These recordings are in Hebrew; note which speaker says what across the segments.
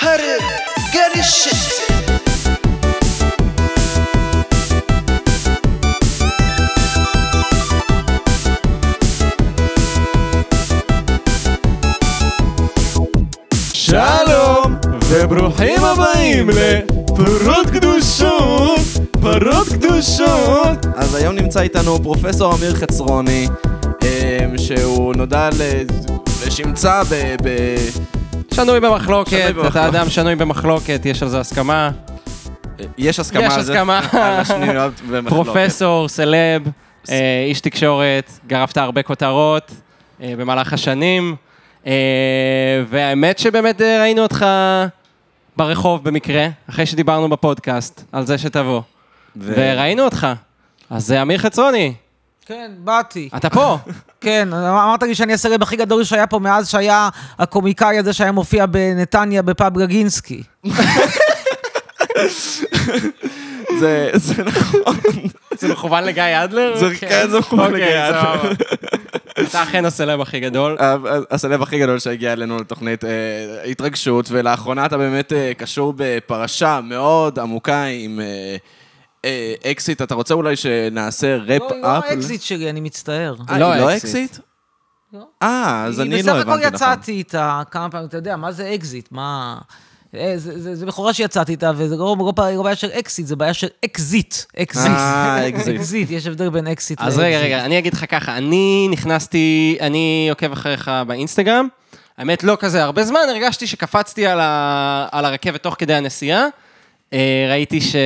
Speaker 1: Karı karışık
Speaker 2: שלום, וברוכים הבאים לפרות קדושות, פרות קדושות. אז היום נמצא איתנו פרופסור אמיר חצרוני, אמ, שהוא נודע ל... לשמצה ב... ב...
Speaker 3: שנוי במחלוקת,
Speaker 2: שנוי
Speaker 3: אתה
Speaker 2: במחלוקת.
Speaker 3: אדם שנוי במחלוקת, יש על זה הסכמה.
Speaker 2: יש הסכמה
Speaker 3: יש
Speaker 2: על זה.
Speaker 3: הסכמה.
Speaker 2: על השנויות במחלוקת.
Speaker 3: פרופסור, סלב, אה, איש תקשורת, גרבת הרבה כותרות אה, במהלך השנים, אה, והאמת שבאמת אה, ראינו אותך ברחוב במקרה, אחרי שדיברנו בפודקאסט על זה שתבוא,
Speaker 2: כן. ו-
Speaker 3: וראינו אותך. אז אה, אמיר חצרוני,
Speaker 4: כן, באתי.
Speaker 3: אתה פה.
Speaker 4: כן, אמרת לי שאני הסלב הכי גדול שהיה פה מאז שהיה הקומיקאי הזה שהיה מופיע בנתניה בפאב גגינסקי.
Speaker 2: זה זה נכון.
Speaker 3: זה מכוון לגיא אדלר?
Speaker 2: זה- כן, זה מכוון
Speaker 3: אוקיי,
Speaker 2: לגיא אדלר.
Speaker 3: סבבה. אתה אכן הסלב הכי גדול.
Speaker 2: ה- הסלב הכי גדול שהגיע אלינו לתוכנית אה, התרגשות, ולאחרונה אתה באמת אה, קשור בפרשה מאוד עמוקה עם אה, אה, אקזיט. אתה רוצה אולי שנעשה ראפ
Speaker 4: לא,
Speaker 2: אפ?
Speaker 4: היא לא האקזיט שלי, אני מצטער.
Speaker 2: אה,
Speaker 3: לא
Speaker 2: היא לא
Speaker 3: אקזיט.
Speaker 2: אקזיט?
Speaker 4: לא.
Speaker 2: אה, אז אני לא
Speaker 4: בסך הכל
Speaker 2: הבנתי נכון.
Speaker 4: יצאתי איתה כמה פעמים, אתה יודע, מה זה אקזיט? מה... אה, זה- זה זה בכורה שיצאתי איתה, וזה לא לא בעיה- לא בעיה של אקזיט, זה בעיה של אקזיט. אקזיט.
Speaker 2: אה, אקזיט.
Speaker 4: אקזיט, יש הבדל בין אקזיט
Speaker 3: אז רגע, רגע, אני אגיד לך ככה, אני נכנסתי, אני עוקב אחריך באינסטגרם, האמת לא כזה הרבה זמן, הרגשתי שקפצתי על, ה, על הרכבת תוך כדי הנסיעה, אה, ראיתי ש...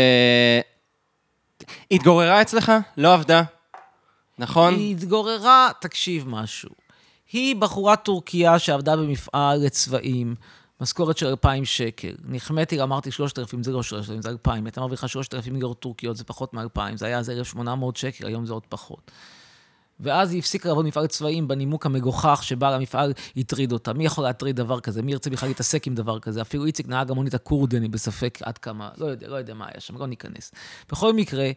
Speaker 3: התגוררה אצלך, לא עבדה, נכון?
Speaker 4: היא התגוררה, תקשיב משהו. היא בחורה טורקיה שעבדה במפעל לצבעים, משכורת של 2,000 שקל. נחמאתי, אמרתי 3,000, זה לא 3,000, זה 2,000. הייתה מרוויחה 3,000 לירות טורקיות, זה פחות מ-2,000. זה היה אז 1,800 שקל, היום זה עוד פחות. ואז היא הפסיקה לעבוד במפעל צבעים בנימוק המגוחך שבעל המפעל הטריד אותה. מי יכול להטריד דבר כזה? מי ירצה בכלל להתעסק עם דבר כזה? אפילו איציק נהג המונית הכורדי, אני בספק עד כמה, לא יודע, לא יודע מה היה שם, לא ניכנס. בכל מקרה,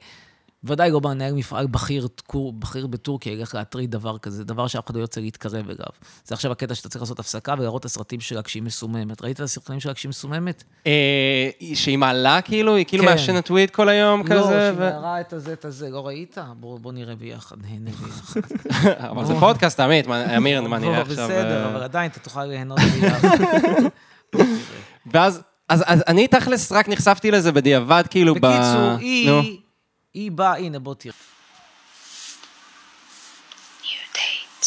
Speaker 4: ודאי לא מנהל מפעל בכיר, טקור- בכיר בטורקיה ילך להטריד דבר כזה, דבר שאף אחד לא ירצה להתקרב אליו. זה עכשיו הקטע שאתה צריך לעשות הפסקה ולהראות את הסרטים שלה כשהיא מסוממת. ראית את הסרטונים שלה כשהיא מסוממת?
Speaker 3: אה, שהיא מעלה כאילו, היא כאילו
Speaker 4: כן.
Speaker 3: מעשנת טוויד כל היום
Speaker 4: לא,
Speaker 3: כזה,
Speaker 4: שהיא
Speaker 3: ו-
Speaker 4: נערה את הזה, את הזה, לא ראית? בוא בוא נראה ביחד, נהנה ביחד.
Speaker 3: אבל זה פודקאסט, עמית, מה- אמיר, מה נראה
Speaker 4: לא,
Speaker 3: עכשיו?
Speaker 4: בסדר,
Speaker 3: אה,
Speaker 4: אבל עדיין אתה תוכל ליהנות ביחד.
Speaker 3: ואז, אז, אז אני תכלס רק נחשפתי לזה בדיעבד, כאילו, ב...
Speaker 4: בקיצור,
Speaker 3: נו.
Speaker 4: היא, היא באה, הנה, בוא תראה.
Speaker 5: New date.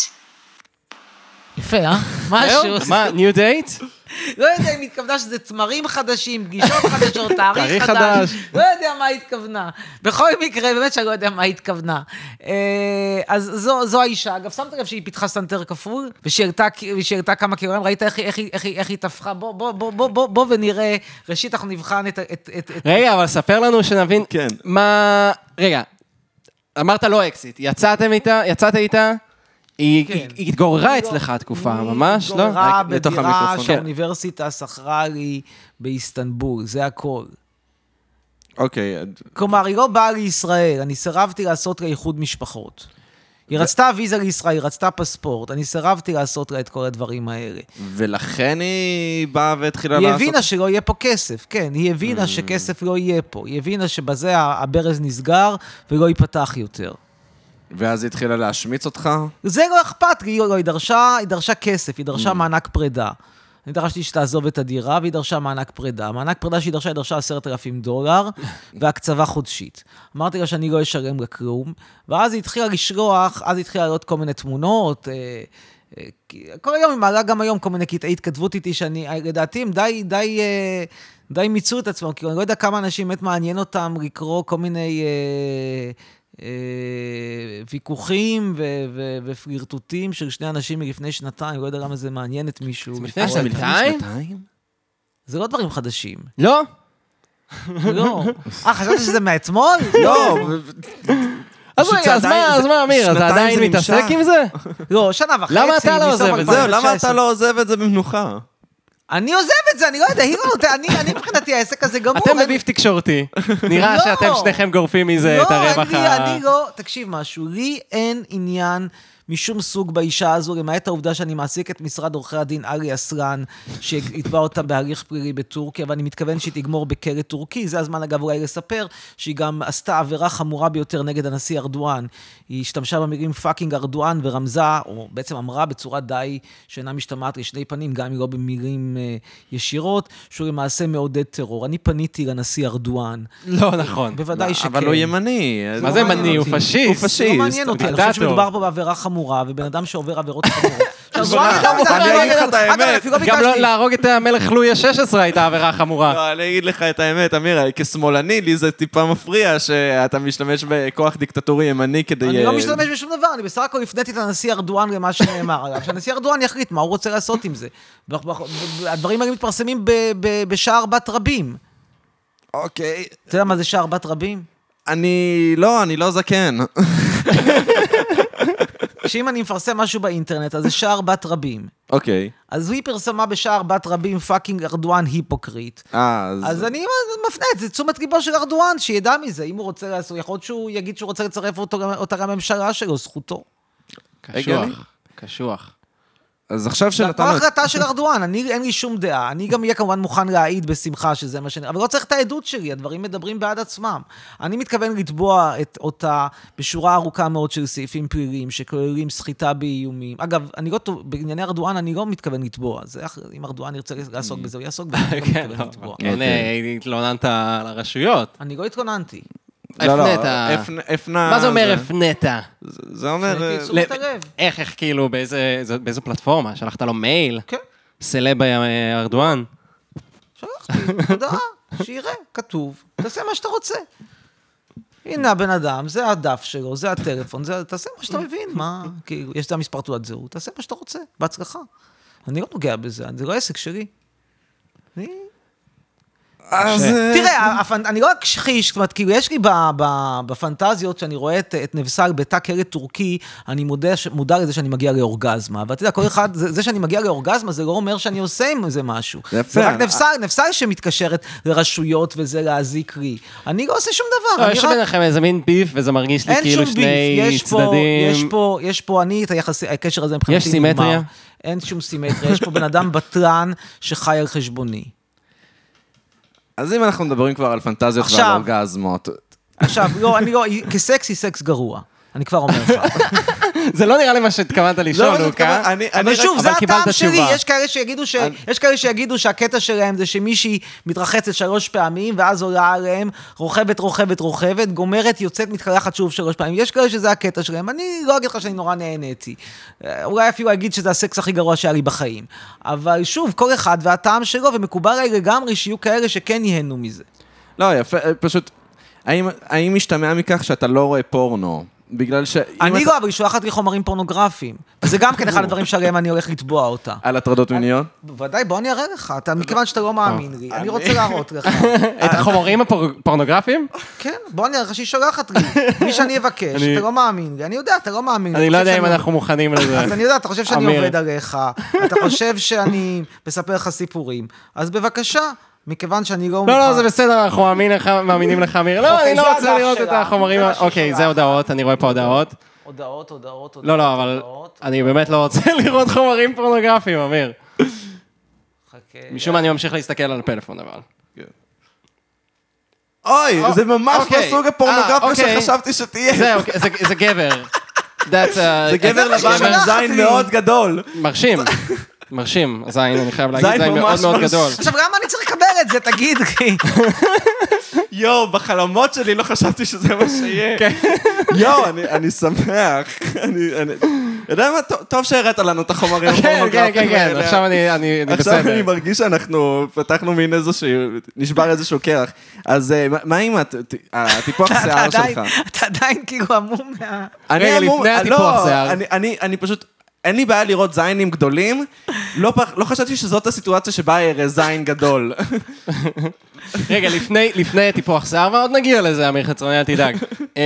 Speaker 4: יפה, אה?
Speaker 3: זהו?
Speaker 4: משהו.
Speaker 3: מה, ניו דייט?
Speaker 4: לא יודע אם היא התכוונה שזה תמרים חדשים, פגישות חדשות, תאריך
Speaker 3: תאריך
Speaker 4: חדש.
Speaker 3: חדש.
Speaker 4: לא יודע מה היא התכוונה. בכל מקרה, באמת שאני לא יודע מה היא התכוונה. אה, אז זו- זו האישה. אגב, שמת לב שהיא פיתחה סנטר כפול, ושהיא העלתה- ושהיא העלתה כמה קילוגרם, ראית איך היא- איך היא- איך היא- איך היא טפחה? בוא- בוא- בוא- בוא- בוא- בוא ונראה. ראשית, אנחנו נבחן את ה- את- את- את-
Speaker 3: רגע, אבל ספר לנו שנבין
Speaker 2: כן.
Speaker 3: מה... רגע, אמרת לא אקזיט, יצאתם איתה, יצאת איתה, היא
Speaker 4: כן. לא-
Speaker 3: היא- היא התגוררה אצלך התקופה, ממש, לא?
Speaker 4: התגוררה
Speaker 3: רק לתוך
Speaker 4: בדירה
Speaker 3: המיקרופון. כן.
Speaker 4: שהאוניברסיטה שכרה לי באיסטנבול, זה הכל.
Speaker 2: אוקיי, עד-
Speaker 4: כלומר, היא לא באה לישראל, אני סירבתי לעשות לה איחוד משפחות. היא רצתה ויזה לישראל, היא רצתה פספורט, אני סירבתי לעשות לה את כל הדברים האלה.
Speaker 2: ולכן היא באה והתחילה
Speaker 4: היא
Speaker 2: לא, לעשות...
Speaker 4: הבינה שלא יהיה פה כסף, כן, היא הבינה שכסף לא יהיה פה. היא הבינה שבזה ה- הברז נסגר ולא ייפתח יותר.
Speaker 2: ואז היא התחילה להשמיץ אותך?
Speaker 4: זה לא אכפת לי, לא, היא דרשה, היא דרשה כסף, היא דרשה מענק פרידה. אני דרשתי שתעזוב את הדירה, והיא דרשה מענק פרידה. מענק פרידה שהיא דרשה, היא דרשה 10,000 דולר, והקצבה חודשית. אמרתי לה שאני לא אשלם לה כלום, ואז היא התחילה לשלוח, אז היא התחילה לעלות כל מיני תמונות. אה, אה, כי- כל היום, היא מעלה גם היום כל מיני קטעי התכתבות איתי, שאני, אה, לדעתי, הם די, די, אה, די מיצו את עצמם, כאילו, אני לא יודע כמה אנשים באמת מעניין אותם לקרוא כל מיני... אה, אה, ויכוחים ו- ו- ופלירטוטים של שני אנשים מלפני שנתיים, לא יודע למה זה מעניין את מישהו.
Speaker 3: לפני
Speaker 4: לקרוא את זה.
Speaker 3: שנתיים?
Speaker 4: זה לא דברים חדשים,
Speaker 3: לא?
Speaker 4: לא. אה, חשבת שזה מאתמול?
Speaker 2: לא,
Speaker 3: אז רגע, אז
Speaker 2: שעדיין-
Speaker 3: מה, אז מה, אמיר, אתה
Speaker 2: שנתיים זה
Speaker 3: עדיין מתעסק
Speaker 2: נמשך.
Speaker 3: עם זה?
Speaker 4: לא, שנה וחצי.
Speaker 3: למה אתה לא
Speaker 4: מסוף
Speaker 3: עוזב את זה?
Speaker 4: 2019.
Speaker 2: זהו, למה אתה לא עוזב את זה במנוחה?
Speaker 4: אני עוזב את זה, אני לא יודע, היא לא נותנת, אני- אני מבחינתי העסק הזה גמור.
Speaker 3: אתם
Speaker 4: אני-
Speaker 3: בביף תקשורתי, נראה
Speaker 4: לא.
Speaker 3: שאתם שניכם גורפים מזה את הרווח
Speaker 4: לא, אני-
Speaker 3: ה...
Speaker 4: אני לא, תקשיב משהו, לי אין עניין משום סוג באישה הזו, למעט העובדה שאני מעסיק את משרד עורכי הדין ארי אסרן, שהתבע אותה בהליך פלילי בטורקיה, ואני מתכוון שהיא תגמור בכלא טורקי. זה הזמן, אגב, אולי לספר שהיא גם עשתה עבירה חמורה ביותר נגד הנשיא ארדואן. היא השתמשה במילים פאקינג ארדואן ורמזה, או בעצם אמרה בצורה די שאינה משתמעת לשני פנים, גם אם לא במילים אה, ישירות, שהוא למעשה מעודד טרור. אני פניתי לנשיא ארדואן.
Speaker 3: לא נכון.
Speaker 4: בוודאי שכן.
Speaker 2: אבל הוא ימני. אז
Speaker 3: מה
Speaker 2: לא
Speaker 3: זה
Speaker 2: מעניין
Speaker 3: מני? הוא
Speaker 2: אותי.
Speaker 3: פשיסט.
Speaker 2: הוא פשיסט.
Speaker 4: זה לא מעניין אותי, אני חושב
Speaker 3: דיקטטור.
Speaker 4: שמדובר פה בעבירה חמורה, ובן אדם שעובר עבירות חמורות. אז
Speaker 2: בוא,
Speaker 4: מה אתה
Speaker 2: אני
Speaker 4: מדבר
Speaker 2: אגיד
Speaker 4: עליי?
Speaker 2: לך את
Speaker 4: אגב,
Speaker 2: האמת,
Speaker 4: אפילו
Speaker 3: גם
Speaker 4: לא
Speaker 3: לא
Speaker 4: ביקשתי.
Speaker 3: להרוג את המלך לואי ה-16 הייתה עבירה חמורה.
Speaker 2: לא, אני אגיד לך את האמת, אמיר, כשמאלני, לי זה טיפה מפריע שאתה משתמש בכוח דיקטטורי ימני כדי...
Speaker 4: אני לא
Speaker 2: אה,
Speaker 4: משתמש בשום דבר, אני בסך הכל הפניתי את הנשיא ארדואן למה שנאמר עליו, שהנשיא ארדואן יחליט מה הוא רוצה לעשות עם זה. ואנחנו- ב- ב- הדברים האלה מתפרסמים ב- ב- בשער בת רבים.
Speaker 2: אוקיי.
Speaker 4: אתה יודע מה זה שער בת רבים?
Speaker 2: אני... לא, אני לא זקן.
Speaker 4: שאם אני מפרסם משהו באינטרנט, אז זה שער בת רבים.
Speaker 2: אוקיי.
Speaker 4: אז היא פרסמה בשער בת רבים פאקינג ארדואן היפוקריט.
Speaker 2: אה,
Speaker 4: אז
Speaker 2: אז...
Speaker 4: אני מפנה את זה לתשומת ליבו של ארדואן, שידע מזה. אם הוא רוצה לעשות, יכול להיות שהוא יגיד שהוא רוצה לצרף אותו, אותה לממשלה שלו, זכותו.
Speaker 2: הגיוני.
Speaker 3: קשוח. קשוח.
Speaker 2: אז עכשיו
Speaker 4: זו
Speaker 2: שנתנו...
Speaker 4: כבר החלטה של ארדואן, אני, אין לי שום דעה. אני גם אהיה כמובן מוכן להעיד בשמחה שזה מה שאני... אבל לא צריך את העדות שלי, הדברים מדברים בעד עצמם. אני מתכוון לתבוע את אותה בשורה ארוכה מאוד של סעיפים פליליים, שכוללים סחיטה באיומים. אגב, אני לא... טוב- בענייני ארדואן אני לא מתכוון לתבוע. זה אח- אם ארדואן ירצה לעסוק בזה, הוא יעסוק בזה, אני לא
Speaker 3: כן,
Speaker 4: מתכוון לתבוע.
Speaker 3: כן, אה, התלוננת על הרשויות.
Speaker 4: אני לא התכוננתי.
Speaker 2: לא, לא,
Speaker 3: הפנית.
Speaker 2: הפנ- הפנה...
Speaker 3: מה זה אומר הפנית?
Speaker 2: זה- זה אומר...
Speaker 4: הפניתי
Speaker 2: אה,
Speaker 4: את תשומת
Speaker 3: ל-
Speaker 4: הלב.
Speaker 3: איך, איך, כאילו, באיזה זה- באיזו פלטפורמה? שלחת לו מייל?
Speaker 4: כן.
Speaker 3: סלב אה, ארדואן?
Speaker 4: שלחתי הודעה, שיראה, כתוב, תעשה מה שאתה רוצה. הנה הבן אדם, זה הדף שלו, זה הטלפון, זה, תעשה מה שאתה מבין, מה, כאילו, יש את המספר תעודת זהות, תעשה מה שאתה רוצה, בהצלחה. אני לא נוגע בזה, זה לא עסק שלי. אני...
Speaker 2: אז... אה,
Speaker 4: תראה, הפנ- אני לא אכחיש, זאת אומרת, כאילו, יש לי ב- ב- בפנטזיות, שאני רואה את, את נבסל בתא כלא טורקי, אני מודה, ש- מודע לזה שאני מגיע לאורגזמה. אבל אתה יודע, כל אחד, זה, זה שאני מגיע לאורגזמה, זה לא אומר שאני עושה עם זה משהו.
Speaker 2: זה יפה, אה,
Speaker 4: זה רק
Speaker 2: אני-
Speaker 4: נבסל, נבסל שמתקשרת לרשויות וזה להזיק לי. אני לא עושה שום דבר,
Speaker 3: לא,
Speaker 4: אני
Speaker 3: יש
Speaker 4: רק...
Speaker 3: ביניכם איזה מין ביף, וזה מרגיש לי
Speaker 4: אין
Speaker 3: כאילו
Speaker 4: שום
Speaker 3: שני
Speaker 4: ביף, יש פה,
Speaker 3: צדדים.
Speaker 4: יש פה, יש פה, אני את היחסי, הקשר הזה מבחינתי
Speaker 3: יש סימטריה?
Speaker 4: נגמר. אין שום סימטריה, יש פה בן אדם בטרן שחי על חשבוני.
Speaker 2: אז אם אנחנו מדברים כבר על פנטזיות ועל
Speaker 4: עכשיו.
Speaker 2: אורגזמות...
Speaker 4: עכשיו, לא, אני לא, כסקס היא סקס גרוע, אני כבר אומר לך.
Speaker 3: זה לא נראה לי מה שהתכוונת
Speaker 2: אבל
Speaker 3: לשאול,
Speaker 2: זה
Speaker 3: לוקה.
Speaker 2: התכוון- אני-
Speaker 4: אבל
Speaker 2: רק-
Speaker 4: שוב, זה
Speaker 3: אבל קיבלת
Speaker 4: הטעם שלי,
Speaker 3: תשובה.
Speaker 4: יש כאלה שיגידו ש- יש כאלה שיגידו שהקטע שלהם זה שמישהי מתרחצת שלוש פעמים, ואז עולה עליהם, רוכבת, רוכבת, רוכבת, גומרת, יוצאת, מתקלחת שוב שלוש פעמים. יש כאלה שזה הקטע שלהם. אני לא אגיד לך שאני נורא נהניתי. אה, אולי אפילו אגיד שזה הסקס הכי גרוע שהיה לי בחיים. אבל שוב, כל אחד והטעם שלו, ומקובל עליי לגמרי שיהיו כאלה שכן ייהנו מזה.
Speaker 2: לא, יפה, אה, פשוט... האם- האם משתמע מכך שאתה לא רואה פורנו? בגלל ש... אם
Speaker 4: אני
Speaker 2: אתה-
Speaker 4: לא, אבל היא שולחת לי חומרים פורנוגרפיים. זה גם כן אחד הדברים שעליהם אני הולך לתבוע אותה.
Speaker 2: על הטרדות מיניות?
Speaker 4: בוודאי, בוא אני אראה לך. אתה, מכיוון שאתה לא מאמין לי, אני רוצה להראות לך.
Speaker 3: את
Speaker 4: אה,
Speaker 3: החומרים הפורנוגרפיים?
Speaker 4: כן, בוא אני אראה לך שהיא שולחת לי. מי שאני אבקש,
Speaker 3: אני-
Speaker 4: אתה לא מאמין לי. אני יודע, אתה לא מאמין לי.
Speaker 3: אני
Speaker 4: אתה
Speaker 3: לא
Speaker 4: חושב
Speaker 3: יודע אם
Speaker 4: שאני-
Speaker 3: אנחנו מוכנים
Speaker 4: אז
Speaker 3: לזה.
Speaker 4: אה, אני יודע, אתה חושב שאני
Speaker 3: אמיר.
Speaker 4: עובד עליך, אתה חושב שאני מספר לך סיפורים. אז בבקשה, מכיוון שאני לא
Speaker 3: לא, לא,
Speaker 4: מוכן-
Speaker 3: זה בסדר, אנחנו מאמין לך- מאמינים לך, אמיר. לא,
Speaker 4: אוקיי,
Speaker 3: אני
Speaker 4: זה
Speaker 3: לא רוצה
Speaker 4: הדף
Speaker 3: לראות את
Speaker 4: שלה,
Speaker 3: החומרים...
Speaker 4: זה
Speaker 3: ה-
Speaker 4: מה שהיא
Speaker 3: אוקיי, זה
Speaker 4: שולחת.
Speaker 3: הודעות, אני רואה פה הודעות.
Speaker 4: הודעות, הודעות, הודעות.
Speaker 3: לא, לא, אבל
Speaker 4: הודעות.
Speaker 3: אני באמת לא רוצה לראות חומרים פורנוגרפיים, אמיר.
Speaker 4: חכה.
Speaker 3: משום מה אני ממשיך להסתכל על הפלאפון, אבל.
Speaker 2: אוי, זה ממש לא
Speaker 3: אוקיי.
Speaker 2: סוג
Speaker 3: אה,
Speaker 2: הפורנוגרפיה
Speaker 3: אוקיי.
Speaker 2: שחשבתי שתהיה.
Speaker 3: זהו, זה- זה גבר. That's a-
Speaker 2: זה גבר
Speaker 4: מה
Speaker 2: לבן עם
Speaker 4: ששלחת
Speaker 2: זין
Speaker 4: לי.
Speaker 2: מאוד גדול.
Speaker 3: מרשים, מרשים, זין, אני חייב להגיד,
Speaker 2: זין
Speaker 3: זין מאוד
Speaker 2: ממש
Speaker 3: מאוד
Speaker 2: מרשים.
Speaker 3: גדול.
Speaker 4: עכשיו, למה אני צריך לקבל את זה, תגיד לי?
Speaker 2: יואו, בחלומות שלי לא חשבתי שזה מה שיהיה.
Speaker 3: כן.
Speaker 2: יואו, אני- אני שמח. אני... אני- יודע מה? טוב- טוב שהראית לנו את החומרים
Speaker 3: כן, כן,
Speaker 2: הפורנוגרפיים
Speaker 3: כן, כן,
Speaker 2: האלה.
Speaker 3: עכשיו אני- אני אני
Speaker 2: עכשיו אני
Speaker 3: בסדר.
Speaker 2: מרגיש שאנחנו פתחנו מין איזשהו, נשבר איזשהו קרח. אז אה, מה- מה עם הט- ט- הטיפוח
Speaker 4: אתה
Speaker 2: שיער
Speaker 4: עדיין-
Speaker 2: שלך?
Speaker 4: אתה עדיין כאילו המום מה...
Speaker 2: אני
Speaker 3: רגע,
Speaker 2: אמור-
Speaker 3: לפני
Speaker 2: אה,
Speaker 3: הטיפוח
Speaker 2: לא,
Speaker 3: שיער.
Speaker 2: אני- אני- אני פשוט, אין לי בעיה לראות זיינים גדולים. לא פח- לא חשבתי שזאת הסיטואציה שבה אראה זין גדול.
Speaker 3: רגע, לפני- לפני טיפוח שיער, ועוד נגיע לזה, אמיר חצרוני, אל תדאג. אמ,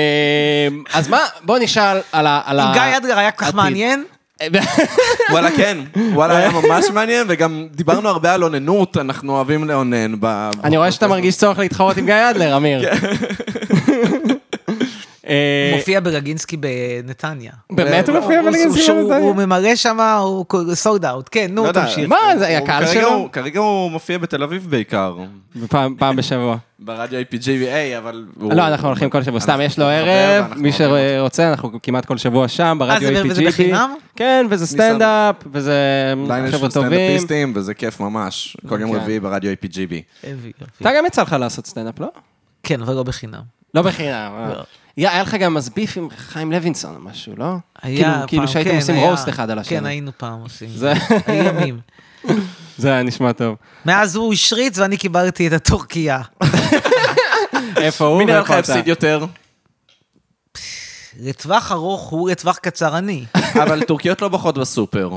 Speaker 3: אז מה, בוא נשאל על ה... על ה-
Speaker 4: גיא אדלר היה כל כך
Speaker 3: עתיד.
Speaker 4: מעניין?
Speaker 2: וואלה, כן. וואלה, היה ממש מעניין, וגם דיברנו הרבה על אוננות, אנחנו אוהבים לאונן. ב- כן.
Speaker 3: אני רואה שאתה מרגיש צורך להתחרות עם גיא אדלר, אמיר. אה,
Speaker 4: מופיע בלגינסקי בנתניה. לא,
Speaker 3: באמת הוא מופיע
Speaker 4: הוא-
Speaker 3: בלגינסקי
Speaker 4: שהוא-
Speaker 3: בנתניה?
Speaker 4: הוא ממלא שם, הוא סולד אאוט, כן, נו,
Speaker 2: לא יודע,
Speaker 4: תמשיך.
Speaker 3: מה, זה היה
Speaker 2: הוא
Speaker 3: קהל
Speaker 2: כרגע
Speaker 3: שלו?
Speaker 2: הוא- כרגע הוא מופיע בתל אביב בעיקר,
Speaker 3: פעם- פעם בשבוע.
Speaker 2: ברדיו APGVA, אבל... הוא-
Speaker 3: לא, אנחנו הולכים כל שבוע, סתם
Speaker 2: אנחנו
Speaker 3: יש לו
Speaker 2: חבר
Speaker 3: ערב,
Speaker 2: ואנחנו
Speaker 3: מי
Speaker 2: אוהבים אותו.
Speaker 3: שרוצה, אנחנו כמעט כל שבוע שם, ברדיו
Speaker 4: אה, זה-
Speaker 3: APGP.
Speaker 4: וזה בחינם?
Speaker 3: כן, וזה סטנדאפ, וזה
Speaker 2: עדיין יש
Speaker 3: חבר'ה
Speaker 2: לו
Speaker 3: טובים. כן.
Speaker 2: סטנדאפיסטים, וזה כיף ממש. כל יום רביעי ברדיו APGB.
Speaker 4: הביא, יופי.
Speaker 3: אתה גם יצא לך לעשות סטנדאפ, לא?
Speaker 4: אה, כן, אבל לא בחינם.
Speaker 3: לא בחינם. אה.
Speaker 4: לא.
Speaker 3: יא, היה לך גם אז ביף עם חיים לוינסון או משהו, לא?
Speaker 4: היה
Speaker 3: כאילו-
Speaker 4: פעם,
Speaker 3: כאילו שהייתם
Speaker 4: כן,
Speaker 3: עושים
Speaker 4: היה.
Speaker 3: רוסט אחד על השני.
Speaker 4: כן, היינו פעם עושים.
Speaker 3: זה-
Speaker 4: היו ימים.
Speaker 3: זה היה נשמע טוב.
Speaker 4: מאז הוא השריץ ואני קיבלתי את הטורקיה.
Speaker 3: איפה הוא
Speaker 2: מי נראה לך
Speaker 3: ואיפה אתה?
Speaker 2: הפסיד יותר?
Speaker 4: לטווח ארוך הוא לטווח קצר אני.
Speaker 2: אבל טורקיות לא בוחרות בסופר.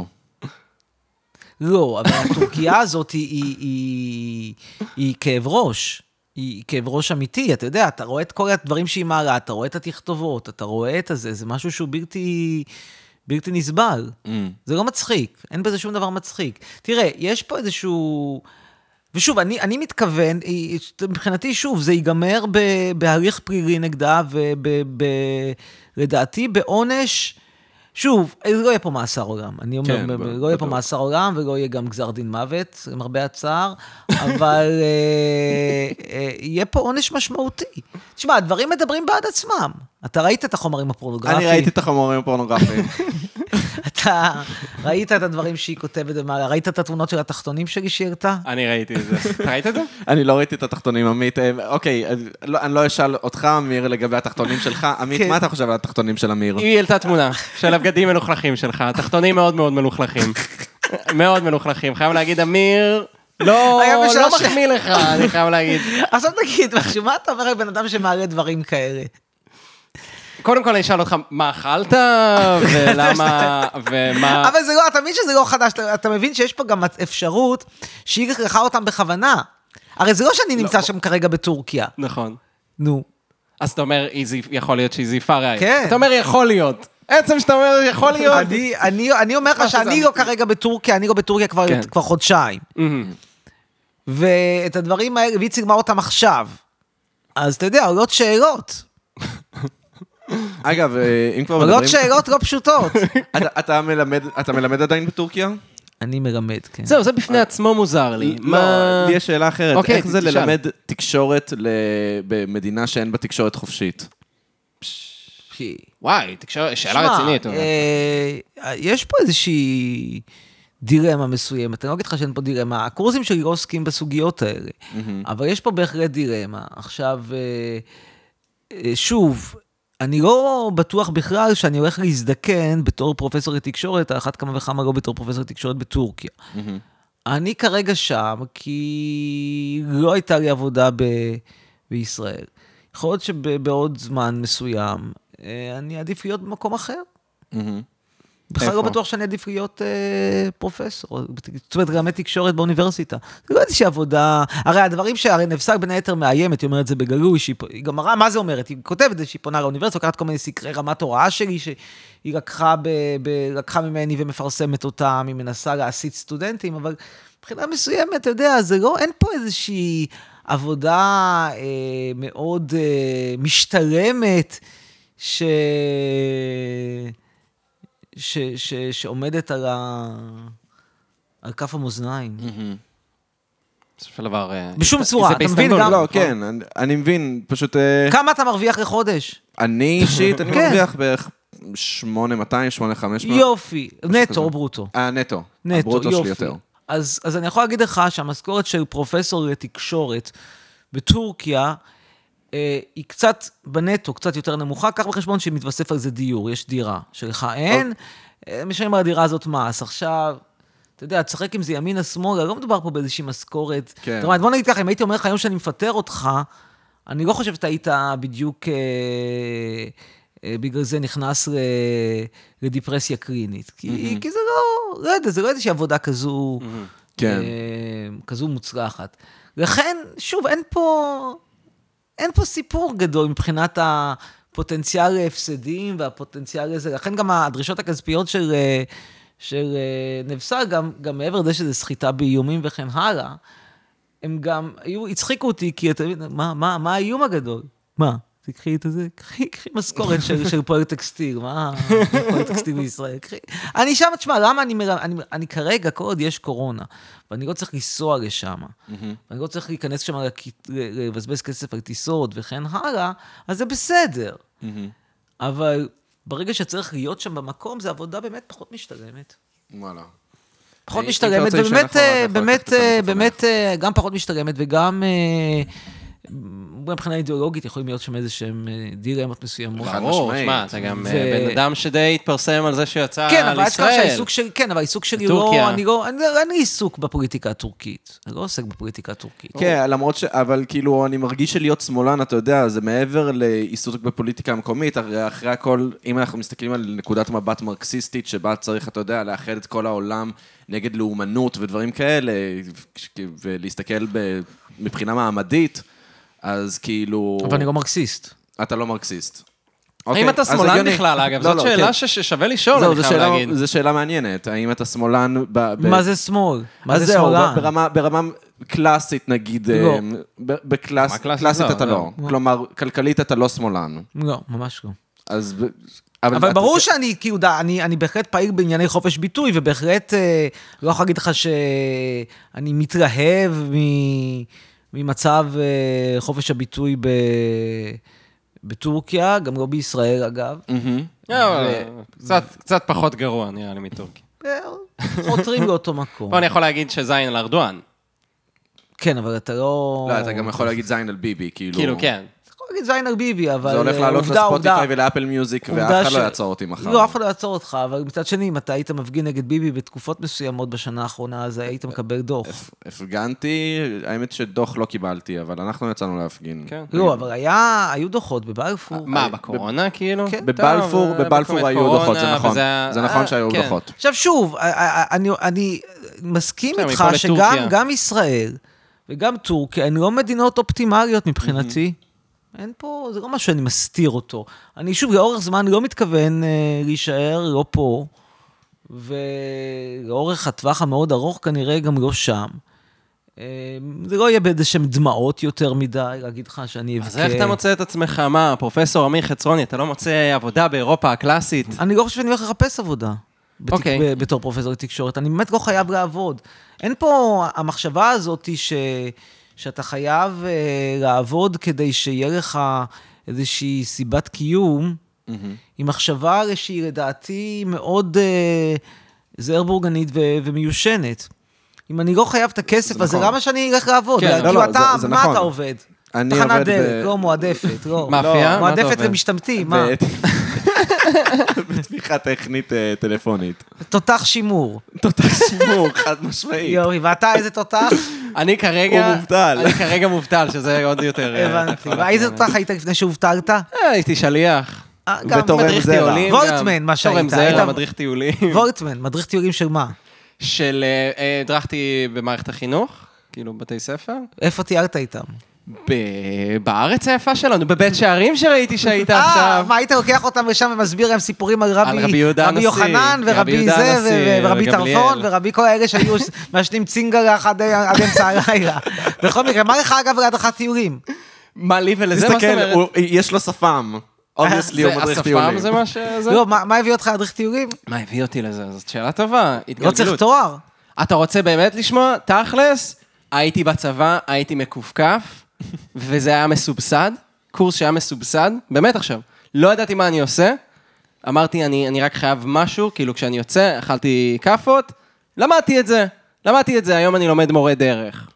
Speaker 4: לא, אבל הטורקיה הזאת היא- היא- היא- היא כאב ראש. היא כאב ראש אמיתי, אתה יודע, אתה רואה את כל הדברים שהיא מעלה, אתה רואה את התכתובות, אתה רואה את הזה, זה משהו שהוא בלתי, בלתי נסבל.
Speaker 2: Mm.
Speaker 4: זה לא מצחיק, אין בזה שום דבר מצחיק. תראה, יש פה איזשהו... ושוב, אני, אני מתכוון, היא- מבחינתי, שוב, זה ייגמר ב, בהליך פלילי נגדה, ולדעתי בעונש, שוב, לא יהיה פה מאסר עולם. אני אומר,
Speaker 2: כן,
Speaker 4: כן,
Speaker 2: ב-
Speaker 4: לא יהיה פה
Speaker 2: בטוח.
Speaker 4: מאסר עולם ולא יהיה גם גזר דין מוות, למרבה הצער, אבל אה, אה, יהיה פה עונש משמעותי. תשמע, הדברים מדברים בעד עצמם. אתה ראית את החומרים הפורנוגרפיים.
Speaker 2: אני ראיתי את החומרים הפורנוגרפיים.
Speaker 4: אתה ראית את הדברים שהיא כותבת במעלה, ראית את התמונות של התחתונים שלי שהיא הרתה?
Speaker 3: אני ראיתי את זה. אתה ראית את זה?
Speaker 2: אני לא ראיתי את התחתונים, עמית. אה, אוקיי, אז לא- אני לא אשאל אותך, אמיר, לגבי התחתונים שלך. עמית,
Speaker 4: כן.
Speaker 2: מה אתה חושב על התחתונים של אמיר?
Speaker 3: היא העלתה תמונה של הבגדים מלוכלכים שלך, התחתונים מאוד מאוד מלוכלכים. מאוד מלוכלכים. חייב להגיד, אמיר, לא
Speaker 4: היה
Speaker 3: לא
Speaker 4: משעשע.
Speaker 3: מחמיא לך, אני חייב להגיד.
Speaker 4: עכשיו תגיד, משהו, מה אתה אומר על בן אדם שמעלה דברים כאלה?
Speaker 3: קודם כל אני אשאל אותך, מה אכלת, ולמה, ומה...
Speaker 4: אבל זה לא, אתה מבין שזה לא חדש, אתה- אתה מבין שיש פה גם אפשרות שהיא לקחה אותם בכוונה. הרי זה לא שאני נמצא שם כרגע בטורקיה.
Speaker 3: נכון.
Speaker 4: נו.
Speaker 3: אז אתה אומר, היא זיפ- יכול להיות שהיא זיפה ראיות.
Speaker 4: כן.
Speaker 3: אתה אומר, יכול להיות. עצם שאתה אומר, יכול להיות.
Speaker 4: אני- אני אני אומר לך
Speaker 3: שזה
Speaker 4: שאני
Speaker 3: אמיתי.
Speaker 4: לא כרגע בטורקיה, אני לא בטורקיה כבר-
Speaker 3: כן.
Speaker 4: כבר חודשיים.
Speaker 3: מהמם.
Speaker 4: ואת הדברים האלה, והיא צילמה אותם עכשיו. אז אתה יודע, עולות שאלות.
Speaker 2: אגב, אה, אם כבר מדברים...
Speaker 4: עולות שאלות לא פשוטות.
Speaker 2: אתה- אתה מלמד- אתה מלמד עדיין בטורקיה?
Speaker 4: אני מלמד, כן.
Speaker 3: זהו, זה בפני עצמו מוזר לי. מה-
Speaker 2: לא, לי יש שאלה אחרת.
Speaker 3: אוקיי,
Speaker 2: איך זה
Speaker 3: תשאל.
Speaker 2: ללמד תקשורת ל- במדינה שאין בה תקשורת חופשית?
Speaker 3: וואי, תקשור- שאלה
Speaker 4: שמע,
Speaker 3: רצינית. אבל.
Speaker 4: אה, יש פה איזושהי דילמה מסוימת, אני לא אגיד לך שאין פה דילמה, הקורסים שלי לא עוסקים בסוגיות האלה, אבל יש פה בהחלט דילמה. עכשיו, אה, אה, שוב, אני לא בטוח בכלל שאני הולך להזדקן בתור פרופסור לתקשורת, על אחת כמה וכמה לא בתור פרופסור לתקשורת בטורקיה. אני כרגע שם כי לא הייתה לי עבודה ב... בישראל. יכול להיות שבעוד זמן מסוים אה, אני אעדיף להיות במקום אחר. בכלל לא
Speaker 3: איפה?
Speaker 4: בטוח שאני עדיף להיות אה, פרופסור, זאת אומרת, רמת תקשורת באוניברסיטה. זה לא איזושהי עבודה, הרי הדברים שהרי נפסק בין היתר מאיימת, היא אומרת זה בגלוי, שהיא פ- היא גם מראה מה זה אומרת, היא כותבת את זה שהיא פונה לאוניברסיטה, לוקחת כל מיני סקרי רמת הוראה שלי, שהיא לקחה, ב, ב, לקחה ממני ומפרסמת אותם, היא מנסה להסית סטודנטים, אבל מבחינה מסוימת, אתה יודע, זה לא, אין פה איזושהי עבודה אה, מאוד אה, משתלמת, ש... ש, ש, שעומדת על, ה... על כף המאזניים.
Speaker 3: בסופו של דבר... אה,
Speaker 4: בשום
Speaker 3: הסת-
Speaker 4: צורה,
Speaker 3: זה
Speaker 4: אתה מבין
Speaker 3: באיסטנבול,
Speaker 4: גם?
Speaker 3: נכון?
Speaker 2: לא, כן, אני- אני מבין, פשוט... אה,
Speaker 4: כמה אתה מרוויח לחודש?
Speaker 2: אני אישית, אני
Speaker 4: כן.
Speaker 2: מרוויח בערך 8200, 8500.
Speaker 4: יופי, נטו
Speaker 2: כזה.
Speaker 4: או ברוטו.
Speaker 2: אה, נטו.
Speaker 4: נטו,
Speaker 2: הברוטו
Speaker 4: יופי.
Speaker 2: שלי יותר.
Speaker 4: אז, אז אני יכול להגיד לך שהמשכורת של פרופסור לתקשורת בטורקיה אה, היא קצת בנטו, קצת יותר נמוכה. קח בחשבון שמתווסף על זה דיור, יש דירה שלך אין, אה, משלמים על הדירה הזאת מס. עכשיו, אתה יודע, תשחק עם זה ימינה-שמאלה, לא מדובר פה באיזושהי משכורת.
Speaker 2: כן.
Speaker 4: זאת אומרת, בוא נגיד ככה, אם הייתי אומר לך היום שאני מפטר אותך, אני לא חושב שאתה היית בדיוק... אה, אה, בגלל זה נכנס ל... לדיפרסיה קלינית. כי, כי זה לא, לא יודע, זה לא איזושהי עבודה כזו,
Speaker 2: כן.
Speaker 4: אה, כזו מוצלחת. לכן, שוב, אין פה, אין פה סיפור גדול מבחינת הפוטנציאל להפסדים והפוטנציאל לזה. לכן גם הדרישות הכספיות של, אה, של אה, נבסה, גם, גם מעבר לזה שזה סחיטה באיומים וכן הלאה, הם גם היו, הצחיקו אותי, כי אתה מבין, מה, מה, מה האיום הגדול? מה? תקחי את הזה, קחי, קחי משכורת של, של פועל טקסטיל, מה פועל טקסטיל בישראל, קחי. אני שם, תשמע, למה אני, מר... אני, אני כרגע, כל עוד יש קורונה, ואני לא צריך לנסוע לשם, ואני לא צריך להיכנס שם, לכ- ל- לבזבז כסף על טיסות וכן הלאה, אז זה בסדר. אבל ברגע שצריך להיות שם במקום, זו עבודה באמת פחות משתלמת.
Speaker 2: וואלה.
Speaker 4: פחות
Speaker 2: אם אתה
Speaker 4: משתלמת,
Speaker 2: רוצה להישאר אחורה,
Speaker 4: ובאמת,
Speaker 2: אתה
Speaker 4: אה,
Speaker 2: יכול
Speaker 4: באמת,
Speaker 2: לקחת את
Speaker 4: אה,
Speaker 2: המיקרופון
Speaker 4: באמת, אה, גם פחות משתלמת וגם אה, גם מבחינה אידיאולוגית יכולים להיות שם איזה שהם אה, דילמות מסוימות.
Speaker 2: חד
Speaker 3: ברור,
Speaker 2: משמעית.
Speaker 3: שמע, אתה גם
Speaker 4: ו-
Speaker 3: אה, בן אדם שדי התפרסם על זה שיצא
Speaker 4: כן, אבל אשכרה
Speaker 3: לישראל.
Speaker 4: שהעיסוק שלי, כן, אבל העיסוק שלי
Speaker 3: טורקיה.
Speaker 4: לא, אני לא, אני- אין לי עיסוק בפוליטיקה הטורקית. אני לא עוסק בפוליטיקה הטורקית.
Speaker 2: כן, למרות ש... אבל כאילו, אני מרגיש שלהיות שמאלן, אתה יודע, זה מעבר לעיסוק בפוליטיקה המקומית, הרי אחרי הכל, אם אנחנו מסתכלים על נקודת מבט מרקסיסטית, שבה צריך, אתה יודע, לאחד את כל העולם נגד לאומנות ודברים כאלה, ולהסתכל ב... מבחינה מעמדית, אז כאילו...
Speaker 4: אבל אני לא מרקסיסט.
Speaker 2: אתה לא מרקסיסט.
Speaker 3: האם
Speaker 2: אוקיי,
Speaker 3: אתה
Speaker 2: אז
Speaker 3: שמאלן
Speaker 2: הגיוני.
Speaker 3: בכלל, אגב?
Speaker 2: לא,
Speaker 3: זאת
Speaker 2: לא,
Speaker 3: שאלה
Speaker 2: כן.
Speaker 3: ש- ששווה לשאול,
Speaker 2: זהו,
Speaker 3: אני
Speaker 2: זו
Speaker 3: חייב
Speaker 2: שאלה-
Speaker 3: להגיד.
Speaker 2: זו שאלה מעניינת, האם אתה שמאלן ב... ב-
Speaker 4: מה זה שמאל? מה
Speaker 2: אז
Speaker 4: זה
Speaker 2: זהו,
Speaker 4: שמאלן?
Speaker 2: ברמה, ברמה קלאסית נגיד,
Speaker 4: לא.
Speaker 2: אמ, ב- בקלאס,
Speaker 3: מה קלאסית?
Speaker 2: קלאסית, קלאסית
Speaker 3: לא,
Speaker 2: אתה לא. כלומר, כלכלית אתה לא שמאלן.
Speaker 4: לא, ממש לא.
Speaker 2: אז... ב-
Speaker 4: אבל
Speaker 2: אתה- כן-
Speaker 4: ברור שאני, כאילו, דה, אני, אני בהחלט פעיל בענייני חופש ביטוי, ובהחלט אה, לא יכול להגיד לך שאני מתרהב מ, ממצב אה, חופש הביטוי ב, בטורקיה, גם לא בישראל אגב.
Speaker 2: מהמם.
Speaker 3: לא, אבל קצת- קצת פחות גרוע, נראה לי, מטורקיה.
Speaker 4: אה, חותרים לאותו מקום.
Speaker 3: פה אני יכול להגיד שזין על ארדואן.
Speaker 4: כן, אבל אתה לא...
Speaker 2: לא, אתה גם יכול להגיד זין על ביבי, כאילו.
Speaker 3: כאילו, כן.
Speaker 4: אתה יכול להגיד זיינר ביבי, אבל...
Speaker 2: זה הולך
Speaker 4: אה,
Speaker 2: לעלות
Speaker 4: עובדה, עובדה.
Speaker 2: לספוטיפיי ולאפל מיוזיק,
Speaker 4: עובדה
Speaker 2: ואף אחד
Speaker 4: ש-
Speaker 2: לא יעצור אותי מחר.
Speaker 4: לא, אף אחד לא יעצור אותך, אבל מצד שני, אם אתה היית מפגין נגד ביבי בתקופות מסוימות בשנה האחרונה, אז היית מקבל דוח.
Speaker 2: הפגנתי, האמת שדוח לא קיבלתי, אבל אנחנו יצאנו להפגין.
Speaker 3: כן.
Speaker 4: לא, אבל היה, היו דוחות בבלפור. אה,
Speaker 3: מה, בקורונה, כאילו?
Speaker 4: כן.
Speaker 2: אה, בבלפור,
Speaker 3: טוב,
Speaker 2: בבלפור
Speaker 3: בקורונה,
Speaker 2: היו דוחות, זה
Speaker 3: וזה
Speaker 2: נכון.
Speaker 3: היה-
Speaker 2: זה נכון
Speaker 3: אה,
Speaker 2: שהיו
Speaker 3: כן.
Speaker 2: דוחות.
Speaker 4: עכשיו שוב, א- א- א- אני, אני מסכים
Speaker 3: בסדר,
Speaker 4: איתך
Speaker 3: מפה
Speaker 4: שגם
Speaker 3: לטורקיה.
Speaker 4: גם ישראל וגם טורקיה הן לא מדינות אופטימליות מבחינתי. אין פה, זה לא משהו שאני מסתיר אותו. אני שוב, לאורך זמן לא מתכוון אה, להישאר לא פה, ולאורך הטווח המאוד ארוך כנראה גם לא שם. אה, זה לא יהיה באיזה שהם דמעות יותר מדי, להגיד לך שאני אבכה.
Speaker 3: אז איך אתה מוצא את עצמך, מה, פרופסור עמיר חצרוני, אתה לא מוצא עבודה באירופה הקלאסית?
Speaker 4: אני לא חושב שאני הולך לחפש עבודה. בתק-
Speaker 3: אוקיי.
Speaker 4: ב- בתור פרופסור לתקשורת. אני באמת לא חייב לעבוד. אין פה, המחשבה הזאת היא ש... שאתה חייב אה, לעבוד כדי שיהיה לך איזושהי סיבת קיום, היא מחשבה הרי שהיא לדעתי מאוד אה, זעיר בורגנית ו... ומיושנת. אם אני לא חייב את הכסף הזה,
Speaker 2: נכון.
Speaker 4: למה שאני אלך לעבוד?
Speaker 3: כן,
Speaker 4: כאילו,
Speaker 2: לא, לא,
Speaker 4: אתה,
Speaker 2: זה- זה
Speaker 4: מה
Speaker 2: נכון.
Speaker 4: אתה עובד?
Speaker 2: אני
Speaker 4: תחנת
Speaker 2: עובד
Speaker 4: דלק,
Speaker 2: ב-
Speaker 4: לא מועדפת, לא.
Speaker 3: מאפייה? מה אתה
Speaker 4: מועדפת
Speaker 3: עובד?
Speaker 4: ומשתמטים, מה?
Speaker 2: בתמיכה טכנית אה, טלפונית.
Speaker 4: תותח שימור.
Speaker 2: תותח שימור, חד משמעית.
Speaker 4: יופי, ואתה איזה תותח?
Speaker 3: אני כרגע...
Speaker 2: הוא מובטל.
Speaker 3: אני כרגע מובטל, שזה עוד יותר...
Speaker 2: כן,
Speaker 3: אה,
Speaker 4: הבנתי.
Speaker 3: יכול
Speaker 4: ואיזה
Speaker 3: לחזור.
Speaker 4: תותח היית לפני שהובטלת?
Speaker 3: אה, הייתי שליח.
Speaker 4: אה, גם
Speaker 2: ותורם
Speaker 3: מדריך
Speaker 4: מדריך-
Speaker 2: זרע.
Speaker 3: טיולים גם.
Speaker 4: וולטמן, מה שהיית,
Speaker 3: תורם
Speaker 4: היית-
Speaker 3: זרע, מדריך טיולים.
Speaker 4: וולטמן, מדריך טיולים של מה?
Speaker 3: של... אה, אה, הדרכתי במערכת החינוך, כאילו בתי ספר.
Speaker 4: איפה טיילת איתם?
Speaker 3: ב- בארץ היפה שלנו, בבית שערים שראיתי שהיית עכשיו.
Speaker 4: אה, מה, היית לוקח אותם לשם ומסביר להם סיפורים על רבי
Speaker 3: על רבי יהודה
Speaker 4: רבי
Speaker 3: הנשיא,
Speaker 4: יוחנן
Speaker 3: רבי
Speaker 4: ורבי
Speaker 3: יהודה
Speaker 4: זה, ו-
Speaker 3: הנשיא,
Speaker 4: ורבי
Speaker 3: וגמליאל.
Speaker 4: טרפון, ורבי כל האלה שהיו מעשנים צינגלה עד עד אמצע הלילה. בכל מקרה, מה לך אגב להדרכת טיולים?
Speaker 3: מה לי ולזה, מה זאת
Speaker 2: תסתכל,
Speaker 3: אומרת? אה,
Speaker 2: הוא- יש לו שפם. אובייסלי
Speaker 3: זה-
Speaker 2: הוא מדריך
Speaker 3: השפם
Speaker 2: טיולים.
Speaker 3: זה מה ש... זה?
Speaker 4: לא, מה מה הביא אותך להדריך טיולים?
Speaker 3: מה הביא אותי לזה? זאת שאלה טובה.
Speaker 4: לא צריך
Speaker 3: התגלגלות.
Speaker 4: תואר.
Speaker 3: אתה רוצה באמת לשמוע? תכלס, הייתי בצבא, הייתי מכופכף, וזה היה מסובסד, קורס שהיה מסובסד, באמת עכשיו. לא ידעתי מה אני עושה, אמרתי, אני, אני רק חייב משהו, כאילו כשאני יוצא, אכלתי כאפות, למדתי את זה, למדתי את זה, היום אני לומד מורה דרך.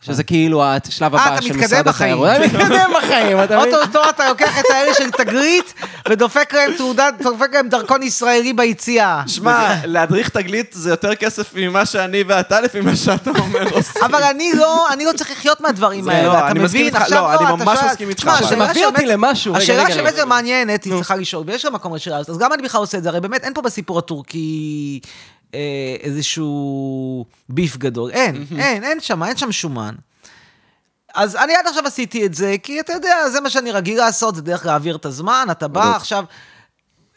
Speaker 3: שזה כאילו השלב
Speaker 4: אה,
Speaker 3: הבא
Speaker 4: אתה
Speaker 3: של
Speaker 4: מתקדם
Speaker 3: משרד
Speaker 4: בחיים.
Speaker 3: התיירות. אני מתקדם בחיים, אתה מבין?
Speaker 4: אוטוטו אתה לוקח את האלה של תגלית ודופק להם תעודה, דופק להם דרכון ישראלי ביציאה.
Speaker 2: שמע, להדריך תגלית זה יותר כסף ממה שאני ואתה, לפי מה שאתה אומר. עושים.
Speaker 4: אבל אני לא, אני לא צריך לחיות מהדברים
Speaker 2: זה
Speaker 4: האלה,
Speaker 2: לא,
Speaker 4: אתה
Speaker 2: אני
Speaker 4: מבין?
Speaker 2: מסכים איתך,
Speaker 4: עכשיו
Speaker 2: לא, אני
Speaker 4: אתה
Speaker 2: ממש
Speaker 4: שואל-
Speaker 2: מסכים איתך,
Speaker 4: תשמע,
Speaker 2: אבל-
Speaker 4: השאלה
Speaker 3: זה מביא אותי
Speaker 4: שבאמת-
Speaker 3: למשהו, רגע,
Speaker 4: השאלה
Speaker 3: רגע, רגע.
Speaker 4: שבאמת מעניינת, היא צריכה לשאול, ויש גם מקום לשאלה הזאת, אז למה אני בכלל עושה את זה? הרי באמת אין פה בסיפור הטורקי אה, איזשהו ביף גדול, אין, אין, אין שם, אין שם שומן. אז אני עד עכשיו עשיתי את זה, כי אתה יודע, זה מה שאני רגיל לעשות, זה דרך להעביר את הזמן, אתה בא עכשיו...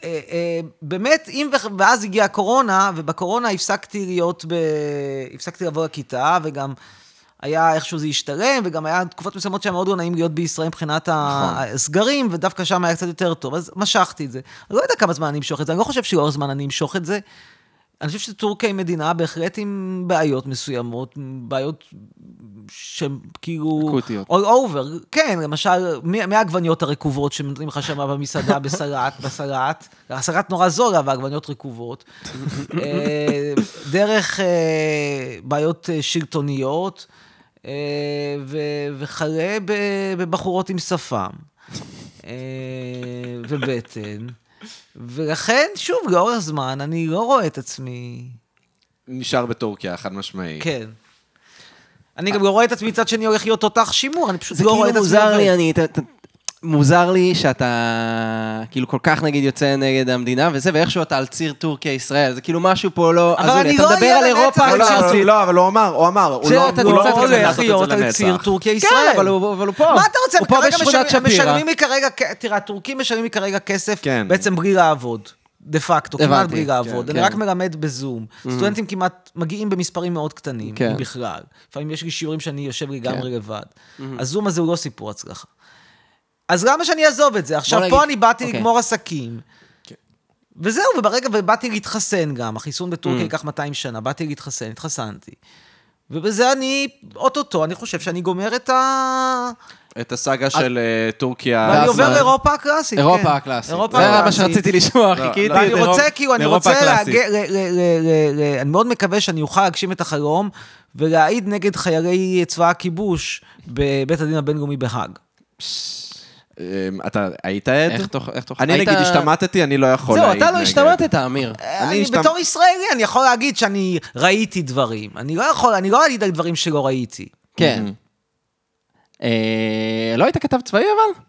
Speaker 4: אה, אה, באמת, אם, וכ- ואז הגיעה הקורונה, ובקורונה הפסקתי להיות ב... הפסקתי לבוא לכיתה, וגם היה איכשהו זה השתלם, וגם היה תקופות מסוימות שהיה מאוד לא נעים להיות בישראל מבחינת
Speaker 2: נכון.
Speaker 4: הסגרים, ודווקא שם היה קצת יותר טוב, אז משכתי את זה. אני לא יודע כמה זמן אני אמשוך את זה, אני לא חושב שלאור זמן אני אמשוך את זה. אני חושב שטורקיה היא מדינה בהחלט עם בעיות מסוימות, בעיות שהן כאילו...
Speaker 3: אקוטיות.
Speaker 4: all over, כן, למשל, מה- מהעגבניות הרקובות שנותנים לך שם במסעדה בסלט, בסלט, הסלט נורא זול, אבל העגבניות רקובות. אה, דרך אה, בעיות אה, שלטוניות, אה, ו- וכלה ב- בבחורות עם שפם. אה, ובטן. ולכן, שוב, לאורך זמן, אני לא רואה את עצמי...
Speaker 2: נשאר בטורקיה, חד משמעי.
Speaker 4: כן. אני גם לא רואה את עצמי מצד שני הולך להיות תותח שימור, אני פשוט לא רואה את עצמי...
Speaker 3: כאילו מוזר
Speaker 4: עובד.
Speaker 3: לי, אני... ת- ת- מוזר לי שאתה כאילו כל כך נגיד יוצא נגד המדינה וזה, ואיכשהו אתה על ציר טורקיה-ישראל, זה כאילו משהו פה לא...
Speaker 4: אבל
Speaker 3: אז הנה,
Speaker 4: אני
Speaker 3: אתה
Speaker 4: לא
Speaker 3: מדבר
Speaker 4: אהיה
Speaker 3: על
Speaker 4: לנצח.
Speaker 3: אירופה,
Speaker 4: לא,
Speaker 3: על
Speaker 2: לא,
Speaker 3: ציר-
Speaker 2: אבל- לא, אבל הוא אמר, הוא אמר, הוא לא
Speaker 3: אתה
Speaker 2: הוא לא
Speaker 3: נמצא
Speaker 2: מתכוון
Speaker 3: כזה
Speaker 4: הולך
Speaker 2: לעשות את
Speaker 4: להיות
Speaker 2: זה
Speaker 4: על
Speaker 2: לנצח.
Speaker 4: ציר טורקיה
Speaker 3: כן,
Speaker 4: ישראל.
Speaker 3: אבל הוא אבל הוא פה.
Speaker 4: מה אתה רוצה?
Speaker 3: הוא פה
Speaker 4: כרגע
Speaker 3: בשכונת
Speaker 4: משלמים-
Speaker 3: שפירא.
Speaker 4: משלמים לי כרגע, כ- תראה, הטורקים משלמים לי כרגע כסף,
Speaker 2: כן.
Speaker 4: בעצם בלי לעבוד. דה פקטו, כמעט
Speaker 3: הבנתי,
Speaker 4: בלי
Speaker 3: כן,
Speaker 4: לעבוד. אני
Speaker 3: כן.
Speaker 4: רק מלמד בזום. סטודנטים כמעט מגיעים במספרים מאוד קטנים,
Speaker 3: כן.
Speaker 4: אם בכלל. לפעמים יש לי שיעורים שאני יושב לגמרי לבד. הזום הזה הוא לא סיפור הצלחה. אז למה שאני אעזוב את זה? עכשיו,
Speaker 3: נגיד-
Speaker 4: פה אני באתי
Speaker 3: אוקיי.
Speaker 4: לגמור עסקים.
Speaker 3: כן.
Speaker 4: וזהו, וברגע, ובאתי להתחסן גם, החיסון
Speaker 3: Mm.
Speaker 4: בטורקיה ייקח 200 שנה, באתי להתחסן, התחסנתי. ובזה אני, אוטוטו, אני חושב שאני גומר את ה...
Speaker 2: את הסאגה של אה, טורקיה.
Speaker 4: ואני
Speaker 3: ואז
Speaker 4: עובר
Speaker 3: מה?
Speaker 4: לאירופה הקלאסית. כן.
Speaker 3: אירופה הקלאסית.
Speaker 4: אירופה
Speaker 3: זה מה
Speaker 4: הקלאסית.
Speaker 3: שרציתי לשמוע,
Speaker 2: לא,
Speaker 3: חיכיתי.
Speaker 2: לא,
Speaker 4: ואני
Speaker 3: לאירופ-
Speaker 4: רוצה, כאילו, אני
Speaker 3: לאירופה
Speaker 4: רוצה
Speaker 3: הקלאסית.
Speaker 4: להגן, אני מאוד מקווה שאני אוכל להגשים את החלום ולהעיד נגד חיילי צבא הכיבוש בבית הדין הבינלאומי בהאג.
Speaker 2: אמ, אתה היית עד?
Speaker 3: איך תוך- איך תוך-
Speaker 2: אני
Speaker 3: היית-
Speaker 2: נגיד השתמטתי, אני לא יכול
Speaker 3: זהו,
Speaker 2: להעיד
Speaker 3: אתה לא
Speaker 2: נגד.
Speaker 3: השתמטת, אמיר.
Speaker 4: אני
Speaker 2: השתמ-
Speaker 4: בתור ישראלי, אני יכול להגיד שאני ראיתי דברים. אני לא יכול, אני לא אגיד על דברים שלא ראיתי.
Speaker 3: כן. אה, לא היית כתב צבאי אבל?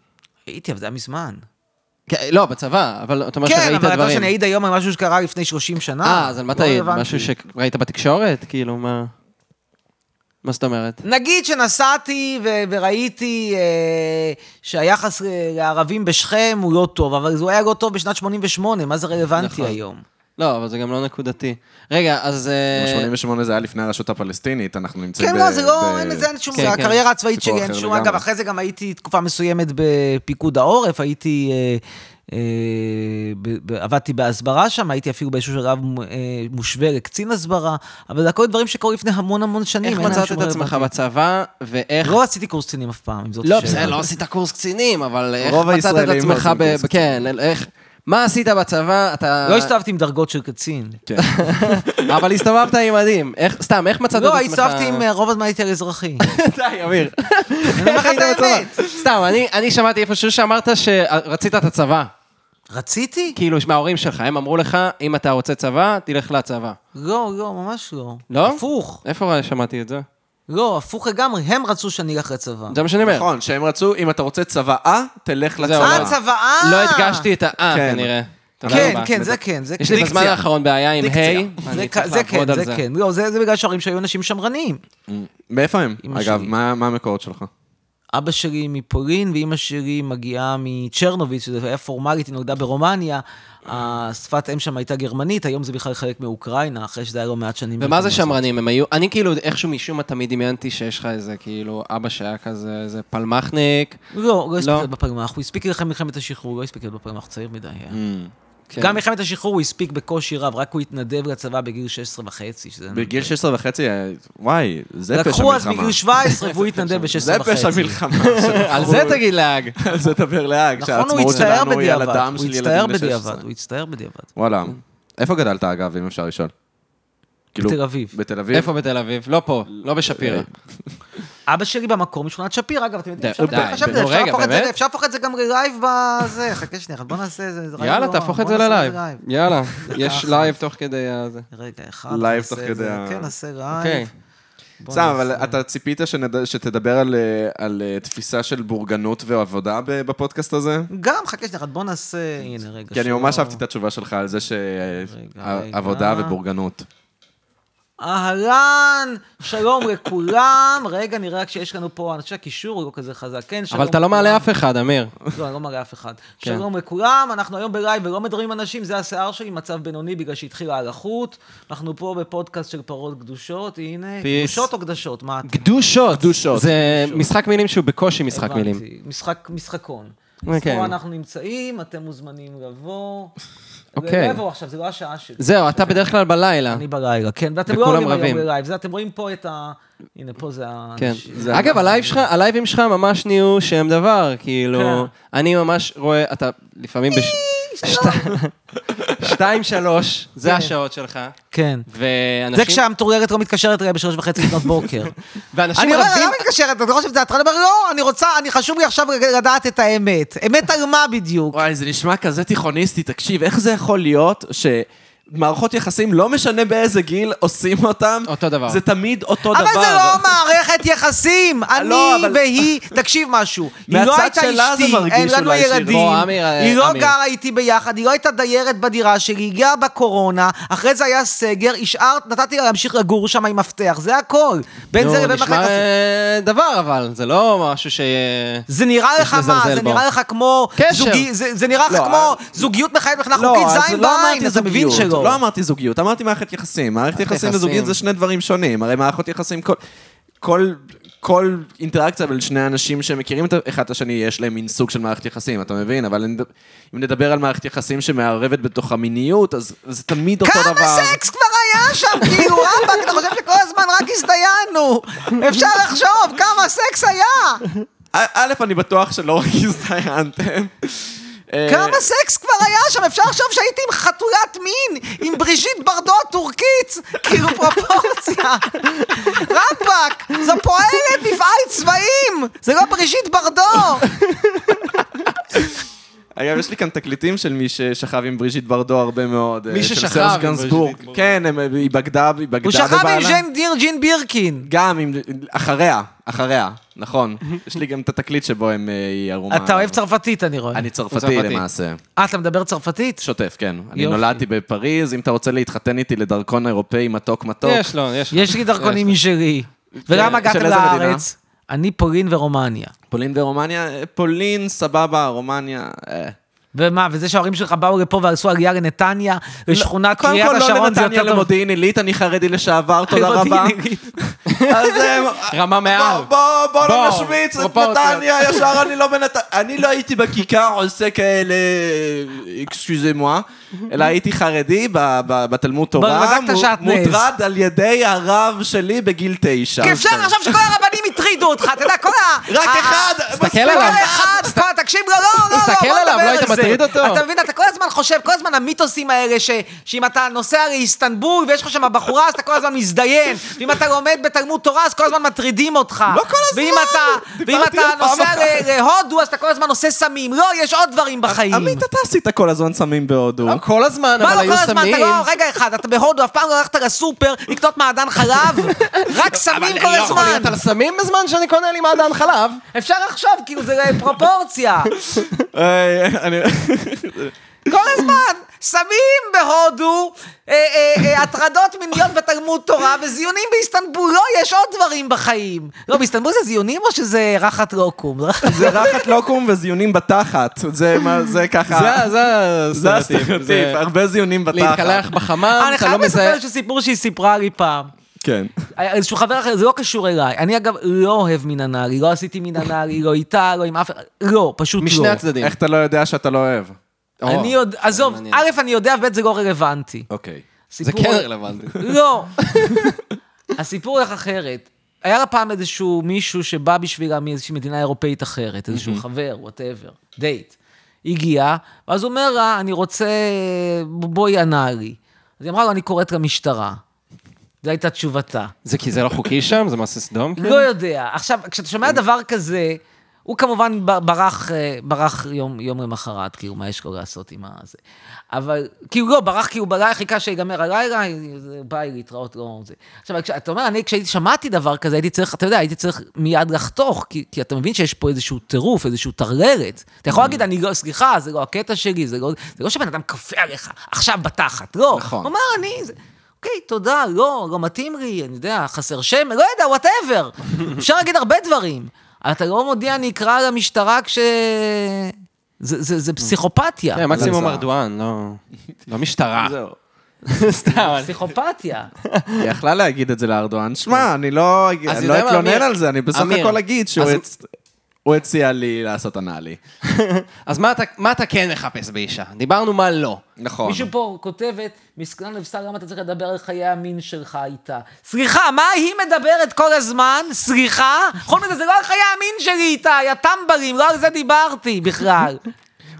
Speaker 4: ראיתי, אבל זה היה מזמן.
Speaker 3: כן, לא, בצבא, אבל אתה אומר
Speaker 4: כן,
Speaker 3: שראית
Speaker 4: אבל אתה יודע שאני
Speaker 3: דברים.
Speaker 4: אעיד היום על משהו שקרה לפני 30 שנה.
Speaker 3: אה, אז על מה
Speaker 4: לא
Speaker 3: תעיד?
Speaker 4: רלוונטי.
Speaker 3: משהו שראית בתקשורת? כאילו, מה... מה זאת אומרת?
Speaker 4: נגיד שנסעתי ו- וראיתי אה, שהיחס אה, לערבים בשכם הוא לא טוב, אבל הוא היה לא טוב בשנת 88, מה זה רלוונטי
Speaker 3: נכון.
Speaker 4: היום?
Speaker 3: לא, אבל זה גם לא נקודתי. רגע, אז... אה,
Speaker 2: 88 זה היה לפני הרשות הפלסטינית, אנחנו נמצאים
Speaker 4: כן,
Speaker 2: ב...
Speaker 4: לא, זה
Speaker 2: ב-
Speaker 4: לא, אין לזה אין שום,
Speaker 3: כן,
Speaker 4: זה
Speaker 3: כן.
Speaker 4: הקריירה הצבאית
Speaker 2: סיפור
Speaker 4: שלי, אין
Speaker 2: אחר
Speaker 4: שום,
Speaker 2: לגמרי.
Speaker 4: אגב, אחרי זה גם הייתי תקופה מסוימת בפיקוד העורף, הייתי, אה, אה, ב- ב- עבדתי בהסברה שם, הייתי אפילו באיזשהו שלב מ- אה, מושווה לקצין הסברה, אבל זה הכל דברים שקרו לפני המון המון שנים.
Speaker 3: איך
Speaker 4: אין להם
Speaker 3: מצאת
Speaker 4: שום
Speaker 2: לא
Speaker 3: את עצמך
Speaker 4: רלוונטיות.
Speaker 3: בצבא, ואיך...
Speaker 4: לא עשיתי קורס קצינים אף פעם, אם זאת
Speaker 3: לא,
Speaker 4: השאלה.
Speaker 3: בסדר, לא עשית קורס קצינים, אבל איך
Speaker 2: רוב
Speaker 3: מצאת את
Speaker 2: הישראלים לא
Speaker 3: עצמך
Speaker 2: עושים
Speaker 3: ב...
Speaker 2: קורס
Speaker 3: כן, איך... מה עשית בצבא? אתה...
Speaker 4: לא הסתובבתי עם דרגות של קצין.
Speaker 3: כאילו, אבל הסתובבת עם מדים. איך... סתם, איך מצאת את עצמך?
Speaker 4: לא, הסתובבתי עם, אה, רוב הזמן הייתי על אזרחי.
Speaker 3: די, אמיר.
Speaker 4: אומר לך את
Speaker 3: היית בצבא?
Speaker 4: האמת.
Speaker 3: סתם, אני- אני שמעתי איפשהו שאמרת שרצית את הצבא.
Speaker 4: רציתי?
Speaker 3: כאילו, מההורים שלך, הם אמרו לך, אם אתה רוצה צבא, תלך לצבא.
Speaker 4: לא, לא, ממש לא.
Speaker 3: לא?
Speaker 4: הפוך.
Speaker 3: איפה שמעתי את זה?
Speaker 4: לא, הפוך לגמרי, הם רצו שאני אלך לצבא.
Speaker 3: זה מה שאני אומר.
Speaker 2: נכון, שהם רצו, אם אתה רוצה צוואה, תלך
Speaker 3: זהו,
Speaker 2: לצבא.
Speaker 4: אה, צוואה!
Speaker 3: לא הדגשתי את האה,
Speaker 2: כן.
Speaker 3: כנראה. תודה
Speaker 4: כן,
Speaker 3: רבה.
Speaker 4: כן, זה כן, זה
Speaker 3: יש
Speaker 4: כן.
Speaker 3: לי בזמן
Speaker 2: דיקציה.
Speaker 3: האחרון בעיה עם
Speaker 2: דיקציה.
Speaker 3: היי,
Speaker 4: זה
Speaker 3: אני
Speaker 4: כ-
Speaker 3: צריך
Speaker 4: זה
Speaker 3: לעבוד
Speaker 4: כן,
Speaker 3: על
Speaker 4: זה
Speaker 3: זה.
Speaker 4: כן. לא, זה זה בגלל שההורים שהיו אנשים שמרנים.
Speaker 2: מאיפה הם?
Speaker 4: אמא
Speaker 2: אגב,
Speaker 4: שלי.
Speaker 2: מה מה המקורות שלך?
Speaker 4: אבא שלי מפולין ואימא שלי מגיעה מצ'רנוביץ, שזה היה פורמלית, היא נולדה ברומניה. השפת אם שם הייתה גרמנית, היום זה בכלל חלק מאוקראינה, אחרי שזה היה לא מעט שנים.
Speaker 3: ומה זה
Speaker 4: ברומניה.
Speaker 3: שמרנים? הם היו... אני כאילו, איכשהו משום מה תמיד דמיינתי שיש לך איזה, כאילו, אבא שהיה כזה, איזה פלמחניק.
Speaker 4: לא, הוא לא הספיק
Speaker 3: לא.
Speaker 4: להיות בפלמ"ח, הוא הספיק אחרי מלחמת השחרור, הוא לא הספיק להיות בפלמ"ח, צעיר מדי היה.
Speaker 3: כן.
Speaker 4: גם מלחמת השחרור הוא הספיק בקושי רב, רק הוא התנדב לצבא בגיל 16 וחצי. שזה-
Speaker 2: בגיל 16 וחצי, אה, וואי, זה פשע מלחמה.
Speaker 4: לא לקחו אז בגיל 17 והוא התנדב ב-16
Speaker 2: זה
Speaker 4: וחצי.
Speaker 2: פשע מלחמה.
Speaker 3: על זה תגיד להג.
Speaker 2: על זה תדבר להג,
Speaker 4: נכון, הוא
Speaker 2: שהעצמאות
Speaker 4: הצטער
Speaker 2: שלנו היא על
Speaker 4: בדיעבד,
Speaker 2: הדם של
Speaker 4: הוא
Speaker 2: ילדים
Speaker 4: הצטער
Speaker 2: בני 16.
Speaker 4: בדיעבד, הוא הצטער בדיעבד.
Speaker 2: וואלה. איפה גדלת, אגב, אם אפשר לשאול? כאילו,
Speaker 4: בתל אביב.
Speaker 2: בתל אביב?
Speaker 3: איפה בתל אביב? לא פה, לא
Speaker 4: אה,
Speaker 3: בשפירא.
Speaker 4: אבא שלי במקור משכונת שפיר, אגב, אתם יודעים,
Speaker 3: די,
Speaker 4: אפשר
Speaker 3: די,
Speaker 4: אפשר-
Speaker 3: נו,
Speaker 4: אפשר
Speaker 3: רגע,
Speaker 4: להפוך את זה-
Speaker 3: באמת?
Speaker 4: אפשר להפוך את זה גם ללייב בזה, חכה שנייה, בוא נעשה איזה... זה רעיון
Speaker 3: יאללה,
Speaker 4: לא רע,
Speaker 3: תהפוך את זה
Speaker 4: בוא נעשה
Speaker 3: ללייב. יאללה, יש
Speaker 4: אחלה.
Speaker 3: לייב תוך כדי הזה.
Speaker 4: רגע, אחד.
Speaker 2: לייב
Speaker 4: נעשה
Speaker 2: תוך
Speaker 4: את
Speaker 2: כדי
Speaker 4: זה.
Speaker 2: ה-
Speaker 4: כן, נעשה
Speaker 3: אוקיי.
Speaker 4: רייב. בוא
Speaker 2: סתם, אבל
Speaker 4: נעשה-
Speaker 2: אתה ציפית שנד- שתדבר על, אה, על אה, תפיסה של בורגנות ועבודה ב- בפודקאסט הזה?
Speaker 4: גם, חכה שנייה, בוא נעשה... הנה, רגע.
Speaker 2: כי אני
Speaker 4: שלא-
Speaker 2: ממש אהבתי את התשובה שלך על זה
Speaker 4: רגע.
Speaker 2: שעבודה ובורגנות.
Speaker 4: אהלן, שלום לכולם. רגע, נראה רק שיש לנו פה, אני חושב שהקישור הוא לא כזה חזק. כן, שלום.
Speaker 3: אבל אתה לא מעלה
Speaker 4: לכולם.
Speaker 3: אף אחד, אמיר.
Speaker 4: לא, אני לא מראה אף אחד.
Speaker 3: כן.
Speaker 4: שלום לכולם, אנחנו היום בלייב ולא מדברים עם אנשים, זה השיער שלי, מצב בינוני בגלל שהתחילה הלחות. אנחנו פה בפודקאסט של פרות קדושות, הנה,
Speaker 3: פיס.
Speaker 4: קדושות או קדשות? מה אתה?
Speaker 3: גדושות.
Speaker 2: גדושות.
Speaker 3: זה משחק מילים שהוא בקושי כן, משחק
Speaker 4: הבנתי.
Speaker 3: מילים.
Speaker 4: משחק, משחקון.
Speaker 3: אוקיי.
Speaker 4: אז פה אנחנו נמצאים, אתם מוזמנים לבוא.
Speaker 3: אוקיי.
Speaker 4: לבוא עכשיו, זה לא השעה שלי.
Speaker 3: זהו, אתה בדרך כלל בלילה.
Speaker 4: אני בלילה, כן, ואתם לא
Speaker 3: וכולם
Speaker 4: עולים היום
Speaker 3: רבים.
Speaker 4: בלייב, זה אתם רואים פה את ה... הנה, פה זה
Speaker 3: כן.
Speaker 4: האנשים.
Speaker 3: אגב, הלייב שלך, הלייבים שלך ממש נהיו שם דבר, כאילו,
Speaker 4: כן.
Speaker 3: אני ממש רואה, אתה לפעמים בש...
Speaker 4: לא.
Speaker 3: שת- שתיים, שלוש, זה השעות שלך,
Speaker 4: כן. זה
Speaker 3: ואנשים
Speaker 4: כשהמטורגרת לא מתקשרת אליי בשלוש וחצי לפנות בוקר.
Speaker 3: ואנשים
Speaker 4: אני אומר,
Speaker 3: רבים,
Speaker 4: למה מתקשרת? אתה חושב שזה התחלה? אני אומר, לא, אני רוצה, אני חשוב לי עכשיו לדעת את האמת. אמת על מה בדיוק?
Speaker 2: וואי, זה נשמע כזה תיכוניסטי, תקשיב, איך זה יכול להיות שמערכות יחסים, לא משנה באיזה גיל עושים אותם,
Speaker 3: אותו דבר.
Speaker 2: זה תמיד אותו דבר.
Speaker 4: אבל זה לא מערכת יחסים,
Speaker 2: לא,
Speaker 4: אני
Speaker 2: אבל-
Speaker 4: והיא, תקשיב משהו, היא
Speaker 2: מהצד
Speaker 4: לא הייתה
Speaker 2: שלה זה
Speaker 4: אשתי,
Speaker 2: מרגיש
Speaker 4: אין לנו
Speaker 2: אולי שהיא-
Speaker 4: ילדים,
Speaker 3: בוא, אמיר, אה,
Speaker 4: היא לא
Speaker 3: אמיר.
Speaker 4: גרה איתי ביחד, היא לא הייתה דיירת בדירה שלי, היא הגיעה בקורונה, אחרי זה היה סגר, השארת, נתתי לה להמשיך לגור שם עם מפתח, זה הכל, בין
Speaker 3: נו,
Speaker 4: זה לבין
Speaker 3: לא, נשמע,
Speaker 4: מחלקת...
Speaker 3: אה, דבר, אבל זה לא משהו ש...
Speaker 4: זה נראה
Speaker 3: יש
Speaker 4: לך מה?
Speaker 3: לזלזל
Speaker 4: זה
Speaker 3: בו.
Speaker 4: נראה לך כמו...
Speaker 3: קשר.
Speaker 4: זוגי- זה זה נראה לך
Speaker 2: לא,
Speaker 4: כמו זוגיות מחייבת מבחינה
Speaker 2: לא,
Speaker 4: חוקית
Speaker 2: אז
Speaker 4: זין
Speaker 2: לא
Speaker 4: בעין,
Speaker 2: אמרתי
Speaker 4: אתה מבין
Speaker 2: זוגיות,
Speaker 4: שלא.
Speaker 2: לא אמרתי זוגיות, אמרתי מערכת יחסים. מערכת יחסים
Speaker 3: יחסים.
Speaker 2: וזוגיות זה שני דברים שונים. הרי מערכות יחסים, כל- כל... כל אינטראקציה בין שני אנשים שמכירים את אחד את השני, יש להם מין סוג של מערכת יחסים, אתה מבין? אבל אם נד- אם נדבר על מערכת יחסים שמערבת בתוך המיניות, אז זה תמיד אותו דבר.
Speaker 4: כמה סקס כבר היה שם, כאילו, רבאק, אתה חושב שכל הזמן רק הזדיינו? אפשר לחשוב, כמה סקס היה?
Speaker 2: א- א', אני בטוח שלא רק הזדיינתם. אה,
Speaker 4: כמה סקס כבר היה שם? אפשר לחשוב שהייתי עם חתולת מין, עם בריז'יט ברדו הטורקית? כאילו, פרופורציה. רבאק, זו פועלת מפעל צבעים, זה לא בריז'יט ברדו.
Speaker 2: אגב, יש לי כאן תקליטים של מי ששכב עם בריז'יט ברדו הרבה מאוד.
Speaker 3: מי
Speaker 2: אה, של
Speaker 3: ששכב
Speaker 2: סרז'
Speaker 3: עם בריז'יט
Speaker 2: גנסבורג.
Speaker 3: ברדו.
Speaker 2: כן, הם- היא בגדה, היא בגדה
Speaker 4: הוא שכב עם
Speaker 2: בבעלה.
Speaker 4: ז'ן דיר ג'ין בירקין.
Speaker 2: גם עם... אחריה, אחריה, נכון. יש לי גם את התקליט שבו הם, אה, היא ערומה.
Speaker 4: אתה אוהב צרפתית, אני רואה.
Speaker 2: אני צרפתי
Speaker 3: צרפתי.
Speaker 2: למעשה.
Speaker 4: אה, אתה מדבר צרפתית?
Speaker 2: שוטף, כן. אני
Speaker 4: יופי.
Speaker 2: נולדתי בפריז, אם אתה רוצה להתחתן איתי לדרכון אירופאי מתוק מתוק.
Speaker 3: יש לו, יש לו.
Speaker 4: יש לי דרכונים משלי.
Speaker 2: כן. של
Speaker 4: ולמה הגעתם
Speaker 2: איזה מדינה?
Speaker 4: לארץ? אני פולין ורומניה.
Speaker 2: פולין ורומניה, אה, פולין, סבבה, רומניה. אה.
Speaker 4: ומה, וזה שההורים שלך באו לפה ועשו עלייה לנתניה, לשכונת
Speaker 2: קודם
Speaker 4: קריית
Speaker 2: כל, לא
Speaker 4: השרון, זה
Speaker 2: לנתניה,
Speaker 4: יותר טוב.
Speaker 2: למודיעין עילית, אני חרדי לשעבר, תודה רבה.
Speaker 4: מודיעין עילית.
Speaker 2: אז אה,
Speaker 3: רמה מעל.
Speaker 2: בוא, בוא, בוא
Speaker 3: בוא,
Speaker 2: לא נשמיץ את
Speaker 3: פרופורציות.
Speaker 2: נתניה, ישר אני לא בנתניה. אני לא הייתי בכיכר עושה כאלה, אקסקיוזה מואה, אלא הייתי חרדי ב- ב- בתלמוד תורה,
Speaker 4: בדקת
Speaker 2: מו-
Speaker 4: שעטנז.
Speaker 2: מוטרד על ידי הרב שלי בגיל תשע.
Speaker 4: כי
Speaker 3: כן.
Speaker 4: אפשר לחשוב שכל הרבנים הטרידו אותך, אתה יודע, כל ה...
Speaker 2: רק
Speaker 4: ה-
Speaker 2: אחד,
Speaker 3: תסתכל
Speaker 2: מספיק.
Speaker 3: עליו.
Speaker 4: כל אחד, כל- תקשיב, לא, לא, לא, לא,
Speaker 3: תסתכל
Speaker 4: בוא
Speaker 3: עליו,
Speaker 4: נדבר
Speaker 3: לא
Speaker 4: על
Speaker 3: היית
Speaker 4: זה.
Speaker 3: מטריד אותו?
Speaker 4: אתה מבין, אתה כל הזמן חושב, כל הזמן המיתוסים האלה, ש- שאם אתה נוסע לאיסטנבול ויש לך שם בחורה, אז אתה כל הזמן מזדיין, ואם אתה לומד בתלמוד תורה, אז כל הזמן מטרידים אותך.
Speaker 2: לא כל הזמן.
Speaker 4: ואם אתה- ואם
Speaker 2: דיברתי
Speaker 4: אתה
Speaker 2: על פעם
Speaker 4: נוסע
Speaker 2: אחת.
Speaker 4: ל- להודו, אז אתה כל הזמן עושה סמים. לא, יש עוד דברים בחיים.
Speaker 2: עמית, אתה עשית כל הזמן סמים בהודו.
Speaker 3: כל הזמן,
Speaker 4: מה
Speaker 3: אבל
Speaker 4: לא כל
Speaker 3: היו
Speaker 4: הזמן? אתה
Speaker 3: סמים.
Speaker 4: לא, רגע אחד, אתה בהודו, אף פעם לא הלכת לסופר לקנות מעדן חלב? רק סמים כל
Speaker 3: אני לא יכול
Speaker 4: הזמן.
Speaker 3: להיות על סמים בזמן שאני קונה לי מעדן חלב.
Speaker 4: אפשר עכשיו, כאילו, זה פרופורציה. אוקיי.
Speaker 2: אה, אני-
Speaker 4: כל הזמן. סמים בהודו, אה, אה, אה, הטרדות מיניות בתלמוד תורה וזיונים באיסטנבול. לא, יש עוד דברים בחיים. לא, באיסטנבול זה זיונים או שזה רחת לוקום?
Speaker 2: זה רחת לוקום וזיונים בתחת. זה מה- זה
Speaker 4: כן.
Speaker 2: ככה.
Speaker 3: זה- זה
Speaker 2: זה
Speaker 3: הסטריאוטיפ.
Speaker 2: הסטריאוטיפ,
Speaker 3: זה-
Speaker 2: הרבה זיונים בתחת.
Speaker 3: להתקלח בחמם,
Speaker 4: אה, אני
Speaker 3: אתה לא
Speaker 4: חייב
Speaker 3: מזהה.
Speaker 4: לספר איזשהו סיפור שהיא סיפרה לי פעם.
Speaker 2: כן.
Speaker 4: היה איזשהו חבר אחר, זה לא קשור אליי. אני אגב לא אוהב מן הנהרי, לא עשיתי מן הנהרי, לא איתה, לא עם אף אחד, לא, פשוט לא.
Speaker 3: משני הצדדים.
Speaker 2: איך אתה לא יודע שאתה לא אוהב?
Speaker 3: או,
Speaker 4: אני יודע, עזוב,
Speaker 3: מעניין.
Speaker 4: א', אני יודע, ב', זה לא רלוונטי.
Speaker 2: אוקיי.
Speaker 3: זה
Speaker 4: סיפור-
Speaker 3: כן רלוונטי.
Speaker 4: לא. הסיפור הולך אחרת. היה לה פעם איזשהו מישהו שבא בשבילה מאיזושהי מדינה אירופאית אחרת, איזשהו
Speaker 3: Mhm.
Speaker 4: חבר, וואטאבר, דייט. הגיע, ואז הוא אומר לה, אני רוצה, ב- בואי ענה לי. אז היא אמרה לו, אני קוראת למשטרה. זו הייתה תשובתה.
Speaker 3: זה כי זה לא חוקי שם? זה מעשה סדום?
Speaker 4: לא יודע. עכשיו, כשאתה שומע דבר כזה, הוא כמובן ב- ברח, אה, ברח יום, יום למחרת, כאילו, מה יש לו לעשות עם הזה. אבל, כאילו, לא, ברח כאילו בלילה, חיכה שיגמר הלילה, אה, זה- ביי, להתראות, לא זה. עכשיו, כש- אתה אומר, אני, כשהייתי, שמעתי דבר כזה, הייתי צריך, אתה יודע, הייתי צריך מיד לחתוך, כי, כי אתה מבין שיש פה איזשהו טירוף, איזשהו טרלרת. אתה יכול להגיד, אני לא, סליחה, זה לא הקטע שלי, זה לא, זה לא שבן אדם כפה עליך, עכשיו בתחת, לא.
Speaker 2: נכון.
Speaker 4: הוא אמר, אני... זה... אוקיי, תודה, לא, לא מתאים לי, אני יודע, חסר שם, לא יודע, וואטאבר. אפשר להגיד הרבה דברים. אבל אתה לא מודיע, אני אקרא למשטרה כש... זה, זה, זה פסיכופתיה.
Speaker 3: כן, מקסימום
Speaker 2: זה-
Speaker 3: ארדואן, לא- לא משטרה.
Speaker 2: זהו.
Speaker 3: סתם. אני-
Speaker 4: פסיכופתיה.
Speaker 3: נכון.
Speaker 2: היא יכלה להגיד את זה לארדואן. שמע, אני לא אני
Speaker 3: יודע
Speaker 2: לא
Speaker 3: מה,
Speaker 2: אתלונן
Speaker 3: אמיר?
Speaker 2: על זה, אני בסך
Speaker 3: אמיר.
Speaker 2: הכל אגיד שהוא
Speaker 3: אז-
Speaker 2: הצ- הוא הציע לי לעשות אנאלי.
Speaker 3: אז מה אתה- מה אתה כן מחפש באישה? דיברנו מה לא.
Speaker 2: נכון.
Speaker 4: מישהו פה כותבת, מסכנה לבשר, למה אתה צריך לדבר על חיי המין שלך איתה? סליחה, מה היא מדברת כל הזמן? סליחה? חוץ מזה, זה לא על חיי המין שלי איתה, יא טמבלים, לא על זה דיברתי בכלל.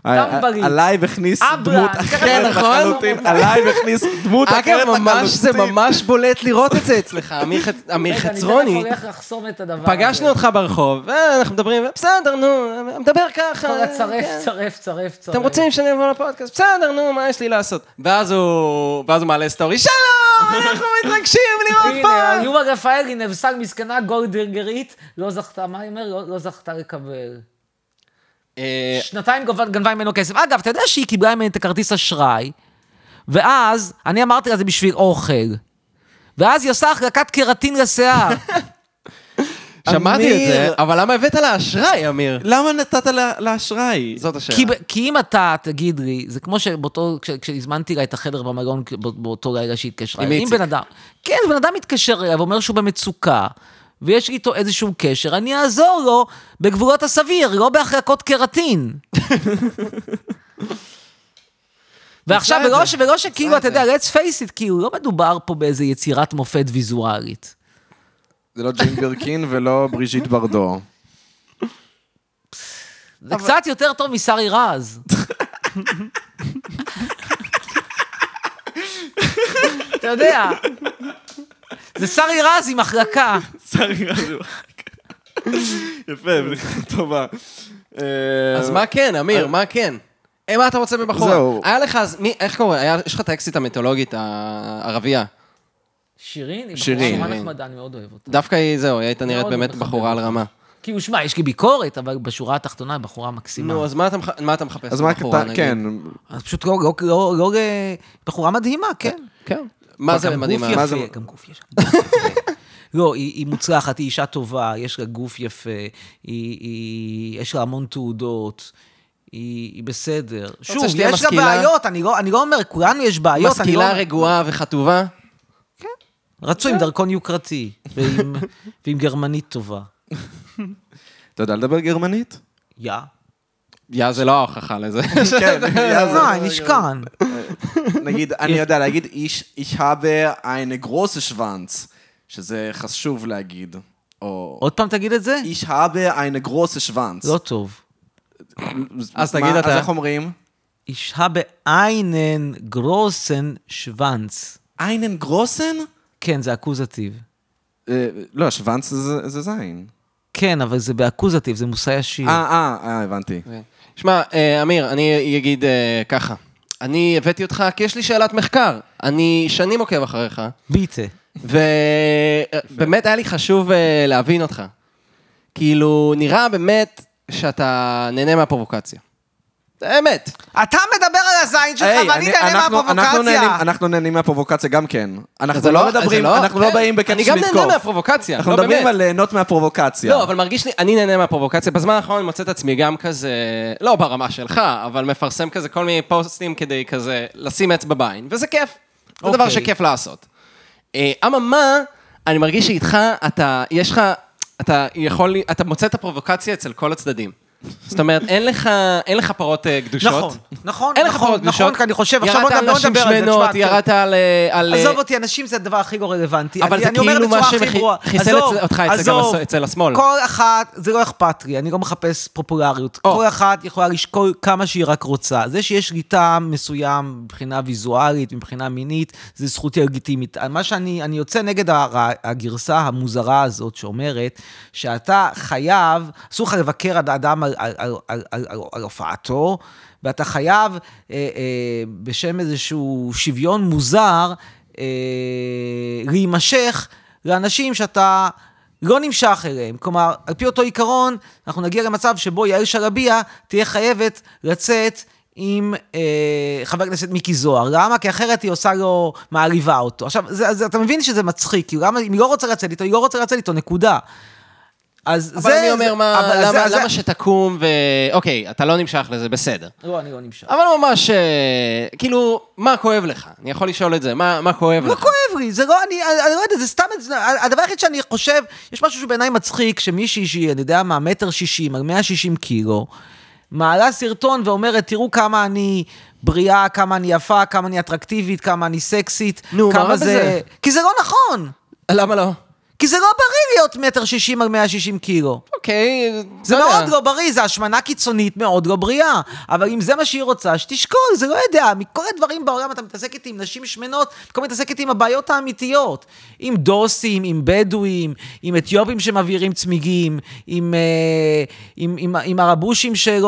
Speaker 3: אה,
Speaker 4: טמבלים.
Speaker 2: עלייב הכניס
Speaker 4: אברה,
Speaker 2: דמות
Speaker 4: אני ככה
Speaker 2: אחרת
Speaker 3: נכון?
Speaker 2: לחלוטין. עלייב הכניס דמות
Speaker 3: אגב,
Speaker 2: אחרת
Speaker 3: ממש, זה
Speaker 2: לחלוטין.
Speaker 3: ממש בולט לראות את זה אצלך, אמיר חצ- אמיר
Speaker 4: רגע,
Speaker 3: חצרוני.
Speaker 4: אני תכף הולך לחסום את הדבר הזה.
Speaker 3: פגשנו אותך ברחוב, אה, אנחנו מדברים, בסדר, נו, מדבר ככה.
Speaker 4: כל
Speaker 3: אה,
Speaker 4: הצרף,
Speaker 3: כן.
Speaker 4: צרף, צרף, צרף.
Speaker 3: אתם
Speaker 2: אה,
Speaker 3: רוצים שאני אבוא לפודקאסט? בסדר, נו, מה יש לי לעשות? ואז הוא ואז הוא מעלה סטורי, שלום, אנחנו מתרגשים לראות
Speaker 4: הנה,
Speaker 3: פה.
Speaker 4: יומה רפאלי נבסל מסכנה גולדרגרית, לא זכתה, מה היא אומרת? לא- לא זכתה לקבל.
Speaker 3: אה,
Speaker 4: שנתיים גובה- גנבה ממנו כסף. אגב, אתה יודע שהיא קיבלה ממנו את הכרטיס אשראי, ואז אני אמרתי לה זה בשביל אוכל. ואז היא עושה החלקת קרטין לשיער.
Speaker 3: שמעתי את זה,
Speaker 2: אמיר.
Speaker 3: אבל למה הבאת לה אשראי, אמיר?
Speaker 2: למה נתת לה- לאשראי?
Speaker 3: זאת השאלה.
Speaker 4: כי, ב- כי אם אתה, תגיד לי, זה כמו שבאותו, כש- כשהזמנתי לה את החדר במלון כ- בא- באותו לילה שהיא התקשרה.
Speaker 3: עם
Speaker 4: אליי.
Speaker 3: איציק.
Speaker 4: אם בן אדם, כן, בן אדם מתקשר אליה ואומר שהוא במצוקה, ויש לי איתו איזשהו קשר, אני אעזור לו בגבולות הסביר, לא בהחלקות קרטין.
Speaker 3: עושה
Speaker 4: ועכשיו,
Speaker 3: את
Speaker 4: ולא,
Speaker 3: זה.
Speaker 4: ש- ולא שכאילו,
Speaker 3: עושה את
Speaker 4: אתה יודע, let's face it, כאילו, לא מדובר פה באיזה יצירת מופת ויזואלית.
Speaker 2: זה לא ג'ין בירקין ולא בריז'יט ברדו.
Speaker 4: זה קצת יותר טוב משרי רז. אתה יודע, זה שרי רז עם החלקה.
Speaker 2: יפה, בדיחה טובה. אה,
Speaker 3: אז מה כן, אמיר, מה כן? אה, מה אתה רוצה בבחורה?
Speaker 2: זהו.
Speaker 3: היה לך אז, מי- איך קורה? היה- יש לך את האקסיט המיתולוגית הערבייה.
Speaker 4: שירין, היא בחורה
Speaker 2: שירין.
Speaker 4: נורא
Speaker 3: שירין.
Speaker 4: נחמדה, אני מאוד אוהב אותה.
Speaker 3: דווקא היא, זהו, היא הייתה נראית
Speaker 4: מאוד
Speaker 3: באמת
Speaker 4: מחבב.
Speaker 3: בחורה על רמה.
Speaker 4: כאילו, שמע, יש לי ביקורת, אבל בשורה התחתונה היא בחורה מקסימה.
Speaker 3: נו, אז מה אתה מח- מה אתה מחפש
Speaker 2: אז מה
Speaker 3: בבחורה,
Speaker 2: אתה,
Speaker 3: נגיד?
Speaker 2: כן,
Speaker 4: אז פשוט לא, לא, לא, לא, בחורה מדהימה, כן.
Speaker 3: כן. מה זה
Speaker 4: גם
Speaker 3: מדהים? אה?
Speaker 4: גוף
Speaker 2: מה
Speaker 4: יפה,
Speaker 2: זה-
Speaker 4: גם גוף יש. גם גוף יפה. לא, היא, היא מוצלחת, היא אישה טובה, יש לה גוף יפה, היא, היא, יש לה המון תעודות, היא, היא בסדר. שוב,
Speaker 3: שתהיה
Speaker 4: יש לה
Speaker 3: משכילה?
Speaker 4: בעיות, אני לא, אני לא אומר, כולנו יש בעיות. אני
Speaker 3: משכילה,
Speaker 4: לא...
Speaker 3: רגועה וחטובה?
Speaker 4: רצו עם דרכון יוקרתי, ועם, ועם גרמנית טובה.
Speaker 2: אתה יודע לדבר גרמנית?
Speaker 4: יא.
Speaker 3: יא, זה לא ההוכחה לזה.
Speaker 2: כן,
Speaker 4: אה, נשכן.
Speaker 2: נגיד, אני יודע להגיד, איש, איש הבה eine große שוונץ, שזה חשוב להגיד, או
Speaker 4: עוד פעם תגיד את זה?
Speaker 2: איש הבה eine große שוונץ.
Speaker 4: לא טוב.
Speaker 3: אז תגיד
Speaker 2: מה-
Speaker 3: אתה.
Speaker 2: אז איך אומרים?
Speaker 4: איש באיינן גרוסן שוונץ.
Speaker 2: einen גרוסן?
Speaker 4: כן, זה אקוזטיב.
Speaker 2: לא, שוונץ זה- זה זין.
Speaker 4: כן, אבל זה באקוזטיב, זה מושא ישיר.
Speaker 2: אה, אה, אה, הבנתי.
Speaker 3: כן. שמע, אה, אמיר, אני אגיד אה, ככה. אני הבאתי אותך כי יש לי שאלת מחקר. אני שנים עוקב אחריך,
Speaker 4: ביטה.
Speaker 3: ובאמת היה לי חשוב אה, להבין אותך. כאילו, נראה באמת שאתה נהנה מהפרובוקציה. אמת.
Speaker 4: אתה מדבר על הזין שלך
Speaker 2: היי,
Speaker 4: ואני
Speaker 2: אני-
Speaker 4: נהנה
Speaker 2: אנחנו- אנחנו נהנים-
Speaker 4: מהפרובוקציה.
Speaker 2: אנחנו נהנים מהפרובוקציה גם כן.
Speaker 3: זה
Speaker 2: אנחנו לא
Speaker 3: זה
Speaker 2: מדברים, אנחנו לא
Speaker 3: כן.
Speaker 2: באים בקטע
Speaker 3: אני
Speaker 2: של
Speaker 3: גם נהנה
Speaker 2: לתקוף.
Speaker 3: מהפרובוקציה,
Speaker 2: אנחנו
Speaker 3: לא,
Speaker 2: מדברים
Speaker 3: באמת.
Speaker 4: אה,
Speaker 2: על ליהנות מהפרובוקציה.
Speaker 3: לא, אבל מרגיש לי, אני נהנה מהפרובוקציה. בזמן האחרון אני מוצא את עצמי גם כזה, לא ברמה שלך, אבל מפרסם כזה כל מיני פוסטים כדי כזה לשים אצבע בעין, וזה כיף. זה דבר
Speaker 4: אוקיי.
Speaker 3: שכיף לעשות. אה, אממה, אני מרגיש שאיתך, אתה, יש לך, אתה יכול, אתה מוצא את הפרובוקציה אצל כל הצדדים. זאת אומרת, אין לך, אין לך פרות אה, קדושות.
Speaker 4: נכון, נכון,
Speaker 3: אין לך
Speaker 4: נכון,
Speaker 3: פרות קדושות.
Speaker 4: נכון, כי אני חושב, עכשיו עוד
Speaker 3: ירדת
Speaker 4: גם לא
Speaker 3: על נשים
Speaker 4: נדבר על זה,
Speaker 3: שמנות,
Speaker 4: תשמע,
Speaker 3: ירדת על... אה, על, אה,
Speaker 4: עזוב אותי, אנשים זה הדבר הכי לא רלוונטי.
Speaker 3: אבל
Speaker 4: אני-
Speaker 3: זה
Speaker 4: אני אומר
Speaker 3: כאילו
Speaker 4: בצורה
Speaker 3: מה
Speaker 4: הכי
Speaker 3: שמחי-
Speaker 4: ברורה.
Speaker 3: חיסל
Speaker 4: עזוב,
Speaker 3: אצל- אותך אצל- גם
Speaker 4: עזוב.
Speaker 3: הס- אצל השמאל.
Speaker 4: כל אחת, זה לא אכפת לי, אני לא מחפש פופולריות.
Speaker 3: או.
Speaker 4: כל אחת יכולה לשקול כמה שהיא רק רוצה. זה שיש לי טעם מסוים מבחינה ויזואלית, מבחינה מינית, זה זכותי הלגיטימית. מה שאני, אני יוצא נגד הר- הגרסה המוזרה הזאת שאומרת שאתה חייב, אסור לך לבקר עד האדם על- על- על- על- על- על- על הופעתו. ואתה חייב, אה, אה, בשם איזשהו שוויון מוזר, אה, להימשך לאנשים שאתה לא נמשך אליהם. כלומר, על פי אותו עיקרון, אנחנו נגיע למצב שבו יעל שרביה תהיה חייבת לצאת עם אה, חבר הכנסת מיקי זוהר. למה? כי אחרת היא עושה לו, מעליבה אותו. עכשיו, זה, זה, אתה מבין שזה מצחיק, כאילו, למה, אם היא לא רוצה לצאת איתו, היא לא רוצה לצאת איתו, נקודה. אז
Speaker 3: אבל
Speaker 4: זה...
Speaker 3: אני אומר,
Speaker 4: זה-
Speaker 3: מה,
Speaker 4: אבל
Speaker 3: למה,
Speaker 4: זה-
Speaker 3: למה
Speaker 4: זה-
Speaker 3: שתקום ו... אוקיי, אתה לא נמשך לזה, בסדר.
Speaker 4: לא, אני לא נמשך.
Speaker 3: אבל ממש, אה, כאילו, מה כואב לך? אני יכול לשאול את זה, מה, מה כואב
Speaker 4: לא
Speaker 3: לך?
Speaker 4: כואב לי, זה לא, אני, אני לא יודע, זה סתם, הדבר היחיד שאני חושב, יש משהו שבעיניי מצחיק, שמישהי שהיא, אני יודע מה, מטר שישים, על מאה שישים קילו, מעלה סרטון ואומרת, תראו כמה אני בריאה, כמה אני יפה, כמה אני אטרקטיבית, כמה אני סקסית,
Speaker 3: נו, מה
Speaker 4: כמה
Speaker 3: רע בזה?
Speaker 4: כי זה לא נכון,
Speaker 3: למה לא?
Speaker 4: כי זה לא בריא להיות מטר שישים על מאה שישים קילו.
Speaker 3: אוקיי,
Speaker 4: זה
Speaker 3: לא
Speaker 4: מאוד
Speaker 3: יודע.
Speaker 4: לא בריא, זה השמנה קיצונית מאוד לא בריאה. אבל אם זה מה שהיא רוצה, שתשקול, זה לא יודע. מכל הדברים בעולם אתה מתעסק איתי עם נשים שמנות, אתה כל הזמן מתעסק איתי עם הבעיות האמיתיות. עם דוסים, עם בדואים, עם אתיופים שמבעירים צמיגים, עם, אה, עם, עם, עם הרבושים שלא...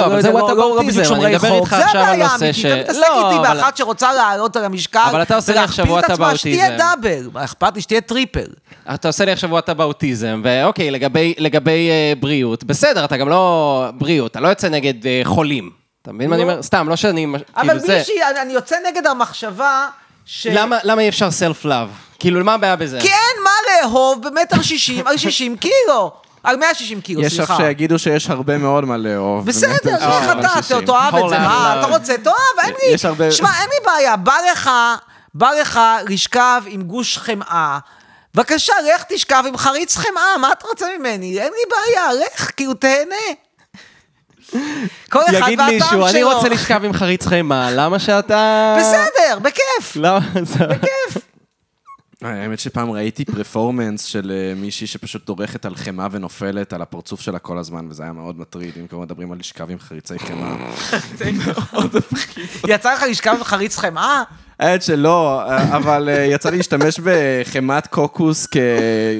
Speaker 3: לא, אבל
Speaker 4: יודע,
Speaker 3: זה וואטאבוטיזם,
Speaker 4: בדיוק שומרי
Speaker 3: אני מדבר
Speaker 4: חוק.
Speaker 3: איתך עכשיו על נושא
Speaker 4: זה
Speaker 3: ש-
Speaker 4: הבעיה האמיתית, אתה
Speaker 3: לא,
Speaker 4: מתעסק איתי
Speaker 3: אבל-
Speaker 4: באחת שרוצה לעלות על המשקל,
Speaker 3: אבל אתה עושה לי עכשיו
Speaker 4: ולהכפיל את עצמה,
Speaker 3: וואטאבוטיזם.
Speaker 4: שתהיה דאבל. מה אכפת לי שתהיה טריפל.
Speaker 3: אתה עושה לי עכשיו וואטאבאוטיזם, ואוקיי, לגבי, לגבי אה, בריאות, בסדר, אתה גם לא בריאות, אתה לא יוצא נגד אה, חולים. אתה מבין מה אני אומר? סתם, לא שאני... מש-
Speaker 4: אבל
Speaker 3: כאילו, זה-
Speaker 4: מישהי, אני- אני יוצא נגד המחשבה ש...
Speaker 3: למה, למה אי אפשר סלף לאב? כאילו, מה הבעיה בזה?
Speaker 4: כי אין כן, מה לאהוב במטר שישים על שישים קילו. על 160 קילו,
Speaker 2: יש
Speaker 4: סליחה.
Speaker 2: לך שיגידו שיש הרבה מאוד מה לאהוב.
Speaker 4: בסדר,
Speaker 2: באמת, אה,
Speaker 4: איך
Speaker 2: אבל
Speaker 4: אתה,
Speaker 2: שישים.
Speaker 4: אתה תאהב את זה,
Speaker 3: הולנד,
Speaker 4: מה,
Speaker 3: הולנד.
Speaker 4: אתה רוצה, תאהב, אין לי,
Speaker 2: יש הרבה-
Speaker 4: שמע, אין לי בעיה, בא לך, בא לך לשכב עם גוש חמאה, בבקשה, לך תשכב עם חריץ חמאה, מה אתה רוצה ממני? אין לי בעיה, לך, כאילו, תהנה. כל אחד והטעם
Speaker 3: יגיד
Speaker 4: שלו.
Speaker 3: מישהו, אני רוצה לשכב עם חריץ חמאה, למה שאתה...
Speaker 4: בסדר, בכיף.
Speaker 3: למה זה...
Speaker 2: האמת שפעם ראיתי פרפורמנס של אה, מישהי שפשוט דורכת על חמאה ונופלת על הפרצוף שלה כל הזמן, וזה היה מאוד מטריד, אם כבר מדברים על לשכב עם חריצי חמאה.
Speaker 4: יצא לך לשכב עם חריץ חמאה?
Speaker 2: האמת שלא, אה, אבל אה, יצא לי להשתמש בחמאת קוקוס כ...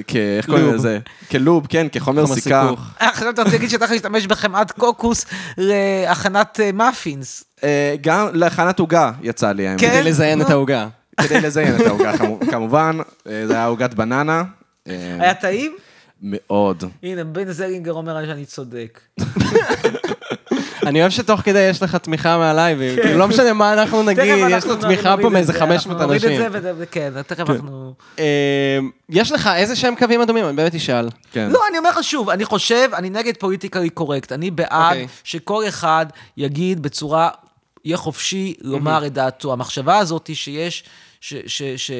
Speaker 2: כ... איך קוראים
Speaker 3: לוב.
Speaker 2: לזה? כלוב, כן, כחומר
Speaker 3: חומר
Speaker 2: סיכה.
Speaker 3: סיכוך.
Speaker 4: אה, עכשיו אתה רוצה להגיד שאתה יכול להשתמש בחמאת קוקוס להכנת אה, מאפינס.
Speaker 2: אה, גם להכנת עוגה יצא לי, האמת.
Speaker 4: כן?
Speaker 3: כדי לזיין
Speaker 4: לא.
Speaker 3: את העוגה.
Speaker 2: כדי לזיין את העוגה, כמו- כמובן. אה, זה היה עוגת בננה. אה,
Speaker 3: כן.
Speaker 4: היה טעים?
Speaker 2: מאוד.
Speaker 4: הנה, בן זלינגר אומר לי שאני צודק.
Speaker 3: אני אוהב שתוך כדי יש לך תמיכה מהלייב, כאילו, לא משנה מה אנחנו
Speaker 4: תכף
Speaker 3: נגיד,
Speaker 4: אנחנו
Speaker 3: יש לו
Speaker 4: נוריד
Speaker 3: תמיכה פה
Speaker 4: את
Speaker 3: מאיזה
Speaker 4: זה,
Speaker 3: 500
Speaker 4: אנחנו
Speaker 3: אנשים.
Speaker 4: נוריד את זה, ו- כן, תכף אנחנו...
Speaker 3: אמ, יש לך איזה שהם קווים אדומים? אני באמת אשאל.
Speaker 2: כן.
Speaker 4: לא, אני אומר לך שוב, אני חושב, אני נגד פוליטיקלי קורקט. אני בעד
Speaker 3: אוקיי.
Speaker 4: שכל אחד יגיד בצורה, יהיה חופשי לומר את דעתו. המחשבה הזאת היא שיש... ש, ש, ש, ש,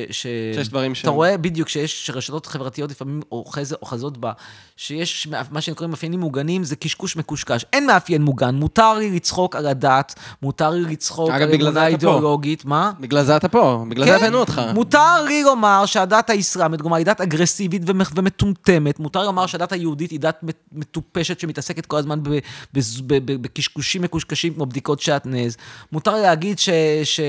Speaker 3: שיש דברים
Speaker 4: ש...
Speaker 3: ש-
Speaker 4: אתה רואה בדיוק שיש, שרשתות חברתיות לפעמים אוחז- אוחזות בה, שיש מה- מה שנקראים מאפיינים מוגנים, זה קשקוש מקושקש. אין מאפיין מוגן, מותר לי לצחוק על הדת, מותר לי לצחוק
Speaker 3: אגב,
Speaker 4: על
Speaker 3: בגלל זה
Speaker 4: אמונה
Speaker 3: אתה פה.
Speaker 4: אידיאולוגית, מה?
Speaker 3: בגלל זה אתה פה, בגלל
Speaker 4: כן.
Speaker 3: זה הבאנו אותך.
Speaker 4: מותר לי לומר שהדת האסלאמית, כלומר, היא דת אגרסיבית ומח- ומטומטמת. מותר לומר שהדת היהודית היא דת מט- מטופשת שמתעסקת כל הזמן ב- בז- ב- ב- בקשקושים מקושקשים כמו בדיקות שעטנז. מותר להגיד ש- ש-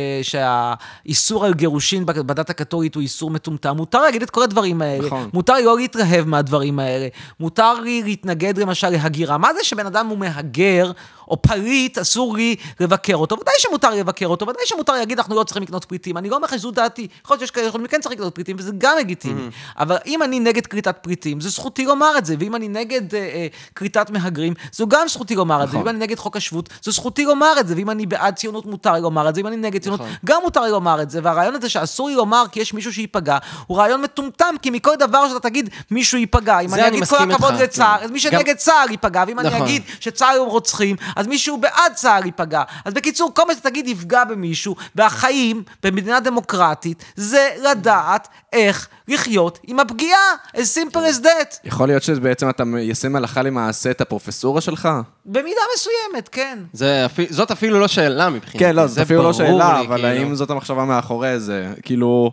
Speaker 4: שהאיסור על גירושין בק- בדת הקתולית הוא איסור מטומטם. מותר להגיד את כל הדברים האלה.
Speaker 2: נכון.
Speaker 4: מותר לי לא להתרהב מהדברים האלה. מותר לי להתנגד למשל להגירה. מה זה שבן אדם הוא מהגר או פליט, אסור לי לבקר אותו? ודאי שמותר לי לבקר אותו, ודאי שמותר לי להגיד, אנחנו לא צריכים לקנות פליטים. אני לא אומר לך שזו דעתי. יכול להיות שיש כאלה שיכולים כן צריך לקנות פליטים, וזה גם לגיטימי.
Speaker 3: Mm-hmm.
Speaker 4: אבל אם אני נגד כריתת פליטים, זו זכותי לומר את זה. ואם אני נגד אה, אה, כריתת מהגרים, זו גם זכותי לומר את
Speaker 3: נכון.
Speaker 4: זה. ואם אני נגד חוק השבות, זו זכותי לומר את זה. ואם אני בעד ציונות, מותר לי לומר את זה. ואם אני נגד ציונות,
Speaker 3: נכון.
Speaker 4: גם מותר לי לומר את זה. והרעיון הזה שאסור לי לומר כי יש מישהו שייפגע, הוא רעיון מטומטם, כי מכל דבר שאתה תגיד, מישהו ייפגע. אם
Speaker 3: זה
Speaker 4: אני
Speaker 3: אני
Speaker 4: אגיד כל
Speaker 3: מסכים
Speaker 4: הכבוד
Speaker 3: איתך. כן.
Speaker 4: לצה"ל, אז מי
Speaker 3: גם-
Speaker 4: שנגד צה"ל ייפגע. ואם אני
Speaker 3: נכון.
Speaker 4: אגיד שצה"ל הם רוצחים, אז מישהו בעד צה"ל ייפגע. אז בקיצור, כל מה שתגיד יפגע במישהו, והחיים במדינה דמוקרטית זה לדעת איך לחיות עם הפגיעה. as simple as that.
Speaker 2: יכול להיות שבעצם אתה מיישם הלכה למעשה את הפרופסורה שלך?
Speaker 3: כן,
Speaker 4: במידה מסוימת, כן.
Speaker 3: זה אפי- זאת אפילו לא שאלה מבחינתי.
Speaker 2: כן, לא, זאת
Speaker 3: זה
Speaker 2: אפילו לא
Speaker 3: ברור
Speaker 2: שאלה,
Speaker 3: לי,
Speaker 2: אבל
Speaker 3: כאילו.
Speaker 2: האם זאת המחשבה מאחורי זה? כאילו...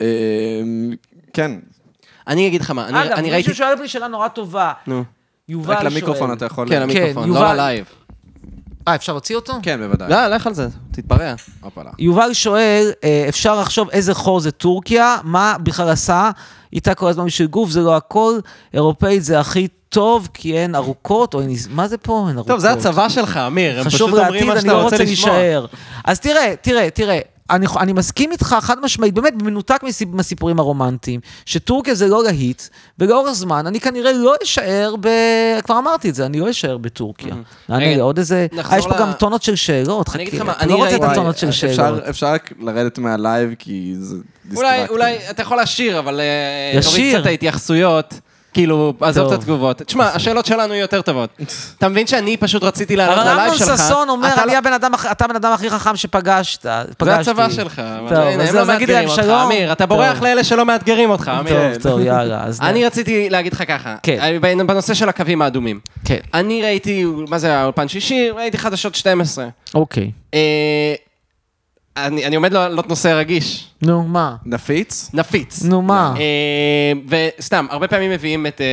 Speaker 2: אה, כן,
Speaker 3: אני אגיד לך מה, אני-
Speaker 4: אגב,
Speaker 3: אני ראיתי...
Speaker 4: מישהו שואל אותי שאלה נורא טובה.
Speaker 3: נו.
Speaker 4: יובל
Speaker 2: רק
Speaker 4: שואל.
Speaker 2: למיקרופון אתה יכול...
Speaker 3: כן, המיקרופון,
Speaker 4: יובל.
Speaker 3: לא הלייב.
Speaker 4: אה, אפשר להוציא אותו?
Speaker 2: כן, בוודאי.
Speaker 3: לא, לך על זה, תתפרע.
Speaker 2: הופלה.
Speaker 4: יובל שואל, אה, אפשר לחשוב איזה חור זה טורקיה, מה בכלל עשה איתה כל הזמן בשביל גוף, זה לא הכל, אירופאית זה הכי טוב, כי הן ארוכות, או הן, מה זה פה, הן ארוכות.
Speaker 3: טוב, זה הצבא שלך, אמיר, הם פשוט
Speaker 4: חשוב
Speaker 3: אומרים
Speaker 4: לעתיד,
Speaker 3: מה
Speaker 4: אני
Speaker 3: שאתה
Speaker 4: לא
Speaker 3: רוצה
Speaker 4: רוצה
Speaker 3: לשמוע.
Speaker 4: להישאר. אז תראה, תראה, תראה, אני, אני מסכים איתך חד משמעית, באמת במנותק מסיפ- מהסיפורים הרומנטיים, שטורקיה זה לא להיט, ולאורך זמן אני כנראה לא אשאר ב... כבר אמרתי את זה, אני לא אשאר בטורקיה.
Speaker 3: רגע,
Speaker 4: נענה לי עוד איזה...
Speaker 3: נחזור
Speaker 4: אה, יש פה
Speaker 3: ל-
Speaker 4: גם טונות של שאלות,
Speaker 3: אני אגיד
Speaker 4: חכי,
Speaker 3: לך מה,
Speaker 4: אתה
Speaker 3: אני
Speaker 4: לא רוצה את
Speaker 3: ראיתי-
Speaker 4: הטונות של
Speaker 2: אפשר-
Speaker 4: שאלות.
Speaker 2: אה, אפשר רק לרדת מהלייב, כי זה
Speaker 3: אולי,
Speaker 2: distracting.
Speaker 3: אולי, אתה יכול לשיר, אבל אה, תוריד
Speaker 4: לשיר.
Speaker 3: קצת את ההתייחסויות. כאילו, עזוב
Speaker 4: טוב.
Speaker 3: את התגובות. תשמע, השאלות שלנו יהיו יותר טובות. אתה מבין שאני פשוט רציתי לעלות ללייב
Speaker 4: הרמב"ם
Speaker 3: שלך.
Speaker 4: ששון אומר,
Speaker 3: אתה לא-
Speaker 4: "אני הבן אדם הכ- אתה לא- הבן אדם הכי חכם שפגשת, פגשתי.
Speaker 3: זה הצבא שלך. אבל
Speaker 4: טוב,
Speaker 3: הנה,
Speaker 4: אז
Speaker 3: הם לא
Speaker 4: אז נגיד להם
Speaker 3: מאתגרים אותך,
Speaker 4: שלום.
Speaker 3: אמיר. אתה
Speaker 4: טוב.
Speaker 3: בורח לאלה שלא מאתגרים אותך, אמיר.
Speaker 4: טוב, טוב, יאללה. אז
Speaker 3: אני רציתי להגיד לך ככה.
Speaker 4: כן.
Speaker 3: אה, בנ- בנושא של הקווים האדומים.
Speaker 4: כן.
Speaker 3: אני ראיתי, מה זה היה, אולפן שישי? ראיתי חדשות 12.
Speaker 4: אוקיי.
Speaker 3: אה, אני אני עומד להעלות נושא רגיש.
Speaker 4: נו, מה?
Speaker 2: נפיץ?
Speaker 3: נפיץ.
Speaker 4: נו, מה?
Speaker 3: אה, וסתם, הרבה פעמים מביאים את אה,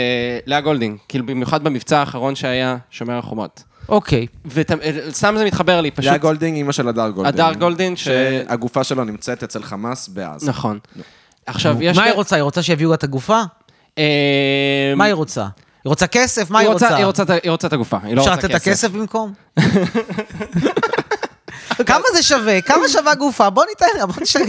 Speaker 3: לאה גולדינג, כאילו במיוחד במבצע האחרון שהיה שומר החומות.
Speaker 4: אוקיי.
Speaker 3: וסתם זה מתחבר לי, פשוט...
Speaker 2: לאה גולדינג, אימא של הדר גולדינג.
Speaker 3: הדר גולדינג, ש-
Speaker 2: שהגופה שלו נמצאת אצל חמאס בעזה.
Speaker 3: נכון.
Speaker 4: לא.
Speaker 3: עכשיו, יש...
Speaker 4: מה היא רוצה? היא רוצה שיביאו לה את הגופה?
Speaker 3: אה,
Speaker 4: מה היא רוצה? היא רוצה כסף? מה היא
Speaker 3: היא רוצה-
Speaker 4: רוצה?
Speaker 3: היא רוצה את ה- היא רוצה את הגופה, היא לא
Speaker 4: אפשר
Speaker 3: רוצה
Speaker 4: לתת
Speaker 3: כסף.
Speaker 4: את הכסף במקום? כמה זה שווה? כמה שווה גופה? בוא ניתן לה, בוא נשאר...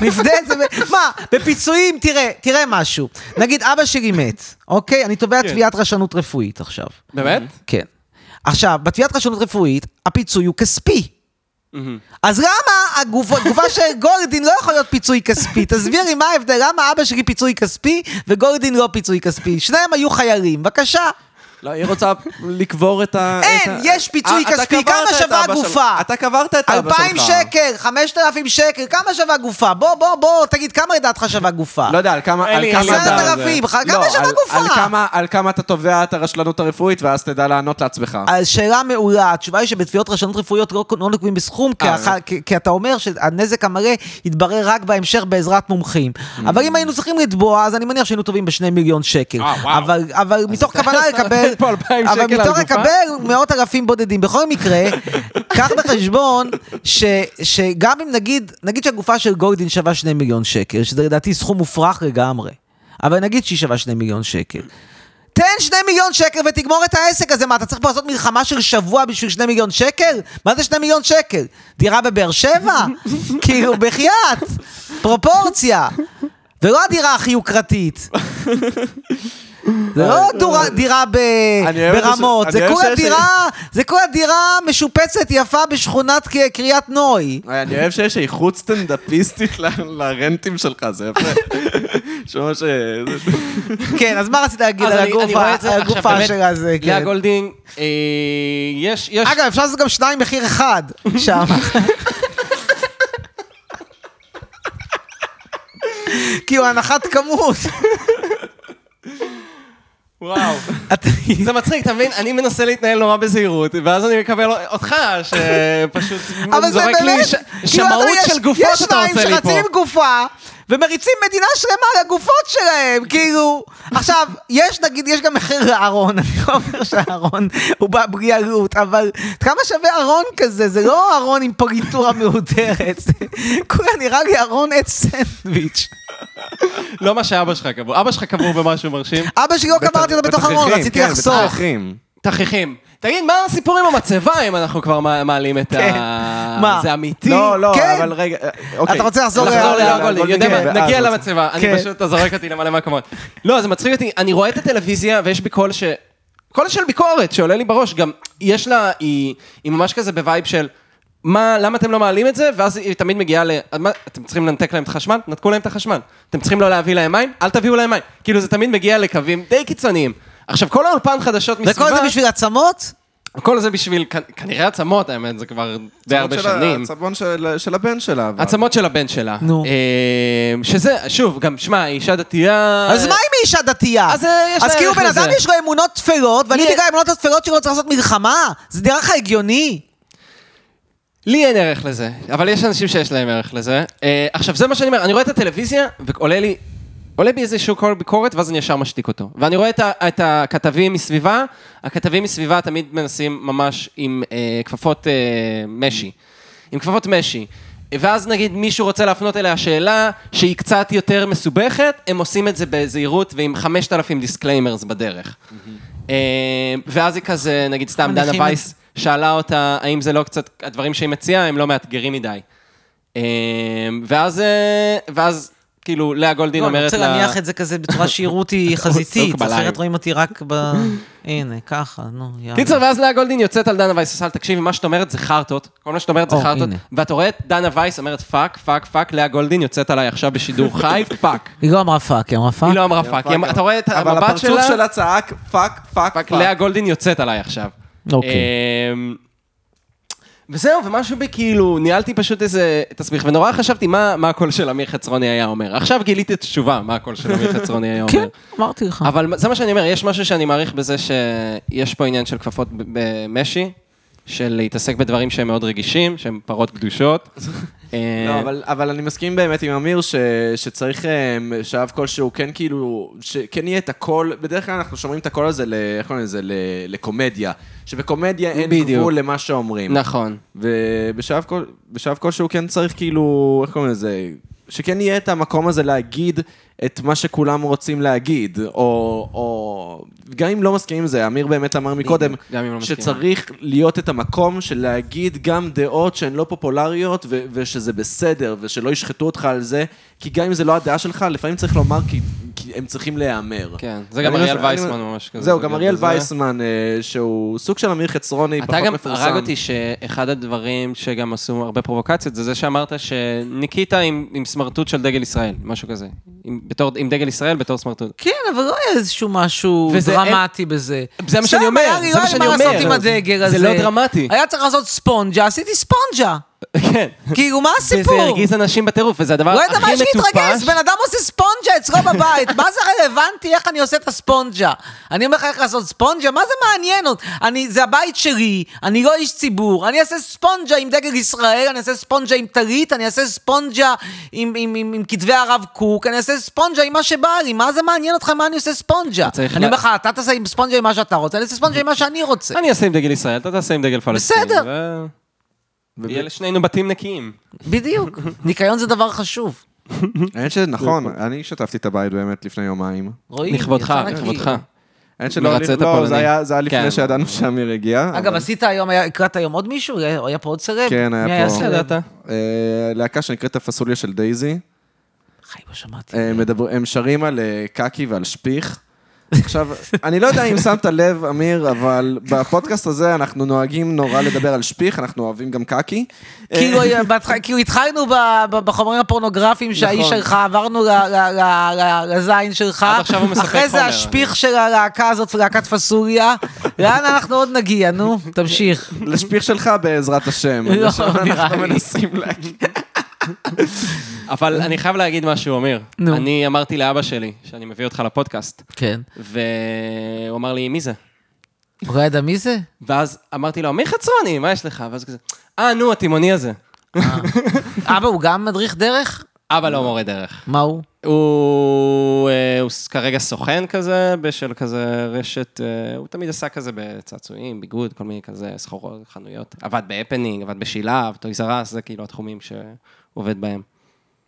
Speaker 4: נפדה את זה. ב- מה, בפיצויים, תראה, תראה משהו. נגיד, אבא שלי מת, אוקיי? אני תובע תביעת רשלנות רפואית עכשיו.
Speaker 3: באמת?
Speaker 4: כן. עכשיו, בתביעת רשלנות רפואית, הפיצוי הוא כספי. אז למה הגוף- הגופה של גולדין לא יכול להיות פיצוי כספי? תסביר לי מה ההבדל, למה אבא שלי פיצוי כספי וגולדין לא פיצוי כספי? שניהם היו חיילים, בבקשה.
Speaker 2: לא, היא רוצה לקבור את ה...
Speaker 4: אין,
Speaker 2: את ה-
Speaker 4: יש פיצוי
Speaker 2: אה, אתה
Speaker 4: כספי,
Speaker 2: קברת
Speaker 4: כמה
Speaker 2: את
Speaker 4: שווה
Speaker 2: אבא של-
Speaker 4: הגופה?
Speaker 2: אתה קברת את אבא שלך.
Speaker 4: 2,000 שקל, 5,000 שקל, כמה שווה גופה? בוא, בוא, בוא, תגיד, כמה לדעתך שווה גופה?
Speaker 2: לא יודע, על כמה...
Speaker 3: אין
Speaker 2: על
Speaker 3: לי-
Speaker 2: כמה
Speaker 3: אין לי
Speaker 2: אתה-
Speaker 4: עשרת אלפים,
Speaker 2: זה-
Speaker 4: כמה
Speaker 2: לא,
Speaker 4: שווה
Speaker 2: על-
Speaker 4: גופה?
Speaker 2: על כמה- על כמה אתה תובע את הרשלנות הרפואית, ואז תדע לענות לעצמך.
Speaker 4: אז אה, שאלה מעולה, התשובה היא שבתביעות רשלנות רפואיות לא לא נוקבים בסכום, כי
Speaker 2: אה.
Speaker 4: האח- כי- כי אתה אומר שהנזק המלא יתברר רק בהמשך בעזרת מומחים.
Speaker 2: Mm.
Speaker 4: אבל אם היינו צריכים לתבוע, אז אני מניח שהיינו טובים בשני מיליון שקל.
Speaker 3: אה, וואו.
Speaker 4: אבל- אבל מתוך כוונה לקבל...
Speaker 3: פה 2,000
Speaker 4: אבל
Speaker 3: שקל על
Speaker 4: מתוך
Speaker 3: גופה?
Speaker 4: לקבל מאות אלפים בודדים. בכל מקרה, קח בחשבון ש- שגם אם נגיד, נגיד שהגופה של גולדין שווה שני מיליון שקל, שזה לדעתי סכום מופרך לגמרי, אבל נגיד שהיא שווה שני מיליון שקל. תן שני מיליון שקל ותגמור את העסק הזה. מה, אתה צריך פה לעשות מלחמה של שבוע בשביל שני מיליון שקל? מה זה שני מיליון שקל? דירה בבאר שבע? כאילו, בחייאת, פרופורציה. ולא לא הדירה הכי יוקרתית. זה לא דורה- דירה ב-
Speaker 2: אה, אני אוהב את זה ש-
Speaker 4: ברמות,
Speaker 2: אני
Speaker 4: זה
Speaker 2: אוהב
Speaker 4: כולה
Speaker 2: שיש-
Speaker 4: דירה, זה כולה דירה משופצת יפה בשכונת ק- קריית נוי.
Speaker 2: אוי, אני אוהב שיש איכות סטנדאפיסטית ל- לרנטים שלך, זה יפה. שממש... אה, זה-
Speaker 4: כן, אז מה רצית להגיד
Speaker 3: אז
Speaker 4: על
Speaker 3: אני- אני רואה את זה,
Speaker 4: הגופה- על
Speaker 3: עכשיו,
Speaker 4: הגופה
Speaker 3: באמת,
Speaker 4: שלה? זה,
Speaker 3: לאה
Speaker 4: כן.
Speaker 3: גולדינג, אה, יש... יש-
Speaker 4: אגב, אפשר לעשות גם שניים מחיר אחד שם. כאילו, הנחת כמות.
Speaker 3: וואו.
Speaker 4: את-
Speaker 3: זה מצחיק, אתה מבין? אני מנסה להתנהל נורא בזהירות, ואז אני מקבל אותך, שפשוט
Speaker 4: אבל זה
Speaker 3: זורק לי
Speaker 4: באמת,
Speaker 3: ש-
Speaker 4: כאילו, אתה
Speaker 3: שמאות
Speaker 4: יודע, יש-
Speaker 3: של גופות
Speaker 4: יש
Speaker 3: אתה
Speaker 4: שניים
Speaker 3: עושה לי פה.
Speaker 4: שרצים גופה, ומריצים מדינה שלמה לגופות שלהם, כאילו. עכשיו, יש, נגיד, יש גם מחיר לארון, אני לא אומר שהארון הוא בא בלי עלות, אבל כמה שווה ארון כזה? זה לא ארון עם פוליטורה מהודרת, זה כולה נראה לי ארון עץ סנדוויץ'.
Speaker 3: לא מה שאבא שלך קבור. אבא שלך קבור במשהו מרשים.
Speaker 4: אבא שלי לא קברתי אותו בתוך ארון,
Speaker 2: בתככים,
Speaker 4: רציתי
Speaker 2: כן,
Speaker 4: לחסוך.
Speaker 2: בתככים.
Speaker 3: תכריכים. תגיד, מה הסיפור עם המצבה, אם אנחנו כבר מע- מעלים את
Speaker 4: כן.
Speaker 3: ה...
Speaker 4: מה?
Speaker 3: זה אמיתי?
Speaker 2: לא, לא,
Speaker 4: כן.
Speaker 2: אבל רגע, אה, אוקיי.
Speaker 4: אתה רוצה לחזור
Speaker 3: נחזור
Speaker 4: אה, אה,
Speaker 2: לא,
Speaker 3: ללאה גולדין, יודע
Speaker 2: כן, ואז
Speaker 3: מה, נגיע
Speaker 2: רוצה-
Speaker 3: למצבה, אני
Speaker 4: כן.
Speaker 3: פשוט, אתה זורק אותי למלא מקומות. לא, זה מצחיק אותי, אני רואה את הטלוויזיה ויש בי קול ש... קול של ביקורת שעולה לי בראש, גם יש לה, היא היא ממש כזה בווייב של... מה, למה אתם לא מעלים את זה? ואז היא תמיד מגיעה ל... מה, אתם צריכים לנתק להם את החשמל? נתקו להם את החשמל. אתם צריכים לא להביא להם מים? אל תביאו להם מים. כאילו, זה תמיד מגיע לקווים די קיצוניים. עכשיו, כל האולפן חדשות מסביבה...
Speaker 4: וכל זה בשביל עצמות?
Speaker 3: כל זה בשביל, כ- כנראה עצמות, האמת, זה כבר די הרבה
Speaker 2: הצבון של ה-
Speaker 3: שנים.
Speaker 2: הצבון של- של הבן שלה. אבל.
Speaker 3: עצמות של הבן שלה.
Speaker 4: נו.
Speaker 3: אה, שזה, שוב, גם, שמע, היא אישה דתייה...
Speaker 4: אז מה אם היא אישה דתייה?
Speaker 3: אז, אה, יש
Speaker 4: אה, אז
Speaker 3: לה
Speaker 4: כאילו
Speaker 3: ערך
Speaker 4: בן
Speaker 3: לזה.
Speaker 4: אדם יש לו אמונות טפלות, ואני
Speaker 3: לי-
Speaker 4: בגלל האמונות הטפלות שלו צריך לעשות מלחמה? זה נראה לך הגיוני?
Speaker 3: לי אין ערך לזה, אבל יש אנשים שיש להם ערך לזה. אה, עכשיו, זה מה שאני אומר, אני רואה את הטלוויזיה, ועולה לי... עולה בי איזשהו קול ביקורת, ואז אני ישר משתיק אותו. ואני רואה את, ה- את הכתבים מסביבה, הכתבים מסביבה תמיד מנסים ממש עם אה, כפפות אה, משי. עם כפפות משי. ואז נגיד מישהו רוצה להפנות אליה שאלה שהיא קצת יותר מסובכת, הם עושים את זה בזהירות ועם 5,000 דיסקליימרס בדרך. אה, ואז היא כזה, נגיד סתם, דנה
Speaker 4: מניחים את-
Speaker 3: וייס שאלה אותה, האם זה לא קצת, הדברים שהיא מציעה הם לא מאתגרים מדי. אה, אה, ואז, אה, ואז כאילו, לאה גולדין
Speaker 4: לא, אני
Speaker 3: אומרת
Speaker 4: רוצה
Speaker 3: לה...
Speaker 4: להניח את זה כזה בצורה שיראו אותי חזיתית,
Speaker 3: עסוק בלייב.
Speaker 4: אחרת רואים אותי רק ב... הנה, ככה, נו, יאללה.
Speaker 3: קיצר, ואז לאה גולדין יוצאת על דנה וייס, עושה, תקשיבי, מה שאת אומרת זה חרטות, כל מה שאת אומרת זה
Speaker 4: או,
Speaker 3: חרטות,
Speaker 4: הנה.
Speaker 3: ואת רואה את דנה וייס אומרת פאק, פאק, פאק, לאה גולדין יוצאת עליי עכשיו בשידור חי, פאק.
Speaker 4: היא לא אמרה פאק, היא אמרה פאק?
Speaker 3: היא לא אמרה פאק, היא אמרה- אתה רואה את
Speaker 2: אבל
Speaker 3: המבט
Speaker 2: הפרצוף
Speaker 3: שלה?
Speaker 2: שלה צעק פאק, פאק,
Speaker 3: פאק,
Speaker 2: פאק.
Speaker 3: לאה גולדין יוצאת עליי עכשיו.
Speaker 4: אוקיי.
Speaker 3: אמ, וזהו, ומשהו בי כאילו, ניהלתי פשוט איזה תסביך, ונורא חשבתי מה מה הקול של אמיר חצרוני היה אומר. עכשיו גיליתי את התשובה, מה הקול של אמיר חצרוני היה אומר.
Speaker 4: כן, אמרתי לך.
Speaker 3: אבל זה מה שאני אומר, יש משהו שאני מעריך בזה שיש פה עניין של כפפות ב- במשי, של להתעסק בדברים שהם מאוד רגישים, שהם פרות קדושות. אה,
Speaker 2: לא, אבל, אבל אני מסכים באמת עם אמיר ש, שצריך אה, שאב כלשהו כן כאילו, שכן יהיה את הקול, בדרך כלל אנחנו שומעים את הקול הזה, ל, איך קוראים לזה, ל, לקומדיה, שבקומדיה אין
Speaker 3: בדיוק.
Speaker 2: גבול למה שאומרים.
Speaker 3: נכון.
Speaker 2: ובשאב כל, בשאב כלשהו כן צריך כאילו, איך קוראים לזה, שכן יהיה את המקום הזה להגיד את מה שכולם רוצים להגיד, או, או גם אם לא מסכימים עם זה, אמיר באמת אמר מקודם,
Speaker 3: גם אם לא מסכימים.
Speaker 2: שצריך להיות את המקום של להגיד גם דעות שהן לא פופולריות, ו- ושזה בסדר, ושלא ישחטו אותך על זה, כי גם אם זה לא הדעה שלך, לפעמים צריך לומר כי... כי הם צריכים להיאמר.
Speaker 3: כן, זה גם
Speaker 2: אני
Speaker 3: אריאל
Speaker 2: מס- אני- לא-
Speaker 3: וייסמן ממש כזה.
Speaker 2: זהו,
Speaker 3: בגלל
Speaker 2: גם אריאל
Speaker 3: כן, זה.
Speaker 2: וייסמן, אה, שהוא סוג של אמיר חצרוני, פחות
Speaker 3: אתה גם
Speaker 2: מפורסם.
Speaker 3: הרג אותי שאחד הדברים שגם עשו הרבה פרובוקציות, זה זה שאמרת שניקיטה עם, עם סמרטוט של דגל ישראל, משהו כזה. עם, בתור, עם דגל ישראל בתור סמרטוט.
Speaker 4: כן, אבל לא היה איזשהו משהו
Speaker 3: וזה
Speaker 4: דרמטי בזה.
Speaker 3: זה מה שאני אומר,
Speaker 4: סתם, היה לי
Speaker 3: זה מה
Speaker 4: לא היה לי
Speaker 3: שאני
Speaker 4: מה לעשות
Speaker 3: אומר.
Speaker 4: עם הדגל
Speaker 3: זה
Speaker 4: הזה.
Speaker 3: לא דרמטי.
Speaker 4: היה צריך לעשות ספונג'ה, עשיתי ספונג'ה.
Speaker 3: כן.
Speaker 4: כאילו, מה
Speaker 3: וזה
Speaker 4: הסיפור?
Speaker 3: הרגיז אנשים בטירוף, וזה הדבר
Speaker 4: לא
Speaker 3: אה, הכי
Speaker 4: יודע מה יש להתרגש,
Speaker 3: מטופש.
Speaker 4: בן אדם עושה ספונג'ה אצלו בבית, מה זה רלוונטי איך אני עושה את הספונג'ה? אני אומר לך איך לעשות ספונג'ה, מה זה מעניין אותי? אני, זה הבית שלי, אני לא איש ציבור, אני אעשה ספונג'ה עם דגל ישראל, אני אעשה ספונג'ה עם טלית, אני אעשה ספונג'ה עם, עם, עם, עם כתבי הרב קוק, אני אעשה ספונג'ה עם מה שבא לי, מה זה מעניין אותך מה אני עושה ספונג'ה?
Speaker 3: צריך
Speaker 4: אני
Speaker 3: לה-
Speaker 4: אומר לך, אתה תעשה עם ספונג'ה עם מה שאתה רוצה, אני אעשה ספונג'ה עם מה שאני רוצה.
Speaker 3: אני אעשה עם דגל ישראל, אתה תעשה עם דגל פלסטין.
Speaker 4: בסדר.
Speaker 3: ו... יהיה לשנינו בתים נקיים.
Speaker 4: בדיוק, ניקיון זה דבר חשוב.
Speaker 2: האמת שנכון, אני שטפתי את הבית באמת לפני יומיים.
Speaker 4: רואים?
Speaker 3: לכבודך,
Speaker 4: יצא נקי.
Speaker 2: אה,
Speaker 3: לכבודך.
Speaker 2: האמת שלא,
Speaker 3: מרצה את
Speaker 2: לא,
Speaker 3: הפולני.
Speaker 2: זה היה, זה היה
Speaker 3: כן.
Speaker 2: לפני שידענו שאמיר הגיע.
Speaker 4: אגב, עשית היום, היה- הקראת היום עוד מישהו? היה היה פה עוד סרב?
Speaker 2: כן, היה
Speaker 4: מי
Speaker 2: פה.
Speaker 4: סרב?
Speaker 3: ידעת?
Speaker 2: אה, להקה שנקראת הפסוליה של דייזי.
Speaker 4: חי, לא שמעתי.
Speaker 2: אה, מדבר- הם שרים על אה, קקי ועל שפיך. עכשיו, אני לא יודע אם שמת לב, אמיר, אבל בפודקאסט הזה אנחנו נוהגים נורא לדבר על שפיך, אנחנו אוהבים גם קקי.
Speaker 3: אה,
Speaker 4: כאילו, בהתח- כאילו התחלנו ב- ב- בחומרים הפורנוגרפיים שהאיש
Speaker 3: נכון.
Speaker 4: שלך, עברנו ל- ל- ל- ל- לזין שלך,
Speaker 3: עד עכשיו הוא מספק
Speaker 4: אחרי זה
Speaker 3: חומר.
Speaker 4: השפיך של הלהקה הזאת, להקת פסוליה, לאן אנחנו עוד נגיע, נו, תמשיך.
Speaker 2: לשפיך שלך בעזרת השם.
Speaker 4: לא,
Speaker 2: עכשיו
Speaker 4: נראה
Speaker 2: אנחנו
Speaker 4: לי.
Speaker 2: מנסים להגיד.
Speaker 3: אבל אני חייב להגיד משהו, אמיר.
Speaker 4: נו.
Speaker 3: אני אמרתי לאבא שלי שאני מביא אותך לפודקאסט,
Speaker 4: כן.
Speaker 3: והוא אמר לי, מי זה?
Speaker 4: הוא לא ידע מי זה?
Speaker 3: ואז אמרתי לו, אמיר חצרוני, מה יש לך? ואז הוא כזה, אה, נו, התימוני הזה.
Speaker 4: אבא, הוא גם מדריך דרך?
Speaker 3: אבא לא מורה דרך.
Speaker 4: מה הוא?
Speaker 3: הוא, אה, הוא ס- כרגע סוכן כזה, בשל כזה רשת, אה, הוא תמיד עשה כזה בצעצועים, ביגוד, כל מיני כזה סחורות, חנויות. עבד בהפנינג, עבד בשילב, טויז ארס, זה כאילו התחומים שהוא עובד בהם.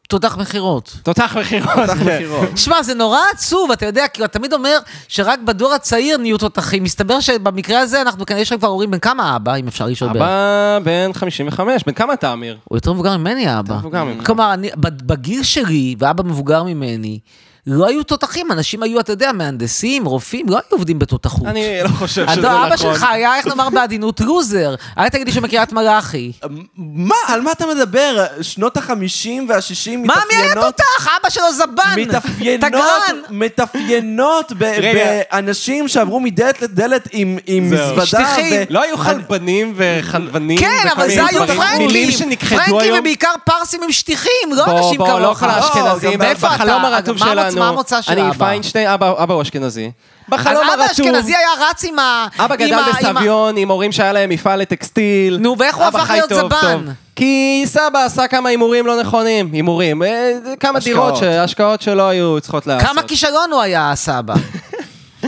Speaker 4: תותח מכירות.
Speaker 3: תותח מכירות. תותח מכירות.
Speaker 4: שמע, זה נורא עצוב, אתה יודע, כאילו, אתה תמיד אומר שרק בדור הצעיר נהיו תותחים. מסתבר שבמקרה הזה אנחנו כנראה יש לך כבר הורים, בן כמה האבא, אם אפשר לשאול בערך?
Speaker 3: אבא בן 55, בן כמה אתה, אמיר?
Speaker 4: הוא יותר מבוגר ממני, האבא.
Speaker 3: מבוגר ממך.
Speaker 4: כלומר, אני, ב- בגיל שלי, ואבא מבוגר ממני, לא היו תותחים, אנשים היו, אתה יודע, מהנדסים, רופאים, לא היו עובדים בתותחות.
Speaker 3: אני לא חושב שזה
Speaker 4: אתה,
Speaker 3: נכון.
Speaker 4: אבא שלך היה, איך נאמר בעדינות, לוזר. היה תגיד לי שמקריית מלאכי.
Speaker 2: מה, על מה אתה מדבר? שנות החמישים והשישים
Speaker 4: מה, מי היה
Speaker 2: מתאפיינות
Speaker 4: תותח? אבא שלו זבן. תגרן.
Speaker 2: מתאפיינות, מתאפיינות ב-
Speaker 3: רגע.
Speaker 2: באנשים שעברו מדלת לדלת עם, עם
Speaker 3: זהו.
Speaker 2: מזוודה.
Speaker 4: שטיחים.
Speaker 2: ו-
Speaker 3: לא היו חלבנים וחלבנים
Speaker 4: כן,
Speaker 3: וכל
Speaker 4: אבל זה
Speaker 3: מיני
Speaker 4: היו
Speaker 3: דברים. מילים
Speaker 4: פרנקים.
Speaker 3: שנכחדו
Speaker 4: פרנקים
Speaker 3: היום.
Speaker 4: ובעיקר פרסים עם שטיחים, לא
Speaker 3: בוא,
Speaker 4: אנשים
Speaker 3: בוא, לא
Speaker 4: כמוך.
Speaker 3: כל האשכנזים.
Speaker 2: גם
Speaker 4: מאיפה אתה?
Speaker 3: בחלום
Speaker 4: אגב,
Speaker 3: הרטוב
Speaker 4: מה המוצ-
Speaker 3: שלנו.
Speaker 4: מה המוצא של
Speaker 3: אני
Speaker 4: אבא?
Speaker 3: פיינשטיין, אבא אבא הוא אשכנזי.
Speaker 4: אז
Speaker 3: בחלום
Speaker 4: אבא
Speaker 3: הרטוב.
Speaker 4: אשכנזי היה רץ עם ה...
Speaker 3: אבא
Speaker 4: עם
Speaker 3: גדל
Speaker 4: ה- עם ה-
Speaker 3: בסביון עם הורים שהיה להם מפעל לטקסטיל.
Speaker 4: נו, ואיך הוא
Speaker 3: אבא
Speaker 4: הפך
Speaker 3: חי
Speaker 4: להיות
Speaker 3: טוב,
Speaker 4: זבן?
Speaker 3: טוב. כי סבא עשה כמה הימורים לא נכונים. הימורים. אה, כמה דירות, ש- השקעות שלא היו צריכות לעשות.
Speaker 4: כמה כישלון הוא היה, סבא.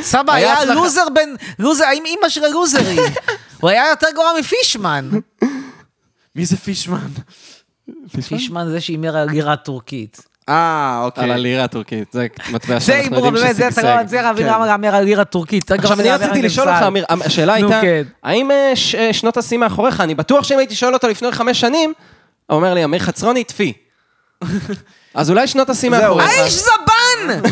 Speaker 4: סבא
Speaker 3: היה
Speaker 4: היה
Speaker 3: הצלחה.
Speaker 4: לוזר בן... לוזר, האם אימא של הלוזרים. הוא היה יותר גרוע מפישמן.
Speaker 2: מי זה פישמן?
Speaker 4: פישמן זה שהימר על הגירה הטורקית.
Speaker 2: אה, אוקיי.
Speaker 3: על הלירה הטורקית. זה מטבע
Speaker 4: זה
Speaker 3: שאנחנו
Speaker 4: הימור,
Speaker 3: יודעים
Speaker 4: באמת, זה אתה
Speaker 3: ששגשג.
Speaker 4: לא... זה רבי למה להמר על הגירה הטורקית.
Speaker 3: עכשיו, אני רציתי לשאול אותך, אמיר, השאלה
Speaker 4: נו,
Speaker 3: הייתה,
Speaker 4: כן.
Speaker 3: האם אה, ש- אה, שנות השיא מאחוריך, אני בטוח שאם הייתי שואל אותו לפני חמש שנים, אומר לי, אמיר חצרוני, טפי. אז אולי שנות השיא
Speaker 2: זהו,
Speaker 3: מאחוריך.
Speaker 2: אה,
Speaker 4: האיש זבן!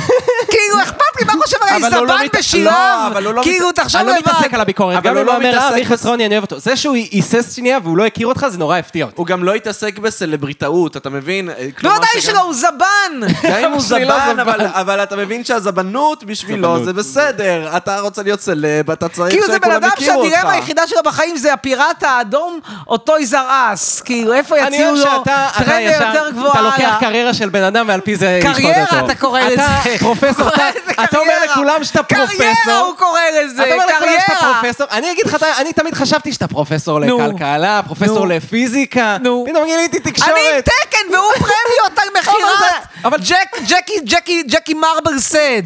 Speaker 4: כאילו, אכפת לי מה חושב על האיש
Speaker 2: אבל הוא לא מת-
Speaker 4: זבן
Speaker 2: לא,
Speaker 4: בשיריו?
Speaker 2: אבל הוא לא
Speaker 4: כאילו,
Speaker 2: מת-
Speaker 4: תחשוב
Speaker 3: אני לא מתעסק על הביקורת,
Speaker 2: אבל
Speaker 3: גם
Speaker 2: הוא
Speaker 3: אם
Speaker 2: לא
Speaker 3: הוא אומר, אה,
Speaker 2: מתעסק
Speaker 3: אמיר
Speaker 2: בס-
Speaker 3: חצרוני, אני אוהב אותו. זה שהוא היסס שנייה והוא לא הכיר אותך, זה נורא הפתיע אותי.
Speaker 2: הוא גם לא התעסק בסלבריטאות, אתה מבין?
Speaker 3: לא,
Speaker 2: כלומר
Speaker 4: בוודאי
Speaker 2: שגם-
Speaker 4: שלא, הוא זבן!
Speaker 2: גם אם הוא
Speaker 3: בשבילו
Speaker 2: זבן,
Speaker 3: לא זבן.
Speaker 2: אבל- אבל אתה מבין שהזבנות בשבילו
Speaker 3: זבנות.
Speaker 2: זה בסדר. אתה רוצה להיות סלב, אתה צריך
Speaker 4: כאילו זה בן
Speaker 2: שכולם
Speaker 4: אדם
Speaker 2: יכירו אותך.
Speaker 4: שהדילמה היחידה שלו בחיים זה הפיראט האדום, אותו יזרעס. כאילו, איפה
Speaker 3: אני
Speaker 4: יציעו
Speaker 3: אוהב
Speaker 4: לו
Speaker 3: שאתה, אתה
Speaker 4: טרנד
Speaker 3: ישר,
Speaker 4: יותר גבוהה?
Speaker 3: אתה לוקח
Speaker 4: הלאה?
Speaker 3: קריירה של בן אדם ועל פי זה ישפוט אותו.
Speaker 4: קריירה, אתה קורא לזה.
Speaker 3: אתה פרופסור, אתה-
Speaker 4: קורא לזה
Speaker 3: אתה אומר
Speaker 4: קריירה.
Speaker 3: לכולם שאתה
Speaker 4: קריירה
Speaker 3: פרופסור.
Speaker 4: הוא קורא לזה,
Speaker 3: אתה אומר לכולם שאתה
Speaker 4: קריירה.
Speaker 3: פרופסור, אני אגיד לך, אתה- אני תמיד חשבתי שאתה פרופסור
Speaker 4: נו.
Speaker 3: לכלכלה, פרופסור
Speaker 4: נו.
Speaker 3: לפיזיקה,
Speaker 4: נו.
Speaker 3: פתאום גיליתי תקשורת.
Speaker 4: אני עם תקן והוא פרמיות על מכירת.
Speaker 3: זה- אבל-
Speaker 4: ג'ק, ג'קי, ג'קי, ג'קי מרבר סד.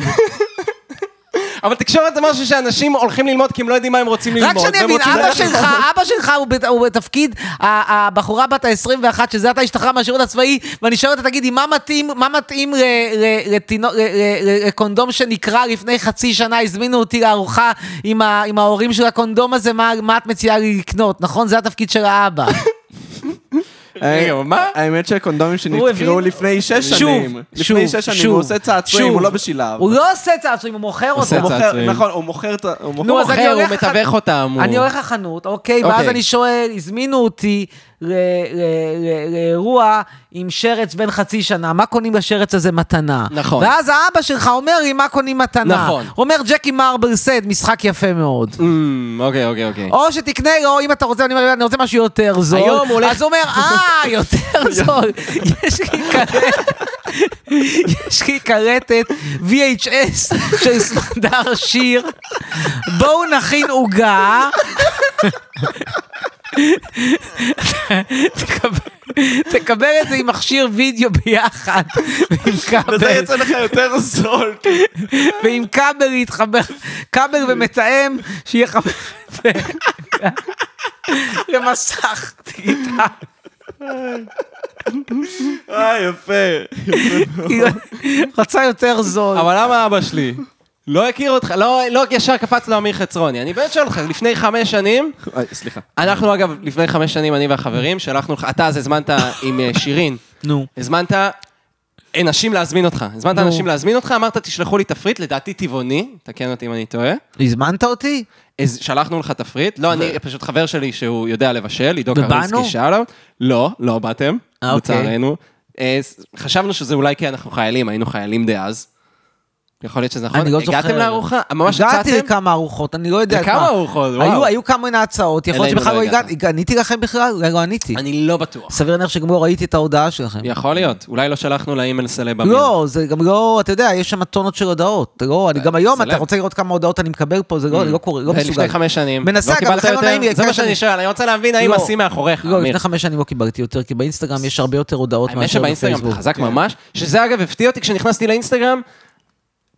Speaker 3: אבל תקשורת זה משהו שאנשים הולכים ללמוד כי הם לא יודעים מה הם רוצים ללמוד.
Speaker 4: רק שאני
Speaker 3: והם
Speaker 4: אבין,
Speaker 3: רוצים
Speaker 4: אבא
Speaker 3: ללכת
Speaker 4: שלך, אבא שלך הוא בת- הוא בתפקיד ה- הבחורה בת ה-21, שזה אתה השתחרר מהשירות הצבאי, ואני שואל אותה, תגידי, מה מתאים, מה מתאים ל- ל- לתינוק- ל- ל- ל- לקונדום שנקרע לפני חצי שנה, הזמינו אותי לארוחה עם ה- עם ההורים של הקונדום הזה, מה מה את מציעה לי לקנות, נכון? זה התפקיד של האבא.
Speaker 3: רגע, מה?
Speaker 2: האמת שהקונדומים
Speaker 4: הבין-
Speaker 2: שנתקראו לפני שש
Speaker 4: שוב,
Speaker 2: שנים.
Speaker 4: שוב,
Speaker 2: לפני שש שנים,
Speaker 4: שוב,
Speaker 2: הוא עושה צעצועים,
Speaker 4: שוב.
Speaker 2: הוא לא בשילב.
Speaker 4: הוא לא עושה צעצועים, הוא מוכר
Speaker 3: עושה
Speaker 4: אותם.
Speaker 2: הוא מוכר-
Speaker 3: צעצועים.
Speaker 2: נכון, הוא מוכר את ה... הוא מוכר-
Speaker 3: הוא
Speaker 4: אז אני
Speaker 3: מוכר, הוא
Speaker 4: הולך לחנות-
Speaker 3: מתווך אותם. הוא-
Speaker 4: אני הולך לחנות, אוקיי, ואז
Speaker 3: אוקיי.
Speaker 4: אני שואל, הזמינו אותי ל- ל- ל- לאירוע עם שרץ בן חצי שנה, מה קונים לשרץ הזה מתנה?
Speaker 3: נכון.
Speaker 4: ואז האבא שלך אומר לי, מה קונים מתנה?
Speaker 3: נכון.
Speaker 4: הוא אומר, ג'קי מרבר סד, משחק יפה מאוד.
Speaker 3: אמ, אוקיי, אוקיי, אוקיי.
Speaker 4: או שתקנה, או אם אתה רוצה, אני אומר, אני רוצה משהו יותר זול.
Speaker 3: היום הוא הולך-
Speaker 4: אז הוא אומר, אה, יותר זול. יש לי קלטת, יש לי קלטת VHS של סמדר שיר. בואו נכין עוגה. תקבל- תקבל את זה עם מכשיר וידאו ביחד, ועם
Speaker 2: וזה
Speaker 4: כבל,
Speaker 2: יצא לך יותר זול.
Speaker 4: ועם כבל להתחבר, כבל ומתאם שיחבר את זה למסך דיגיטלי.
Speaker 2: אה, יפה.
Speaker 4: כאילו, רצה יותר זול.
Speaker 3: אבל למה אבא שלי? לא הכיר אותך, לא, לא ישר קפץ לו אמיר חצרוני. אני באמת שואל אותך, לפני חמש שנים,
Speaker 2: אוי, אה, סליחה.
Speaker 3: אנחנו אגב, לפני חמש שנים, אני והחברים, שלחנו לך, אתה אז הזמנת עם אה, שירין,
Speaker 4: נו.
Speaker 3: הזמנת אנשים להזמין אותך. הזמנת
Speaker 4: נו.
Speaker 3: אנשים להזמין אותך, אמרת, תשלחו לי תפריט, לדעתי טבעוני, תקן אותי אם אני טועה.
Speaker 4: הזמנת אותי?
Speaker 3: אז שלחנו לך תפריט, לא, אני, פשוט חבר שלי שהוא יודע לבשל, עידו
Speaker 4: ובאנו?
Speaker 3: קרלינסקי שאל עליו. לא, לא באתם,
Speaker 4: אה, אוקיי.
Speaker 3: לצערנו. אה, ס- חשבנו שזה אולי כי אנחנו חיילים, היינו חיילים דאז. יכול להיות שזה נכון.
Speaker 4: אני לא
Speaker 3: הגעתם
Speaker 4: זוכר.
Speaker 3: לארוחה? ממש
Speaker 4: הגעתי
Speaker 3: יצאתם?
Speaker 4: לכמה ארוחות, אני לא יודע
Speaker 3: לכמה
Speaker 4: מה.
Speaker 3: ארוחות?
Speaker 4: היו-
Speaker 3: וואו.
Speaker 4: היו כל מיני הצעות, יכול להיות
Speaker 3: אלינו
Speaker 4: שבכלל
Speaker 3: לא
Speaker 4: לא
Speaker 3: הגעת.
Speaker 4: הגעתי. עניתי לכם בכלל? אולי לא עניתי.
Speaker 3: אני לא בטוח.
Speaker 4: סביר להניח שגם לא ראיתי את ההודעה שלכם.
Speaker 3: יכול להיות, אולי לא שלחנו לאימייל סלב אמיר.
Speaker 4: לא, זה גם לא, אתה יודע, יש שם טונות של הודעות. זה לא, אני גם היום,
Speaker 3: סלב.
Speaker 4: אתה רוצה לראות כמה הודעות אני מקבל פה, זה לא, אני לא קורא, לא מסוגל.
Speaker 3: Mm. לפני חמש שנים.
Speaker 4: מנסה,
Speaker 3: לא
Speaker 4: גם
Speaker 3: קיבלת
Speaker 4: לכן לא
Speaker 3: יותר?
Speaker 4: נעים לי,
Speaker 3: זה מה
Speaker 4: כן,
Speaker 3: שאני
Speaker 4: אני-
Speaker 3: שואל, אני רוצה להבין האם
Speaker 4: לא.
Speaker 3: השיא מאחוריך,
Speaker 4: לא,
Speaker 3: אמיר.
Speaker 4: לפני חמש שנים לא קיבלתי יותר, כי באינסטגרם יש הרבה יותר הודעות
Speaker 3: האמת
Speaker 4: מאשר
Speaker 3: שבאינסטגרם
Speaker 4: בפייסבוק. כן.
Speaker 3: אתה חזק ממש, שזה אגב הפתיע אותי כשנכנסתי לאינסטגרם,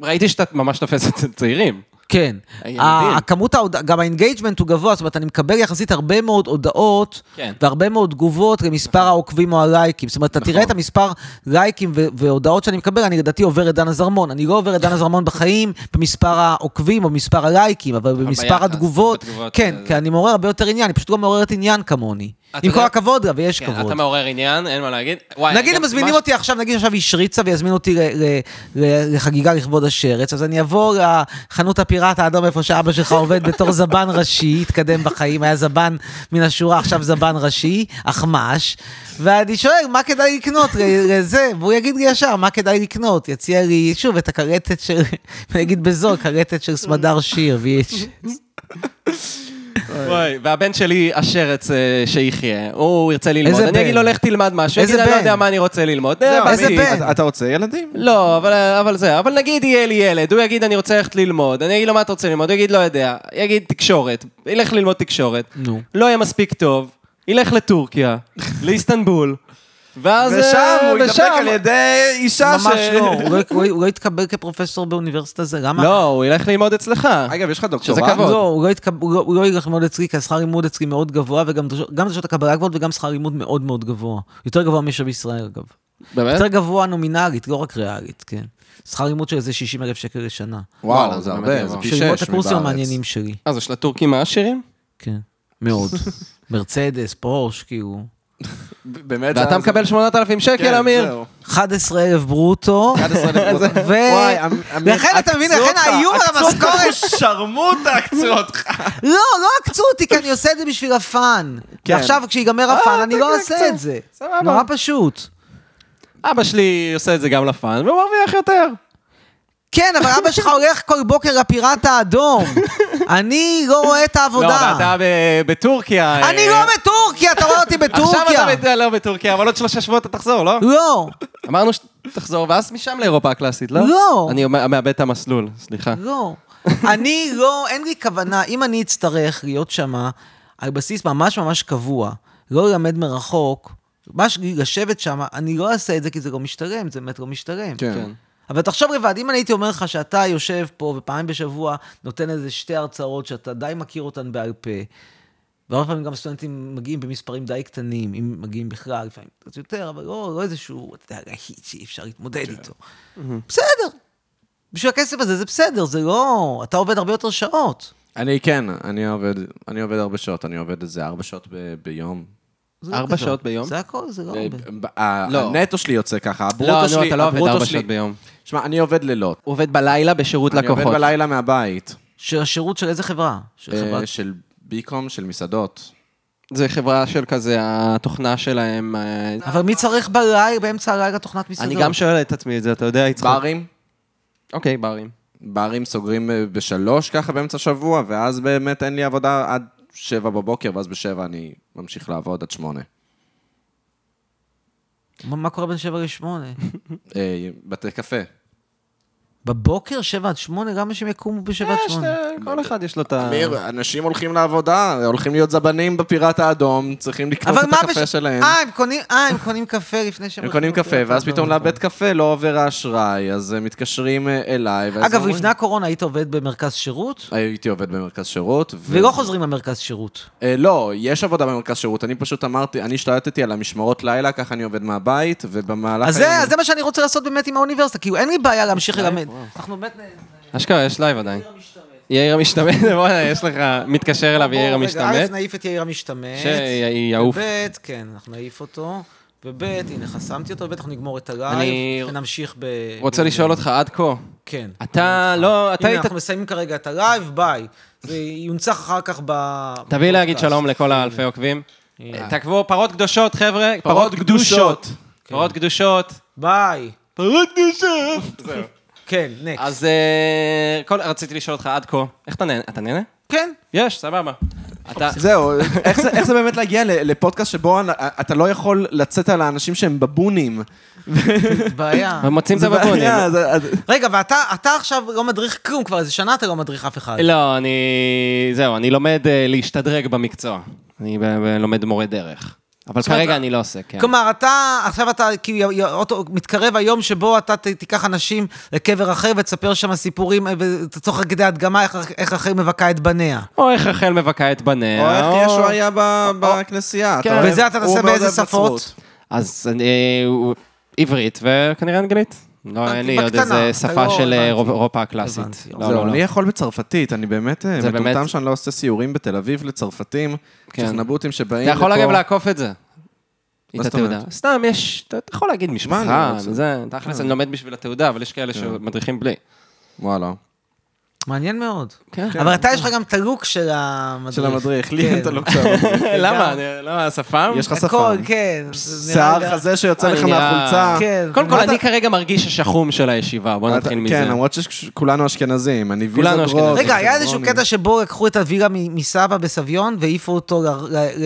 Speaker 3: ראיתי שאתה ממש תופס את הצעירים.
Speaker 4: כן.
Speaker 3: הילדים.
Speaker 4: ה- הכמות ההודעה, גם האינגייג'מנט הוא גבוה, זאת אומרת, אני מקבל יחסית הרבה מאוד הודעות,
Speaker 3: כן. נכון.
Speaker 4: והרבה מאוד תגובות למספר העוקבים או הלייקים. זאת אומרת, אתה תראה את המספר לייקים ו- והודעות שאני מקבל, אני לדעתי עובר את דנה זרמון. אני לא עובר את דנה זרמון בחיים במספר העוקבים או במספר הלייקים, אבל במספר
Speaker 3: ביחס,
Speaker 4: התגובות,
Speaker 3: בתגובות,
Speaker 4: כן,
Speaker 3: אה,
Speaker 4: כי אני מעורר הרבה יותר עניין, אני פשוט לא מעוררת עניין כמוני.
Speaker 3: אתה
Speaker 4: עם
Speaker 3: יודע-
Speaker 4: כל הכבוד לה, ויש
Speaker 3: כן,
Speaker 4: כבוד.
Speaker 3: אתה מעורר עניין, אין מה להגיד. וואי,
Speaker 4: נגיד
Speaker 3: גם-
Speaker 4: הם מזמינים
Speaker 3: ממש-
Speaker 4: אותי עכשיו, נגיד עכשיו היא שריצה ויזמינו אותי ל- ל- ל- לחגיגה לכבוד השרץ, אז אני אבוא לחנות הפיראט האדום איפה שאבא שלך עובד בתור זבן ראשי, התקדם בחיים, היה זבן מן השורה, עכשיו זבן ראשי, אחמ"ש, ואני שואל, מה כדאי לקנות ל- לזה? והוא יגיד לי ישר, מה כדאי לקנות? יציע לי, שוב, את הקלטת של, אני אגיד בזול, קלטת של סמדר שיר, VHS.
Speaker 3: וואי, והבן שלי, השרץ אה, שיחיה, הוא ירצה ללמוד.
Speaker 4: איזה
Speaker 3: אני אגיד לו,
Speaker 4: בן?
Speaker 3: לך תלמד משהו.
Speaker 4: איזה
Speaker 3: יגיד, אני לא
Speaker 4: בן?
Speaker 3: יודע מה אני רוצה ללמוד. אה,
Speaker 2: זהו,
Speaker 3: באתי.
Speaker 4: איזה
Speaker 2: אמיר,
Speaker 4: בן?
Speaker 2: אתה- אתה רוצה ילדים?
Speaker 3: לא, אבל, אבל זה, אבל נגיד יהיה לי ילד, הוא יגיד אני רוצה ללכת ללמוד, אני אגיד לו מה אתה רוצה ללמוד, הוא יגיד לא יודע, יגיד תקשורת, ילך ללמוד תקשורת,
Speaker 4: נו.
Speaker 3: לא יהיה מספיק טוב, ילך לטורקיה, לאיסטנבול, ואז...
Speaker 2: ושם
Speaker 3: אה,
Speaker 2: הוא ידפק
Speaker 3: ושם-
Speaker 2: על ידי אישה ש...
Speaker 4: ממש לא, הוא לא- הוא לא- הוא לא יתקבל כפרופסור באוניברסיטה זה, למה?
Speaker 3: לא, הוא ילך ללמוד אצלך.
Speaker 2: אגב, יש לך
Speaker 3: שזה
Speaker 2: דוקטורט?
Speaker 3: כבוד.
Speaker 4: לא, הוא לא, התקב... הוא, לא, הוא לא ילך ללמוד אצלי, כי השכר לימוד אצלי מאוד גבוה, וגם דרש- גם דרישות הקבלה גבוהות וגם שכר לימוד מאוד מאוד גבוה. יותר גבוה מאשר בישראל, אגב.
Speaker 2: אה?
Speaker 3: באמת?
Speaker 4: יותר גבוה נומינלית, לא רק ריאלית, כן. שכר לימוד של איזה 60 אלף שקל לשנה.
Speaker 2: וואו, זה הרבה, זה פי
Speaker 4: בשביל ללמוד את
Speaker 2: שש
Speaker 4: הקורסים
Speaker 2: מבארץ.
Speaker 4: המעניינים שלי,
Speaker 3: אז יש לטורקים העשירים?
Speaker 4: כן. מאוד. מרצדס, פורש, כאילו.
Speaker 2: באמת?
Speaker 3: ואתה
Speaker 2: זה-
Speaker 3: מקבל 8,000 שקל,
Speaker 2: כן,
Speaker 3: אמיר?
Speaker 2: זהו.
Speaker 4: 11,000 ברוטו.
Speaker 2: 11,000
Speaker 4: ו-
Speaker 2: וואי, אמ- אמיר,
Speaker 4: לכן אתה מבין,
Speaker 2: עקצו
Speaker 4: לכן
Speaker 2: אותך,
Speaker 4: האיום על
Speaker 2: עקצו אותך,
Speaker 4: המשכורת-
Speaker 2: שרמוטה עקצו אותך.
Speaker 4: לא, לא עקצו אותי, כי אני עושה את זה בשביל הפאן.
Speaker 2: כן.
Speaker 4: ועכשיו, כשיגמר הפאן, אני לא אעשה את זה.
Speaker 3: סבבה.
Speaker 4: נורא פשוט.
Speaker 3: אבא שלי עושה את זה גם לפאן, והוא מרוויח יותר.
Speaker 4: כן, אבל אבא שלך הולך כל בוקר לפיראט האדום. אני לא רואה את
Speaker 3: לא,
Speaker 4: העבודה.
Speaker 3: ואתה ב- בטורקיה. אה,
Speaker 4: אני לא בטורקיה, אתה רואה אותי
Speaker 3: עכשיו
Speaker 4: בטורקיה.
Speaker 3: אתה ב- לא בטורקיה, אבל עוד שלושה שבועות אתה תחזור, לא?
Speaker 4: לא,
Speaker 3: אמרנו שתחזור, ואז משם לאירופה הקלאסית, לא?
Speaker 4: לא.
Speaker 3: אני אומר- מאבד את המסלול, סליחה.
Speaker 4: לא. אני לא, אין לי כוונה, אם אני אצטרך להיות שמה על בסיס ממש ממש קבוע, לא ללמד מרחוק, ממש לשבת שמה, אני לא אעשה את זה כי זה לא משתלם, זה באמת לא משתלם.
Speaker 3: כן.
Speaker 4: אבל תחשוב לבד, אם אני הייתי אומר לך שאתה יושב פה ופעמים בשבוע נותן איזה שתי הרצאות שאתה די מכיר אותן בעל פה, והרבה פעמים גם סטודנטים מגיעים במספרים די קטנים, אם מגיעים בכלל, לפעמים קצת יותר, אבל לא, לא איזשהו, אתה יודע, להיט שאי אפשר להתמודד
Speaker 3: כן.
Speaker 4: איתו. בסדר. בשביל הכסף הזה זה בסדר, זה לא... אתה עובד הרבה יותר שעות.
Speaker 2: אני כן, אני עובד, אני עובד הרבה שעות, אני עובד איזה ארבע שעות ב- ביום. אה,
Speaker 4: זה לא
Speaker 3: ארבע
Speaker 4: כזה.
Speaker 3: שעות ביום? אה,
Speaker 4: זה הכל, זה לא הרבה.
Speaker 2: ב- ה-
Speaker 3: לא.
Speaker 2: הנטו שלי יוצא ככה,
Speaker 3: לא,
Speaker 2: הברוטו
Speaker 3: נו,
Speaker 2: שלי,
Speaker 3: אתה לא עובד
Speaker 2: הברוטו
Speaker 3: ארבע
Speaker 2: שלי-
Speaker 3: שעות ביום.
Speaker 2: שמע, אני עובד לילות.
Speaker 3: הוא עובד בלילה בשירות
Speaker 2: אני
Speaker 3: לקוחות.
Speaker 2: עובד בלילה מהבית.
Speaker 4: של השירות של איזה חברה? של
Speaker 2: אה,
Speaker 4: חברת...
Speaker 2: של ביקום, של מסעדות.
Speaker 3: זה חברה של כזה, התוכנה שלהם... אה,
Speaker 4: אבל מי צריך בלילה, באמצע הלילה תוכנת מסעדות?
Speaker 3: אני גם שואל את עצמי את זה, אתה יודע, יצחק?
Speaker 2: ברים?
Speaker 3: אוקיי, ברים.
Speaker 2: ברים סוגרים אה, בשלוש ככה באמצע שבוע, ואז באמת אין לי עבודה עד שבע בבוקר, ואז בשבע אני ממשיך לעבוד עד שמונה.
Speaker 4: מה מה קורה בין שבע לשמונה?
Speaker 2: אה, בתי קפה.
Speaker 4: בבוקר, שבע עד שמונה, גם אנשים יקומו בשבע
Speaker 3: אה,
Speaker 4: עד
Speaker 2: נכון.
Speaker 4: שמונה.
Speaker 3: כל אחד יש לו את ה...
Speaker 2: אמיר, אנשים הולכים לעבודה, הולכים להיות זבנים בפיראט האדום, צריכים לקנות את הקפה
Speaker 4: בש-
Speaker 2: שלהם.
Speaker 4: אה, הם קונים, אה, הם קונים קפה לפני שהם...
Speaker 2: הם קונים
Speaker 4: הולכים
Speaker 2: קפה,
Speaker 4: לקנות
Speaker 2: ואז
Speaker 4: אותם.
Speaker 2: פתאום לבית קפה לא עובר האשראי, אז הם מתקשרים אה, אליי. ואז
Speaker 4: אגב,
Speaker 2: אומרים-
Speaker 4: לפני הקורונה היית עובד במרכז שירות,
Speaker 2: הייתי עובד במרכז שירות. ו-
Speaker 4: ולא חוזרים למרכז שירות.
Speaker 2: אה, לא, יש עבודה במרכז שירות. אני פשוט אמרתי, אני השתלטתי על המשמרות לילה, ככה אני עובד מהבית, ובמהלך...
Speaker 4: אז זה-
Speaker 2: היום- אה,
Speaker 4: אז זה מה שאני רוצה לעשות באמת עם האוניברסיטה, כאילו אין לי בעיה להמשיך ללמד. אנחנו באמת...
Speaker 3: אשכרה, יש לייב עדיין. יאיר המשתמט, בואנה, יש לך... מתקשר אליו יאיר
Speaker 4: רגע,
Speaker 3: המשתמט.
Speaker 4: א', נעיף את יאיר המשתמט.
Speaker 3: שיעוף.
Speaker 4: ב', כן, אנחנו נעיף אותו. וב', הנה, חסמתי אותו, וב', אנחנו נגמור את
Speaker 3: אני-
Speaker 4: הלייב, ונמשיך ב...
Speaker 3: רוצה לשאול אותך עד כה.
Speaker 4: כן.
Speaker 3: אתה לא, אתה
Speaker 4: הנה,
Speaker 3: היית...
Speaker 4: אנחנו מסיימים כרגע את הלייב, ביי. זה יונצח אחר כך ב...
Speaker 3: תביא להגיד
Speaker 4: בפודקאסט.
Speaker 3: שלום לכל האלפי עוקבים.
Speaker 4: הנה.
Speaker 3: תעקבו, פרות קדושות, חבר'ה. פרות
Speaker 2: קדושות. כן.
Speaker 3: קדושות. פרות קדושות.
Speaker 4: ביי.
Speaker 3: פרות קדושות.
Speaker 4: כן, נקסט.
Speaker 3: אז אה, כל- רציתי לשאול אותך עד כה, איך אתה נהנה? אתה נהנה?
Speaker 4: כן.
Speaker 3: יש, סבבה. אתה...
Speaker 2: זהו, איך זה- איך זה באמת להגיע ל- לפודקאסט שבו אנ- אתה לא יכול לצאת על האנשים שהם בבונים?
Speaker 4: בעיה.
Speaker 3: מוצאים את
Speaker 2: זה
Speaker 3: הבבונים.
Speaker 2: בעיה, זה- אז-
Speaker 4: רגע, ואתה אתה עכשיו לא מדריך כלום, כבר איזה שנה אתה לא מדריך אף אחד.
Speaker 3: לא, אני... זהו, אני לומד אה, להשתדרג במקצוע. אני ב- ב- לומד מורה דרך. אבל
Speaker 4: זאת אומרת,
Speaker 3: כרגע אני לא עושה, כן.
Speaker 4: כלומר, אתה, עכשיו אתה כאילו י- י- אוטו- מתקרב היום שבו אתה ת- תיקח אנשים לקבר אחר ותספר שם סיפורים, אה, ותצורך כדי הדגמה איך- איך אחר מבכה את בניה.
Speaker 3: או איך רחל מבכה את בניה.
Speaker 2: או איך ישו היה ב- בכנסייה. אתה
Speaker 3: כן.
Speaker 2: אוהב-
Speaker 4: וזה אתה
Speaker 2: הוא
Speaker 4: תעשה
Speaker 2: מאוד
Speaker 4: באיזה
Speaker 2: אוהב
Speaker 4: שפות?
Speaker 2: נצרות.
Speaker 3: אז אה, הוא- עברית וכנראה אנגלית. לא, אין לי עוד
Speaker 4: בקטנה,
Speaker 3: איזה
Speaker 4: אתה
Speaker 3: שפה
Speaker 4: לא-
Speaker 3: של אה,
Speaker 4: הבנתי.
Speaker 3: אירופה הקלאסית.
Speaker 4: הבנתי.
Speaker 3: לא,
Speaker 2: זהו,
Speaker 3: לא,
Speaker 2: אני
Speaker 3: לא.
Speaker 2: יכול בצרפתית, אני באמת אה,
Speaker 3: זה
Speaker 2: מטומטם
Speaker 3: באמת-
Speaker 2: שאני לא עושה סיורים בתל אביב לצרפתים,
Speaker 3: כן.
Speaker 2: שזנבוטים שבאים
Speaker 3: אתה
Speaker 2: לפה.
Speaker 3: יכול אגב לעקוף את זה. את
Speaker 2: זאת אומרת?
Speaker 3: התעודה. סתם, יש, אתה אתה יכול להגיד
Speaker 2: אני
Speaker 3: משפחה,
Speaker 2: רוצה? אה. כן.
Speaker 3: זה, תכלס אני לומד בשביל התעודה, אבל יש כאלה שמדריכים בלי.
Speaker 2: וואלה.
Speaker 4: מעניין מאוד.
Speaker 3: כן.
Speaker 4: אבל אתה, יש לך גם את הלוק של המדריך.
Speaker 2: של המדריך, לי אין את
Speaker 4: כן.
Speaker 2: הלוק של המדריך.
Speaker 3: למה? אני- למה, שפם?
Speaker 2: יש לך
Speaker 4: הכל,
Speaker 2: שפם.
Speaker 4: כן. זה נראה
Speaker 2: שיער
Speaker 4: לי-
Speaker 2: חזה שיוצא לך
Speaker 3: אני נראה-
Speaker 2: מהחולצה.
Speaker 4: כן.
Speaker 3: קודם כל,
Speaker 4: מה
Speaker 3: אני כרגע מרגיש השחום של הישיבה, בוא
Speaker 2: אתה-
Speaker 3: נתחיל מזה.
Speaker 2: כן, למרות שכולנו אשכנזים, אני
Speaker 3: כולנו
Speaker 2: ויזוגרוד.
Speaker 3: אשכנזים.
Speaker 4: רגע, היה איזשהו קטע שבו לקחו את אבירה מ- מסבא בסביון והעיפו אותו ל... ל- ל-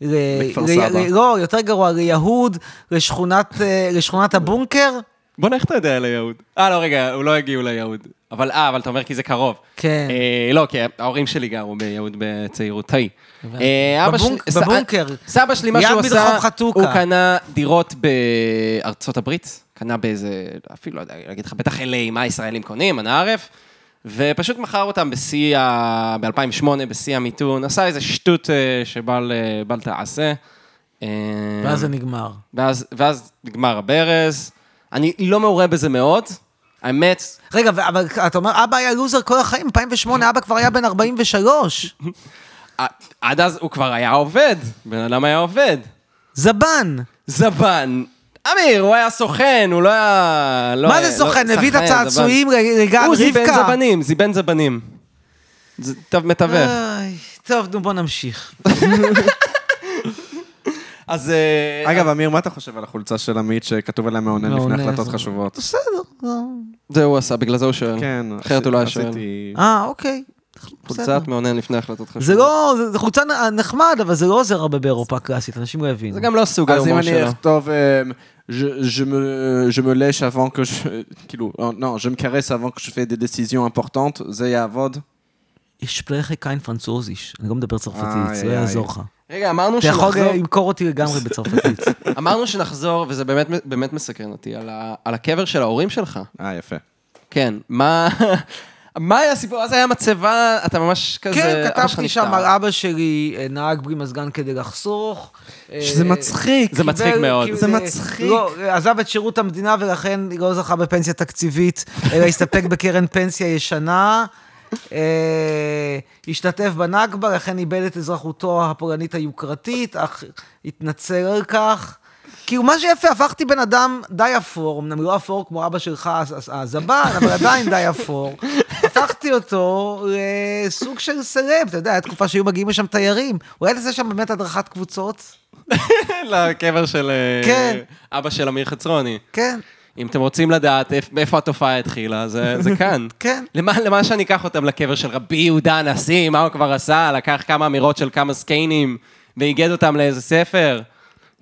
Speaker 4: ל-
Speaker 2: לכפר
Speaker 4: ל-
Speaker 2: סבא.
Speaker 4: ל- לא, יותר גרוע, ליהוד, לשכונת, אה, לשכונת הבונקר.
Speaker 3: בוא נלך, אתה יודע, ליהוד. אה, לא, רגע, הוא לא הגיעו ליהוד. אבל, אה, אבל אתה אומר כי זה קרוב.
Speaker 4: כן.
Speaker 3: אה, לא, כי ההורים שלי גרו ביהוד בצעירותי.
Speaker 4: הבנתי.
Speaker 3: אה, אבא שלי-
Speaker 4: בבונק-
Speaker 3: ס-
Speaker 4: בבונקר.
Speaker 3: סבא שלי, מה
Speaker 4: ליד
Speaker 3: שהוא
Speaker 4: מדרחוב
Speaker 3: עשה,
Speaker 4: חתוקה.
Speaker 3: הוא קנה דירות בארצות הברית, קנה באיזה, אפילו לא יודע להגיד לך, בטח LA, מה הישראלים קונים, אנא ערף, ופשוט מכר אותם בשיא, ה... ב-2008, בשיא המיתון, עשה איזה שטות אה, שבל אה, בל תעשה. אה,
Speaker 4: ואז זה נגמר.
Speaker 3: ואז, ואז נגמר הברז. אני לא מעורה בזה מאוד, האמת,
Speaker 4: רגע, ו- אבל אתה אומר, אבא היה לוזר כל החיים, 2008 אבא כבר היה בן 43.
Speaker 3: ע- עד אז הוא כבר היה עובד, בן אדם היה עובד.
Speaker 4: זבן.
Speaker 3: זבן. אמיר, הוא היה סוכן, הוא לא היה... לא
Speaker 4: מה
Speaker 3: היה- לא-
Speaker 4: זה סוכן? הביא את
Speaker 3: סוכן,
Speaker 4: הצעצועים, רגע,
Speaker 3: זבן.
Speaker 4: רבקה.
Speaker 3: הוא זיבן זבנים, זיבן זבנים. זה טוב, מתווך.
Speaker 4: איי, טוב, נו, בוא נמשיך.
Speaker 3: אז... אה,
Speaker 2: אגב, אמיר, מה אתה חושב על החולצה של עמית שכתוב עליה מאונן לפני
Speaker 4: מאונן,
Speaker 2: החלטות
Speaker 4: זה-
Speaker 2: חשובות?
Speaker 4: בסדר. לא.
Speaker 3: זה הוא עשה, בגלל זה הוא שואל.
Speaker 2: כן,
Speaker 3: אחרת הוא לא היה
Speaker 2: עשיתי-
Speaker 3: שואל.
Speaker 4: אה, אוקיי. בסדר.
Speaker 3: חולצת מאונן לפני החלטות חשובות.
Speaker 4: זה לא, זה- זה חולצה נ- נחמד, אבל זה לא עוזר הרבה באירופה הקלאסית, אנשים לא יבינו.
Speaker 3: זה גם לא סוג
Speaker 2: אז אם
Speaker 3: ההומור
Speaker 2: אני
Speaker 3: שלו.
Speaker 2: אכתוב, אה, Je- je me- je me lèche avant que je... כאילו, אה, לא, je me caresse avant que je fais des décisions importantes, זה יעבוד?
Speaker 4: יש פרחי קיין פרנצוזיש, אני לא מדבר צרפתית,
Speaker 2: איי,
Speaker 4: זה לא
Speaker 2: איי.
Speaker 4: יעזור לך.
Speaker 3: רגע, אמרנו
Speaker 4: אתה יכול אה,
Speaker 3: שנחזור-
Speaker 4: למכור אותי לגמרי בצרפתית.
Speaker 3: אמרנו שנחזור, וזה באמת- באמת מסקרן אותי, על ה- על הקבר של ההורים שלך.
Speaker 2: אה, יפה.
Speaker 3: כן, מה... מה היה הסיפור? אז היה מצבה, אתה ממש כזה...
Speaker 4: כן,
Speaker 3: אבא שלך
Speaker 4: כתבתי שם
Speaker 3: נפטר.
Speaker 4: על אבא שלי, אה, נהג בלי מזגן כדי לחסוך. אה,
Speaker 2: שזה מצחיק.
Speaker 3: זה מצחיק
Speaker 4: קיבל-
Speaker 3: מאוד.
Speaker 4: קיבל-
Speaker 2: זה מצחיק.
Speaker 4: לא, עזב את שירות המדינה ולכן היא לא זכה בפנסיה תקציבית, אלא הסתפק בקרן פנסיה ישנה. אה, השתתף בנכבה, לכן איבד את אזרחותו הפולנית היוקרתית, אך התנצל על כך. כאילו, מה שיפה, הפכתי בן אדם די אפור, אמנם לא אפור כמו אבא שלך, אז- אז- הזבן, אבל עדיין די אפור. הפכתי אותו לסוג של סלב, אתה יודע, הייתה תקופה שהיו מגיעים לשם תיירים. הוא היה לזה שם באמת הדרכת קבוצות.
Speaker 3: כן, לקבר של אה,
Speaker 4: כן.
Speaker 3: אבא של אמיר חצרוני.
Speaker 4: כן,
Speaker 3: אם אתם רוצים לדעת איפ- מאיפה התופעה התחילה, זה זה כאן.
Speaker 4: כן.
Speaker 3: למה למה שאני אקח אותם לקבר של רבי יהודה הנשיא, מה הוא כבר עשה? לקח כמה אמירות של כמה זקנים ואיגד אותם לאיזה ספר?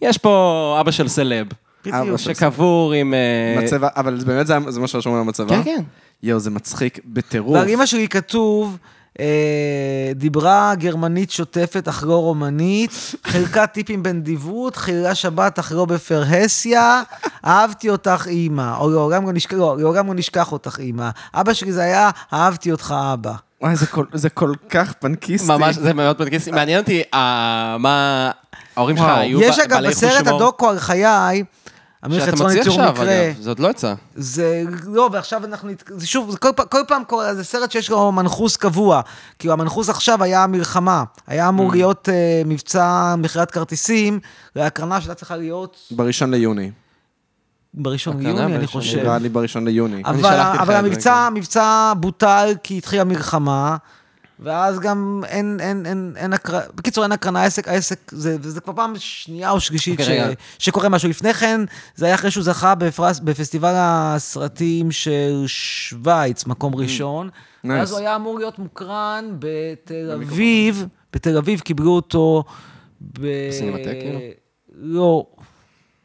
Speaker 3: יש פה אבא של סלב.
Speaker 2: בדיוק.
Speaker 3: שקבור עם... אה,
Speaker 2: מצבה, אבל זה באמת זה זה מה שרשום על המצבה?
Speaker 3: כן, כן.
Speaker 2: יואו, זה מצחיק בטירוף.
Speaker 4: ועל אימא שלי כתוב, אה, דיברה גרמנית שוטפת אך לא רומנית, חילקה טיפים בנדיבות, חיללה שבת אך לא בפרהסיה, אהבתי אותך אימא, או לעולם לא נשכח, לא, לעולם לא נשכח אותך אימא. אבא שלי זה היה, אהבתי אותך אבא.
Speaker 2: וואי, זה כל- זה כל כך פנקיסטי.
Speaker 3: ממש, זה מאוד פנקיסטי. מעניין אותי אה, מה... ההורים שלך
Speaker 2: וואו.
Speaker 3: היו ב- בעלי
Speaker 4: יש
Speaker 3: חוש הומור?
Speaker 4: אגב, בסרט הדוקו על חיי, אמיר
Speaker 3: שאתה
Speaker 4: חצרון
Speaker 3: מוציא
Speaker 4: יצור
Speaker 3: עכשיו,
Speaker 4: מקרה.
Speaker 3: אגב, זה עוד לא יצא.
Speaker 4: זה לא, ועכשיו אנחנו, נת- זה שוב, זה כל, פ- כל פעם קורה, זה סרט שיש לו מנחוס קבוע. כאילו, המנחוס עכשיו היה המלחמה. היה אמור להיות אה, מבצע מכירת כרטיסים להקרנה שהייתה צריכה להיות
Speaker 2: בראשון ליוני.
Speaker 4: כן. בראשון
Speaker 3: הקרנה
Speaker 4: יוני, אני
Speaker 3: בראשון
Speaker 4: חושב.
Speaker 2: נראה לי בראשון ליוני.
Speaker 3: אני
Speaker 4: אבל,
Speaker 3: שלחתי לך
Speaker 4: אבל
Speaker 3: את זה, כן.
Speaker 4: המבצע, המבצע בוטל כי התחילה מלחמה, ואז גם אין, אין, אין, אין הקרנה, בקיצור אין הקרנה, העסק, העסק, זה, וזה כבר פעם שנייה או שלישית
Speaker 3: אוקיי, רגע.
Speaker 4: ש, שקורה משהו. לפני כן, זה היה אחרי שהוא זכה בפרס, בפסטיבל הסרטים של שווייץ,
Speaker 3: Mm.
Speaker 4: מקום ראשון, ואז
Speaker 2: Nice.
Speaker 4: הוא היה אמור להיות מוקרן בתל אביב, בתל אביב קיבלו אותו ב...
Speaker 3: בסינמטק, כאילו?
Speaker 4: לא.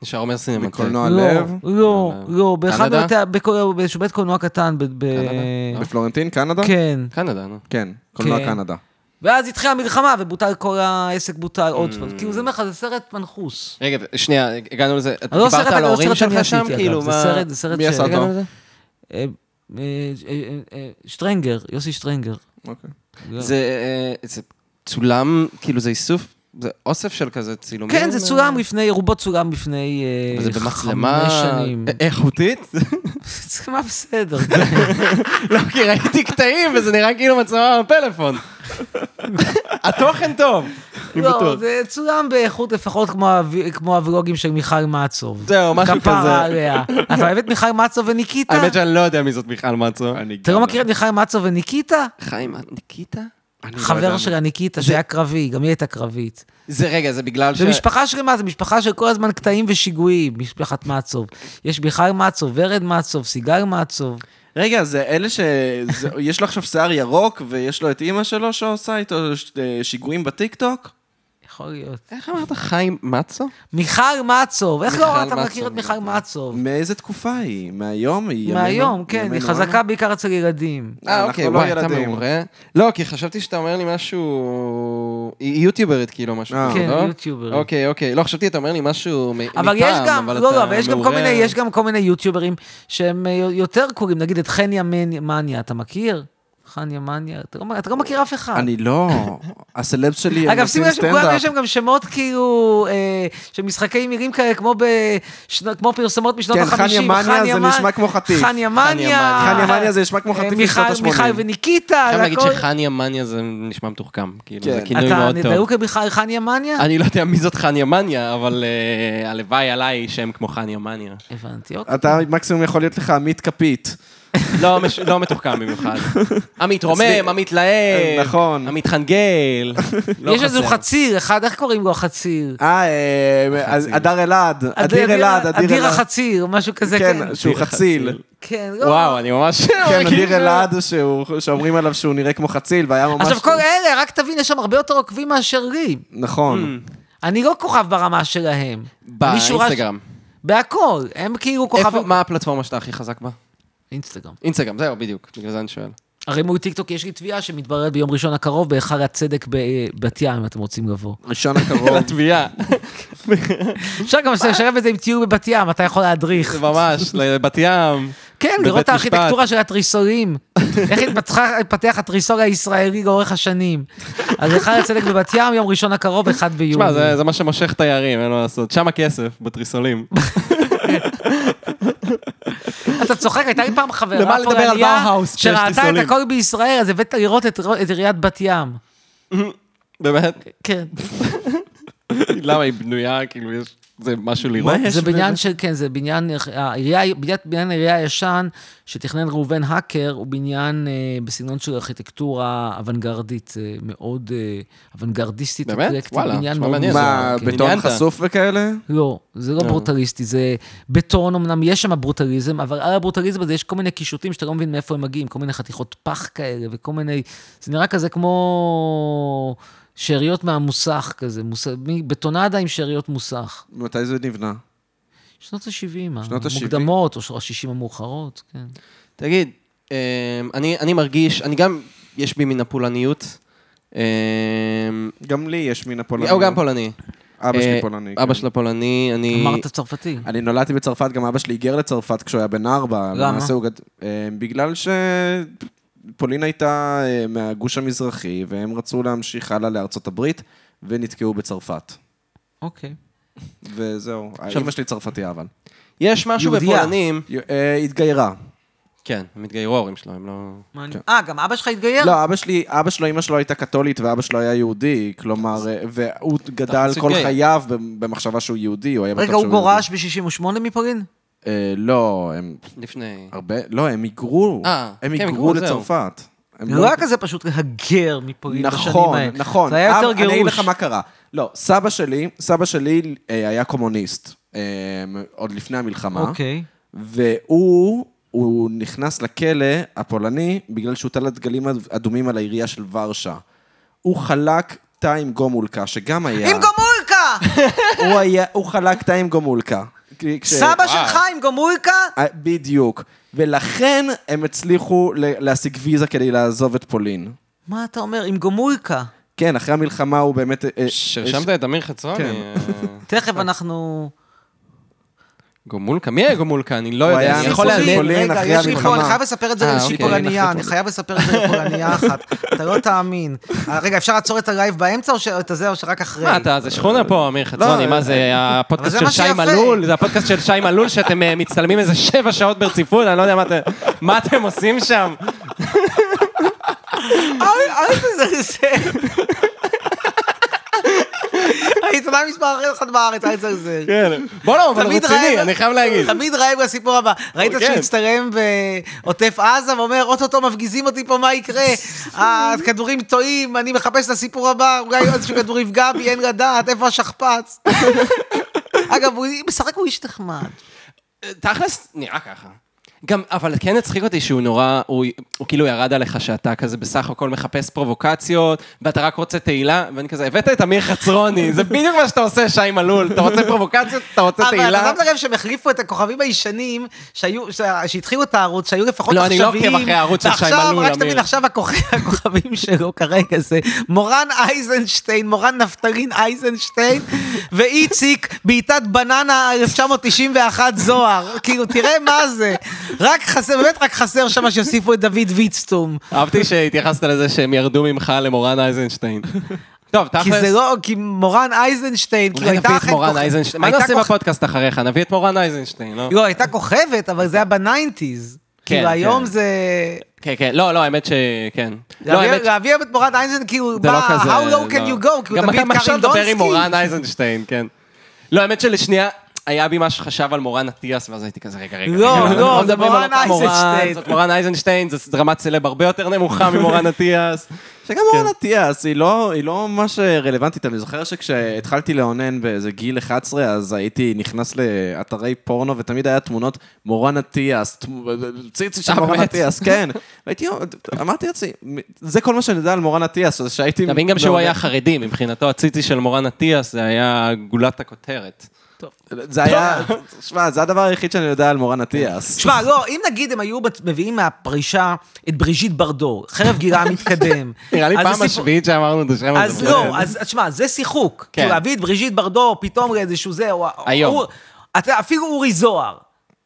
Speaker 3: נשאר אומר סינמטק.
Speaker 2: בקולנוע
Speaker 4: לא,
Speaker 2: לב?
Speaker 4: לא, לא, באחד
Speaker 3: קנדה?
Speaker 4: מבתי- בכל- באיזשהו בית קולנוע קטן, ב- ב-
Speaker 3: קנדה?
Speaker 2: בפלורנטין, קנדה?
Speaker 4: כן.
Speaker 3: קנדה, נו.
Speaker 2: כן, קולנוע
Speaker 4: כן.
Speaker 2: קנדה.
Speaker 4: ואז התחילה המלחמה ובוטל כל העסק בוטל
Speaker 3: Mm.
Speaker 4: עוד פעם. כאילו זה אומר לך, זה סרט מנחוס.
Speaker 3: רגע, שנייה, הגענו לזה. אתה
Speaker 4: לא סרט,
Speaker 3: דיברת על
Speaker 4: לא
Speaker 3: ההורים
Speaker 4: סרט שאני
Speaker 3: שלך שם?
Speaker 4: עשיתי, אגב,
Speaker 3: כאילו,
Speaker 4: זה
Speaker 3: מה...
Speaker 4: סרט- זה סרט
Speaker 2: מי
Speaker 4: ש-
Speaker 2: עשה
Speaker 4: הגענו
Speaker 2: אותו?
Speaker 4: לזה? אה, אה, אה, אה, שטרנגר, יוסי שטרנגר.
Speaker 2: אוקיי.
Speaker 3: זה, אה, זה צולם, כאילו זה איסוף, זה אוסף של כזה צילומים.
Speaker 4: כן, זה צולם לפני, רובו צולם לפני אה,
Speaker 3: וזה במצלמה
Speaker 4: חמש שנים.
Speaker 3: א- איכותית?
Speaker 4: מצלמה בסדר.
Speaker 3: לא, כי ראיתי קטעים וזה נראה כאילו מצלמה בפלאפון. התוכן טוב. אני
Speaker 4: לא,
Speaker 3: בטוח.
Speaker 4: זה צולם באיכות לפחות כמו הוו- כמו הוולוגים של מיכל מצוב.
Speaker 3: זהו, משהו
Speaker 4: כפרה
Speaker 3: כזה.
Speaker 4: עליה. אתה אוהב את מיכל מצוב וניקיטה?
Speaker 3: האמת שאני לא יודע מי זאת מיכל מצו.
Speaker 4: אתה לא מכיר את מיכל מצוב וניקיטה?
Speaker 3: חיים, את ניקיטה?
Speaker 2: לא
Speaker 4: חבר שלה ניקיטה שהיה קרבי, גם היא הייתה קרבית.
Speaker 3: זה רגע, זה בגלל ש...
Speaker 4: זה משפחה שלמה, זה משפחה של כל הזמן קטעים ושיגועים, משפחת מצוב. יש מיכל מצוב, ורד מצוב, סיגל מצוב.
Speaker 2: רגע, זה אלה ש... זה- יש לו עכשיו שיער ירוק, ויש לו את אימא שלו שעושה איתו ש- אה, שיגועים בטיקטוק?
Speaker 4: יכול להיות.
Speaker 3: איך אמרת חיים מצו?
Speaker 4: מיכל מצוב, איך
Speaker 3: מיכל
Speaker 4: לא אתה
Speaker 3: מצוב,
Speaker 4: מכיר את מיכל מצוב?
Speaker 2: מאיזה תקופה היא? מהיום? היא ימינו?
Speaker 4: מהיום, כן, היא
Speaker 2: ימינו לא,
Speaker 4: חזקה
Speaker 2: אנו?
Speaker 4: בעיקר אצל ילדים.
Speaker 3: אה,
Speaker 2: אנחנו
Speaker 3: אוקיי,
Speaker 2: לא
Speaker 3: וואי, אתה
Speaker 2: ילדים.
Speaker 3: מעורה. לא, כי חשבתי שאתה אומר לי משהו... היא יוטיוברית, כאילו, משהו
Speaker 2: אה.
Speaker 3: כזה,
Speaker 4: כן,
Speaker 3: לא?
Speaker 4: היא יוטיוברית.
Speaker 3: אוקיי, אוקיי. לא, חשבתי, אתה אומר לי משהו מ- מפעם,
Speaker 4: אבל יש גם, לא, לא, אבל יש גם כל
Speaker 3: מעורה.
Speaker 4: מיני, יש גם כל מיני יוטיוברים שהם אה, יותר קוראים, נגיד את חן ימניה, אתה מכיר? חניה מניה, אתה לא- אתה לא מכיר אף אחד.
Speaker 2: אני לא... הסלבס שלי, הם
Speaker 4: אגב,
Speaker 2: עושים
Speaker 4: שימו לב שכולם
Speaker 2: סטנדאפ.
Speaker 4: יש להם גם שמות כאילו, אה, של משחקי מילים כאלה, כמו, בשנו, כמו פרסומות משנות
Speaker 2: כן,
Speaker 4: ה-50.
Speaker 2: חניה מניה זה נשמע כמו חטיף.
Speaker 4: חניה
Speaker 3: מניה.
Speaker 4: מניה.
Speaker 2: חניה מניה זה נשמע כמו חטיף משנות
Speaker 4: מיכל-
Speaker 2: ה-שמונים.
Speaker 4: מיכל וניקיטה,
Speaker 3: חייב
Speaker 4: זה
Speaker 3: להגיד
Speaker 4: הכל.
Speaker 3: שחניה מניה זה נשמע מתוחכם, כאילו,
Speaker 2: כן.
Speaker 3: זה כינוי
Speaker 4: אתה
Speaker 3: מאוד טוב.
Speaker 4: נדלוק כבכלל חניה מניה?
Speaker 3: אני לא יודע מי זאת חניה מניה, אבל אה, הלוואי עליי שם כמו חניה מניה.
Speaker 4: הבנתי, אוקיי.
Speaker 2: אתה מקסימום יכול להיות לך עמית כפית.
Speaker 3: לא, מש- לא מתוחכם במיוחד. עמית רומם, עמית להב,
Speaker 2: נכון.
Speaker 3: עמית חנגל. לא
Speaker 4: יש איזה
Speaker 3: חסר.
Speaker 4: חציר, אחד, איך קוראים לו החציר?
Speaker 2: אה, אה, אז אדר אלעד. אדיר אלעד, אדיר
Speaker 4: אדיר
Speaker 2: אלעד.
Speaker 4: החציר, משהו כזה, כן.
Speaker 2: כן, שהוא חציל.
Speaker 4: כן, לא.
Speaker 3: וואו, אני ממש...
Speaker 2: כן,
Speaker 3: מרגיש-
Speaker 2: אדיר אלעד, שהוא- שאומרים עליו שהוא נראה כמו חציל, והיה ממש...
Speaker 4: עכשיו, כל אלה, רק תבין, יש שם הרבה יותר עוקבים מאשר לי.
Speaker 2: נכון.
Speaker 4: אני לא כוכב ברמה שלהם. מישהו רש-
Speaker 3: באינסטגרם.
Speaker 4: בהכל, הם כאילו כוכב...
Speaker 3: איפה- מה הפלטפורמה שאתה הכי חזק בה?
Speaker 4: אינסטגרם.
Speaker 3: אינסטגרם, זהו, בדיוק. בגלל זה אני שואל.
Speaker 4: הרי מול טיקטוק יש לי תביעה שמתבררת ביום ראשון הקרוב בהיכל הצדק בבת ים, אם אתם רוצים לבוא.
Speaker 2: ראשון הקרוב.
Speaker 3: לתביעה.
Speaker 4: אפשר גם לשלב את זה עם טיול בבת ים, אתה יכול להדריך.
Speaker 3: ממש, לבת ים.
Speaker 4: כן,
Speaker 3: בבית
Speaker 4: לראות את הארכיטקטורה
Speaker 3: משפט.
Speaker 4: של התריסורים. איך התפתחה- התפתח התריסור הישראלי לאורך השנים. אז היכל הצדק בבת ים, יום ראשון הקרוב, 1 ביוני.
Speaker 3: תשמע, זה זה מה שמושך תיירים, אין מה לעשות. שם הכסף, בתריסולים.
Speaker 4: אתה צוחק, הייתה לי פעם
Speaker 3: למה
Speaker 4: חברה
Speaker 3: לדבר על
Speaker 4: פולניה
Speaker 3: באוהאוס כשיש
Speaker 4: שראתה את
Speaker 3: טיסולים?
Speaker 4: הכל בישראל, אז הבאת לראות את את עיריית בת ים.
Speaker 3: באמת?
Speaker 4: כן.
Speaker 3: אוקיי. למה היא בנויה, כאילו, יש... זה משהו לראות?
Speaker 2: מה יש
Speaker 4: זה בניין
Speaker 2: באמת?
Speaker 4: של, כן, זה בניין, העירייה, בניין, בניין העירייה הישן שתכנן ראובן האקר, הוא בניין אה, בסגנון של ארכיטקטורה אוונגרדית, אה, מאוד אה, אוונגרדיסטית.
Speaker 3: באמת?
Speaker 4: אקלקטית,
Speaker 3: וואלה,
Speaker 4: בניין
Speaker 3: נשמע
Speaker 4: מאוד
Speaker 3: מעניין. אה.
Speaker 4: מוזר,
Speaker 2: מה,
Speaker 4: כן.
Speaker 2: בטון
Speaker 3: עניינת.
Speaker 2: חשוף וכאלה?
Speaker 4: לא, זה לא ברוטליסטי, זה בטון, אמנם יש שם ברוטליזם, אבל על הברוטליזם הזה יש כל מיני קישוטים שאתה לא מבין מאיפה הם מגיעים, כל מיני חתיכות פח כאלה וכל מיני... זה נראה כזה כמו שאריות מהמוסך כזה, מוס... מ- בטונדה עם שאריות מוסך.
Speaker 2: מתי זה נבנה?
Speaker 4: שנות ה-70,
Speaker 2: שנות ה-שבעים.
Speaker 4: המוקדמות, או ה-60 המאוחרות, כן.
Speaker 3: תגיד, אמ, אני אני מרגיש, אני גם, יש בי מן הפולניות. אמ,
Speaker 2: גם לי יש מן הפולני.
Speaker 3: הוא גם פולני.
Speaker 2: אבא שלי
Speaker 3: אה,
Speaker 2: פולני.
Speaker 3: אבא
Speaker 2: כן.
Speaker 3: שלו פולני, אני...
Speaker 4: אמרת צרפתי.
Speaker 2: אני נולדתי בצרפת, גם אבא שלי היגר לצרפת כשהוא היה בן ארבע.
Speaker 4: למה?
Speaker 2: למעשה הוא גד... אה, בגלל שפולין הייתה אה, מהגוש המזרחי, והם רצו להמשיך הלאה לארצות הברית, ונתקעו בצרפת.
Speaker 4: אוקיי.
Speaker 2: וזהו. אמא שלי צרפתייה, אבל.
Speaker 3: יש משהו
Speaker 4: יהודייה.
Speaker 3: בפולנים...
Speaker 2: אה, התגיירה.
Speaker 3: כן, הם התגיירו ההורים שלו, הם לא...
Speaker 4: אה, גם אבא שלך התגייר?
Speaker 2: לא, אבא שלי, אבא שלו, אמא שלו הייתה קתולית ואבא שלו היה יהודי, כלומר, אה, והוא גדל
Speaker 3: זה
Speaker 2: כל
Speaker 3: גיי.
Speaker 2: חייו במחשבה שהוא יהודי, הוא היה בטוח
Speaker 4: רגע,
Speaker 2: שהוא
Speaker 4: הוא
Speaker 2: יהודי.
Speaker 4: גורש ב-68 מפולין?
Speaker 2: אה, לא, הם
Speaker 3: לפני...
Speaker 2: הרבה, לא, הם היגרו.
Speaker 3: אה,
Speaker 2: הם
Speaker 3: כן,
Speaker 2: היגרו
Speaker 3: היגרו, זהו.
Speaker 2: לצרפת. הם
Speaker 4: זה לא היה כזה פשוט להגר מפולין בשנים
Speaker 2: נכון,
Speaker 4: האלה.
Speaker 2: נכון.
Speaker 4: זה היה
Speaker 2: אב-
Speaker 4: יותר גירוש.
Speaker 2: אני אגיד לך מה קרה. לא, סבא שלי, סבא שלי אה, היה קומוניסט, אה, עוד לפני המלחמה.
Speaker 4: אוקיי.
Speaker 2: והוא, הוא נכנס לכלא הפולני בגלל שהוא תלה דגלים אדומים על העירייה של ורשה. הוא חלק תא עם גומולקה, שגם היה...
Speaker 4: עם גומולקה!
Speaker 2: הוא, היה, הוא חלק תא עם גומולקה. כי- כש-
Speaker 4: סבא שלך עם גומולקה?
Speaker 2: אה, בדיוק. ולכן הם הצליחו ל- להשיג ויזה כדי לעזוב את פולין.
Speaker 4: מה אתה אומר, עם גומולקה?
Speaker 2: כן, אחרי המלחמה הוא באמת... אה, אה,
Speaker 3: שרשמת את אמיר חצרוני?
Speaker 2: כן.
Speaker 3: אה,
Speaker 4: תכף אנחנו...
Speaker 3: גומולקה? מי היה גומולקה? אני לא
Speaker 2: הוא
Speaker 3: יודע.
Speaker 2: היה
Speaker 3: אני יכול
Speaker 2: מפולין.
Speaker 3: להעניין.
Speaker 2: פולין
Speaker 4: רגע,
Speaker 2: אחרי
Speaker 4: יש לי פה,
Speaker 2: המלחמה.
Speaker 4: אני חייב לספר את זה
Speaker 3: אה,
Speaker 4: לאיזושהי
Speaker 3: אוקיי,
Speaker 4: פולניה,
Speaker 3: אחרי
Speaker 4: אני חייב לספר את זה לפולניה אחת. אתה לא תאמין. אה, רגע, אפשר לעצור את הלייב באמצע או ש- את הזה או שרק אחרי?
Speaker 3: מה אתה, זה שכונה פה, אמיר חצרוני,
Speaker 2: לא,
Speaker 3: מה זה, הפודקאסט
Speaker 4: אה, אבל זה
Speaker 3: של
Speaker 4: מה
Speaker 3: שי
Speaker 4: שיפה.
Speaker 3: מלול, זה הפודקאסט של שי מלול, שאתם אה, מצטלמים איזה שבע שעות ברציפות, אני לא יודע מה אתם- מה אתם עושים שם.
Speaker 4: אוי, אוי, זה זה. העיתונאי מספר אחד בארץ, אוי, זה זה.
Speaker 3: כן. בוא'נה, אבל
Speaker 4: תמיד
Speaker 3: רציני,
Speaker 4: רעב-
Speaker 3: אני חייב להגיד.
Speaker 4: תמיד רעב לסיפור הבא. ראית
Speaker 3: כן.
Speaker 4: שהוא הצטלם בעוטף עזה ואומר, אוטוטו מפגיזים אותי פה, מה יקרה? הכדורים טועים, אני מחפש את הסיפור הבא, אולי איזשהו כדור יפגע בי, אין לדעת, איפה השכפ"ץ? אגב, הוא בסך הכל איש נחמד.
Speaker 3: תכלס, נראה ככה. גם, אבל כן הצחיק אותי שהוא נורא, הוא, הוא כאילו ירד עליך שאתה כזה בסך הכל מחפש פרובוקציות, ואתה רק רוצה תהילה, ואני כזה, הבאת את אמיר חצרוני, זה בדיוק מה שאתה עושה, שי מלול, אתה רוצה פרובוקציות, אתה רוצה
Speaker 4: אבל
Speaker 3: תהילה.
Speaker 4: אתה שם לב שהם החליפו את הכוכבים הישנים, שהיו- ש- שהתחילו את הערוץ, שהיו לפחות
Speaker 3: לא,
Speaker 4: עכשוויים.
Speaker 3: אני לא עוקב אחרי הערוץ של שי
Speaker 4: ועכשיו,
Speaker 3: מלול,
Speaker 4: רק שתבין,
Speaker 3: אמיר.
Speaker 4: עכשיו הכוכ- הכוכבים שלו כרגע זה מורן אייזנשטיין, מורן נפטלין אייזנשטיין, ואיציק בעיטת בננה 1991 זוהר. כאילו, תראה מה זה. רק חסר, באמת רק חסר שם שיוסיפו את דוד ויצטום.
Speaker 3: אהבתי שהתייחסת לזה שהם ירדו ממך למורן אייזנשטיין. טוב, תכלס.
Speaker 4: כי זה לא, כי מורן אייזנשטיין, כאילו
Speaker 3: אולי
Speaker 4: הייתה
Speaker 3: נביא את
Speaker 4: אחת
Speaker 3: מורן
Speaker 4: כוכבת-
Speaker 3: אייזנשטיין. מה
Speaker 4: הייתה
Speaker 3: נעשה
Speaker 4: כוכ-
Speaker 3: בפודקאסט אחריך? נביא את מורן אייזנשטיין, לא?
Speaker 4: לא, הייתה כוכבת, אבל זה היה בניינטיז.
Speaker 3: כן,
Speaker 4: כאילו
Speaker 3: כן.
Speaker 4: היום זה...
Speaker 3: כן, כן. לא, לא, האמת שכן. לא, האמת
Speaker 4: להביא-
Speaker 3: ש-
Speaker 4: להביא את מורן אייזנשטיין, כאילו,
Speaker 3: זה לא
Speaker 4: מה,
Speaker 3: כזה...
Speaker 4: how
Speaker 3: לא.
Speaker 4: low can you go? כאילו,
Speaker 3: גם
Speaker 4: תביא את
Speaker 3: גם אפשר
Speaker 4: קרין
Speaker 3: לדבר
Speaker 4: דונסקי.
Speaker 3: עם מורן אייזנשטיין, כן. לא, האמת שלשנייה... היה בי משהו שחשב על מורן אטיאס, ואז הייתי כזה, רגע, רגע.
Speaker 4: לא,
Speaker 3: רגע, אנחנו
Speaker 4: לא, זה
Speaker 3: מדברים
Speaker 4: מורן
Speaker 3: על אותה
Speaker 4: אייזנשטיין.
Speaker 3: זאת מורן אייזנשטיין, זו רמת סלב הרבה יותר נמוכה ממורן אטיאס.
Speaker 2: שגם אורנה
Speaker 3: כן.
Speaker 2: אטיאס, היא לא, היא לא ממש אה, רלוונטית. אני זוכר שכשהתחלתי לאונן באיזה גיל 11, אז הייתי נכנס לאתרי פורנו, ותמיד היה תמונות מורן אטיאס, תמו- ציצי של
Speaker 3: אה,
Speaker 2: מורן
Speaker 3: באמת?
Speaker 2: אטיאס, כן. והייתי, אמרתי לעצמי, זה כל מה שאני יודע על מורן אטיאס, אז שהייתי...
Speaker 3: אתה מבין גם שהוא
Speaker 2: מאונן.
Speaker 3: היה חרדי, מבחינתו הציצי של מורן אטיאס זה היה גולת הכותרת.
Speaker 2: זה היה, שמע, זה הדבר היחיד שאני יודע על מורן
Speaker 3: כן.
Speaker 2: אטיאס.
Speaker 4: שמע, לא, אם נגיד הם היו בת- מביאים מהפרישה את בריז'יט ברדור, חרב גירה מתקדם.
Speaker 3: נראה לי
Speaker 4: אז
Speaker 3: פעם
Speaker 4: הסיפור-
Speaker 3: השביעית שאמרנו את השם הזה.
Speaker 4: אז לא, אז תשמע, זה שיחוק.
Speaker 3: כן.
Speaker 4: כן. כאילו, להביא את בריז'יט ברדור פתאום לאיזשהו זה, או...
Speaker 3: היום.
Speaker 4: או- אתה יודע, אפילו אורי זוהר.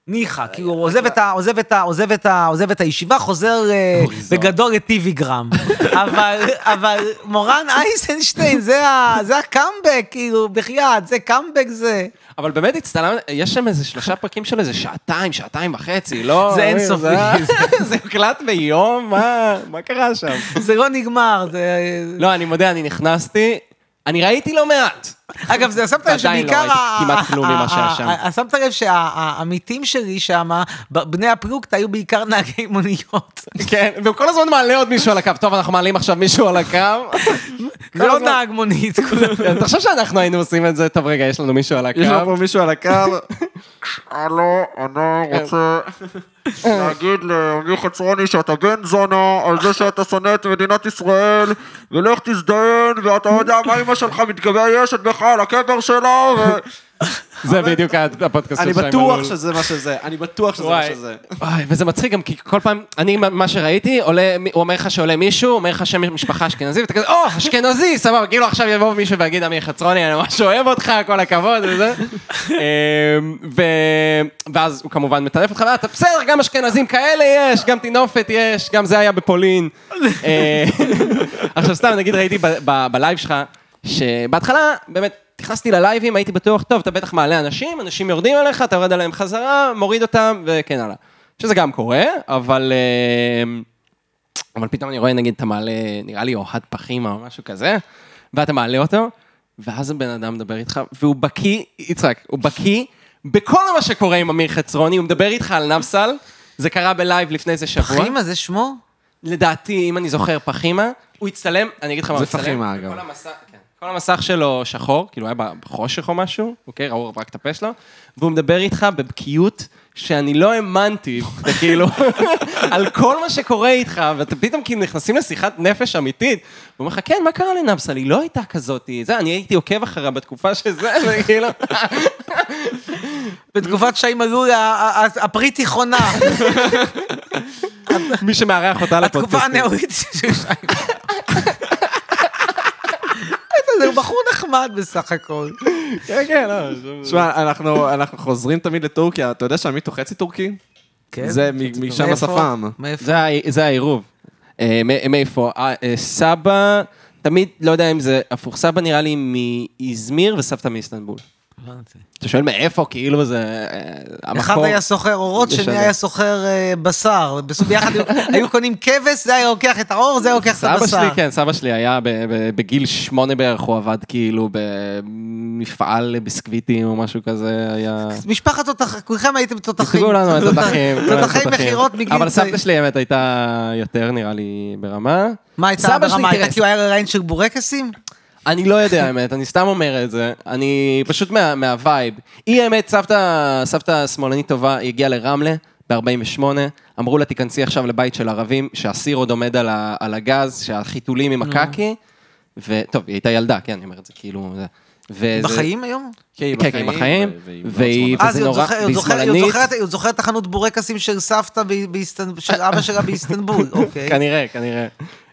Speaker 4: ניחא, כאילו, הוא עוזב את ה- עוזב את ה- עוזב את ה- עוזב את הישיבה, חוזר אה, בגדול לטיביגרם. אבל- אבל מורן אייזנשטיין, זה ה- זה הקאמבק, כאילו, בחייאת, זה קאמבק זה.
Speaker 3: אבל באמת הצטלמת, יש שם איזה שלושה פרקים של איזה שעתיים, שעתיים וחצי, לא...
Speaker 4: זה אינסופי.
Speaker 3: זה- זה הוקלט ביום, מה מה קרה שם?
Speaker 4: זה לא נגמר, זה...
Speaker 3: לא, אני מודה, אני נכנסתי, אני ראיתי לא מעט.
Speaker 4: אגב, זה שמת לב
Speaker 3: ועדיין
Speaker 4: שבעיקר...
Speaker 3: לא ראיתי
Speaker 4: ה-
Speaker 3: כמעט כלום ממה שהיה שם.
Speaker 4: ה- ה- שמת לב שהעמיתים שלי שם, בני הפלוגתא היו בעיקר נהגי מוניות.
Speaker 3: כן, והוא כל הזמן מעלה עוד מישהו על הקו. טוב, אנחנו מעלים עכשיו מישהו על הקו.
Speaker 4: זה לא נהג מונית, כולם.
Speaker 3: אתה חושב שאנחנו היינו עושים את זה? טוב, רגע, יש לנו מישהו על
Speaker 2: יש לנו
Speaker 3: הקו.
Speaker 2: פה מישהו על הקו,
Speaker 6: הלו, אני רוצה להגיד ליוני חצרוני שאתה גן זונה על זה שאתה שונא את מדינת ישראל ולך תזדיין ואתה יודע מה אמא שלך מתגביישת בך על הקבר שלה ו...
Speaker 3: זה בדיוק הפודקאסט של
Speaker 2: אני
Speaker 3: שי מלול.
Speaker 2: בטוח שזה מה שזה, אני בטוח שזה מה
Speaker 3: וואי,
Speaker 2: שזה.
Speaker 3: וואי, וזה מצחיק גם כי כל פעם, אני, מה מה שראיתי, עולה, מי- הוא אומר לך שעולה מישהו, הוא אומר לך שם משפחה אשכנזי, ואתה כזה, או, אשכנזי, סבבה, כאילו עכשיו יבוא מישהו ויגיד, עמי חצרוני, אני ממש אוהב אותך, כל הכבוד וזה. אמ, ו... ואז הוא כמובן מטנף אותך, ואתה בסדר, גם אשכנזים כאלה יש, גם טינופת יש, גם זה היה בפולין. אה, עכשיו סתם, נגיד ראיתי ב- ב- בלייב שלך, שבהתחלה, באמת, נכנסתי ללייבים, הייתי בטוח, טוב, אתה בטח מעלה אנשים, אנשים יורדים עליך, אתה יורד עליהם חזרה, מוריד אותם, וכן הלאה. שזה גם קורה, אבל... אה, אבל פתאום אני רואה, נגיד, אתה מעלה, נראה לי אוהד פחים או משהו כזה, ואתה מעלה אותו, ואז הבן אדם מדבר איתך, והוא בקיא, יצחק, הוא בקיא בכל מה שקורה עם אמיר חצרוני, הוא מדבר איתך על נפסל, זה קרה בלייב לפני איזה שבוע.
Speaker 4: פחימה זה שמו?
Speaker 3: לדעתי, אם אני זוכר, פחימה, הוא הצטלם, אני אגיד לך מה הוא
Speaker 2: זה
Speaker 3: הצטלם.
Speaker 2: פחימה, אגב.
Speaker 3: כל המסך, כן. כל המסך שלו שחור, כאילו היה בחושך או משהו, אוקיי, ראו רק את הפה שלו, והוא מדבר איתך בבקיאות שאני לא האמנתי, כאילו, על כל מה שקורה איתך, ואתם פתאום כאילו נכנסים לשיחת נפש אמיתית, והוא אומר לך, כן, מה קרה לנבסל? היא לא הייתה כזאת, זה, אני הייתי עוקב אחריה בתקופה שזה, כאילו, וכאילו,
Speaker 4: בתקופת שי מלול ה- ה- ה- הפרי תיכונה.
Speaker 3: מי שמארח אותה
Speaker 4: התקופה
Speaker 3: לפודקאסטים.
Speaker 4: הנאורית של שי מלול. זה הוא בחור נחמד בסך הכל.
Speaker 3: כן, כן, לא, זה-
Speaker 2: שמע, אנחנו אנחנו חוזרים תמיד לטורקיה, אתה יודע שעמית הוא חצי טורקי?
Speaker 4: כן.
Speaker 2: זה מ- משם
Speaker 4: מאיפה?
Speaker 2: השפם.
Speaker 4: מאיפה?
Speaker 3: זה ה- זה העירוב. אה, מ- מאיפה? אה, אה, סבא, תמיד, לא יודע אם זה הפוך, סבא נראה לי מאיזמיר וסבתא מאיסטנבול.
Speaker 4: הבנתי.
Speaker 3: אתה שואל מאיפה, כאילו זה אה,
Speaker 4: אחד
Speaker 3: המקור.
Speaker 4: היה סוחר אורות, שני
Speaker 3: לשדר.
Speaker 4: היה סוחר אה, בשר. בסוף ביחד היו- היו קונים כבש, זה היה לוקח את האור, זה היה לוקח את
Speaker 3: סבא
Speaker 4: הבשר.
Speaker 3: שלי, כן, סבא שלי היה ב- ב- בגיל שמונה בערך, הוא עבד כאילו במפעל לביסקוויטים או משהו כזה, היה...
Speaker 4: משפחת תותחים, כולכם הייתם תותחים.
Speaker 3: תכתבו לנו את התותחים. כולם
Speaker 4: תותחים
Speaker 3: תותחים.
Speaker 4: מכירות מגיל
Speaker 3: אבל
Speaker 4: צעיר.
Speaker 3: סבתא שלי, האמת, הייתה יותר, נראה לי, ברמה.
Speaker 4: מה הייתה
Speaker 3: סבא שלי,
Speaker 4: ברמה?
Speaker 3: תראה,
Speaker 4: הייתה כאילו היה ריין של בורקסים?
Speaker 3: אני לא יודע האמת, אני סתם אומר את זה. אני פשוט מה, מהווייב. היא האמת, סבתא, סבתא שמאלנית טובה, היא הגיעה לרמלה ב-48, אמרו לה, תיכנסי עכשיו לבית של ערבים, שהסיר עוד עומד על, ה, על הגז, שהחיתולים
Speaker 4: Mm.
Speaker 3: עם הקקי, וטוב, היא הייתה ילדה, כן, אני אומר את זה כאילו... זה. וזה,
Speaker 4: בחיים היום?
Speaker 2: כן, היא
Speaker 3: כן, היא בחיים,
Speaker 2: ו- והיא
Speaker 3: והיא,
Speaker 4: אה,
Speaker 3: וזה
Speaker 4: זה עוד
Speaker 3: נורא,
Speaker 4: זוכר- עוד
Speaker 3: והיא
Speaker 4: זוכר- עוד
Speaker 3: שמאלנית,
Speaker 4: זוכרת- עוד זוכרת את החנות בורקסים של סבתא ב- באיסטנ- של אבא שלה באיסטנבול, אוקיי.
Speaker 3: כנראה, כנראה.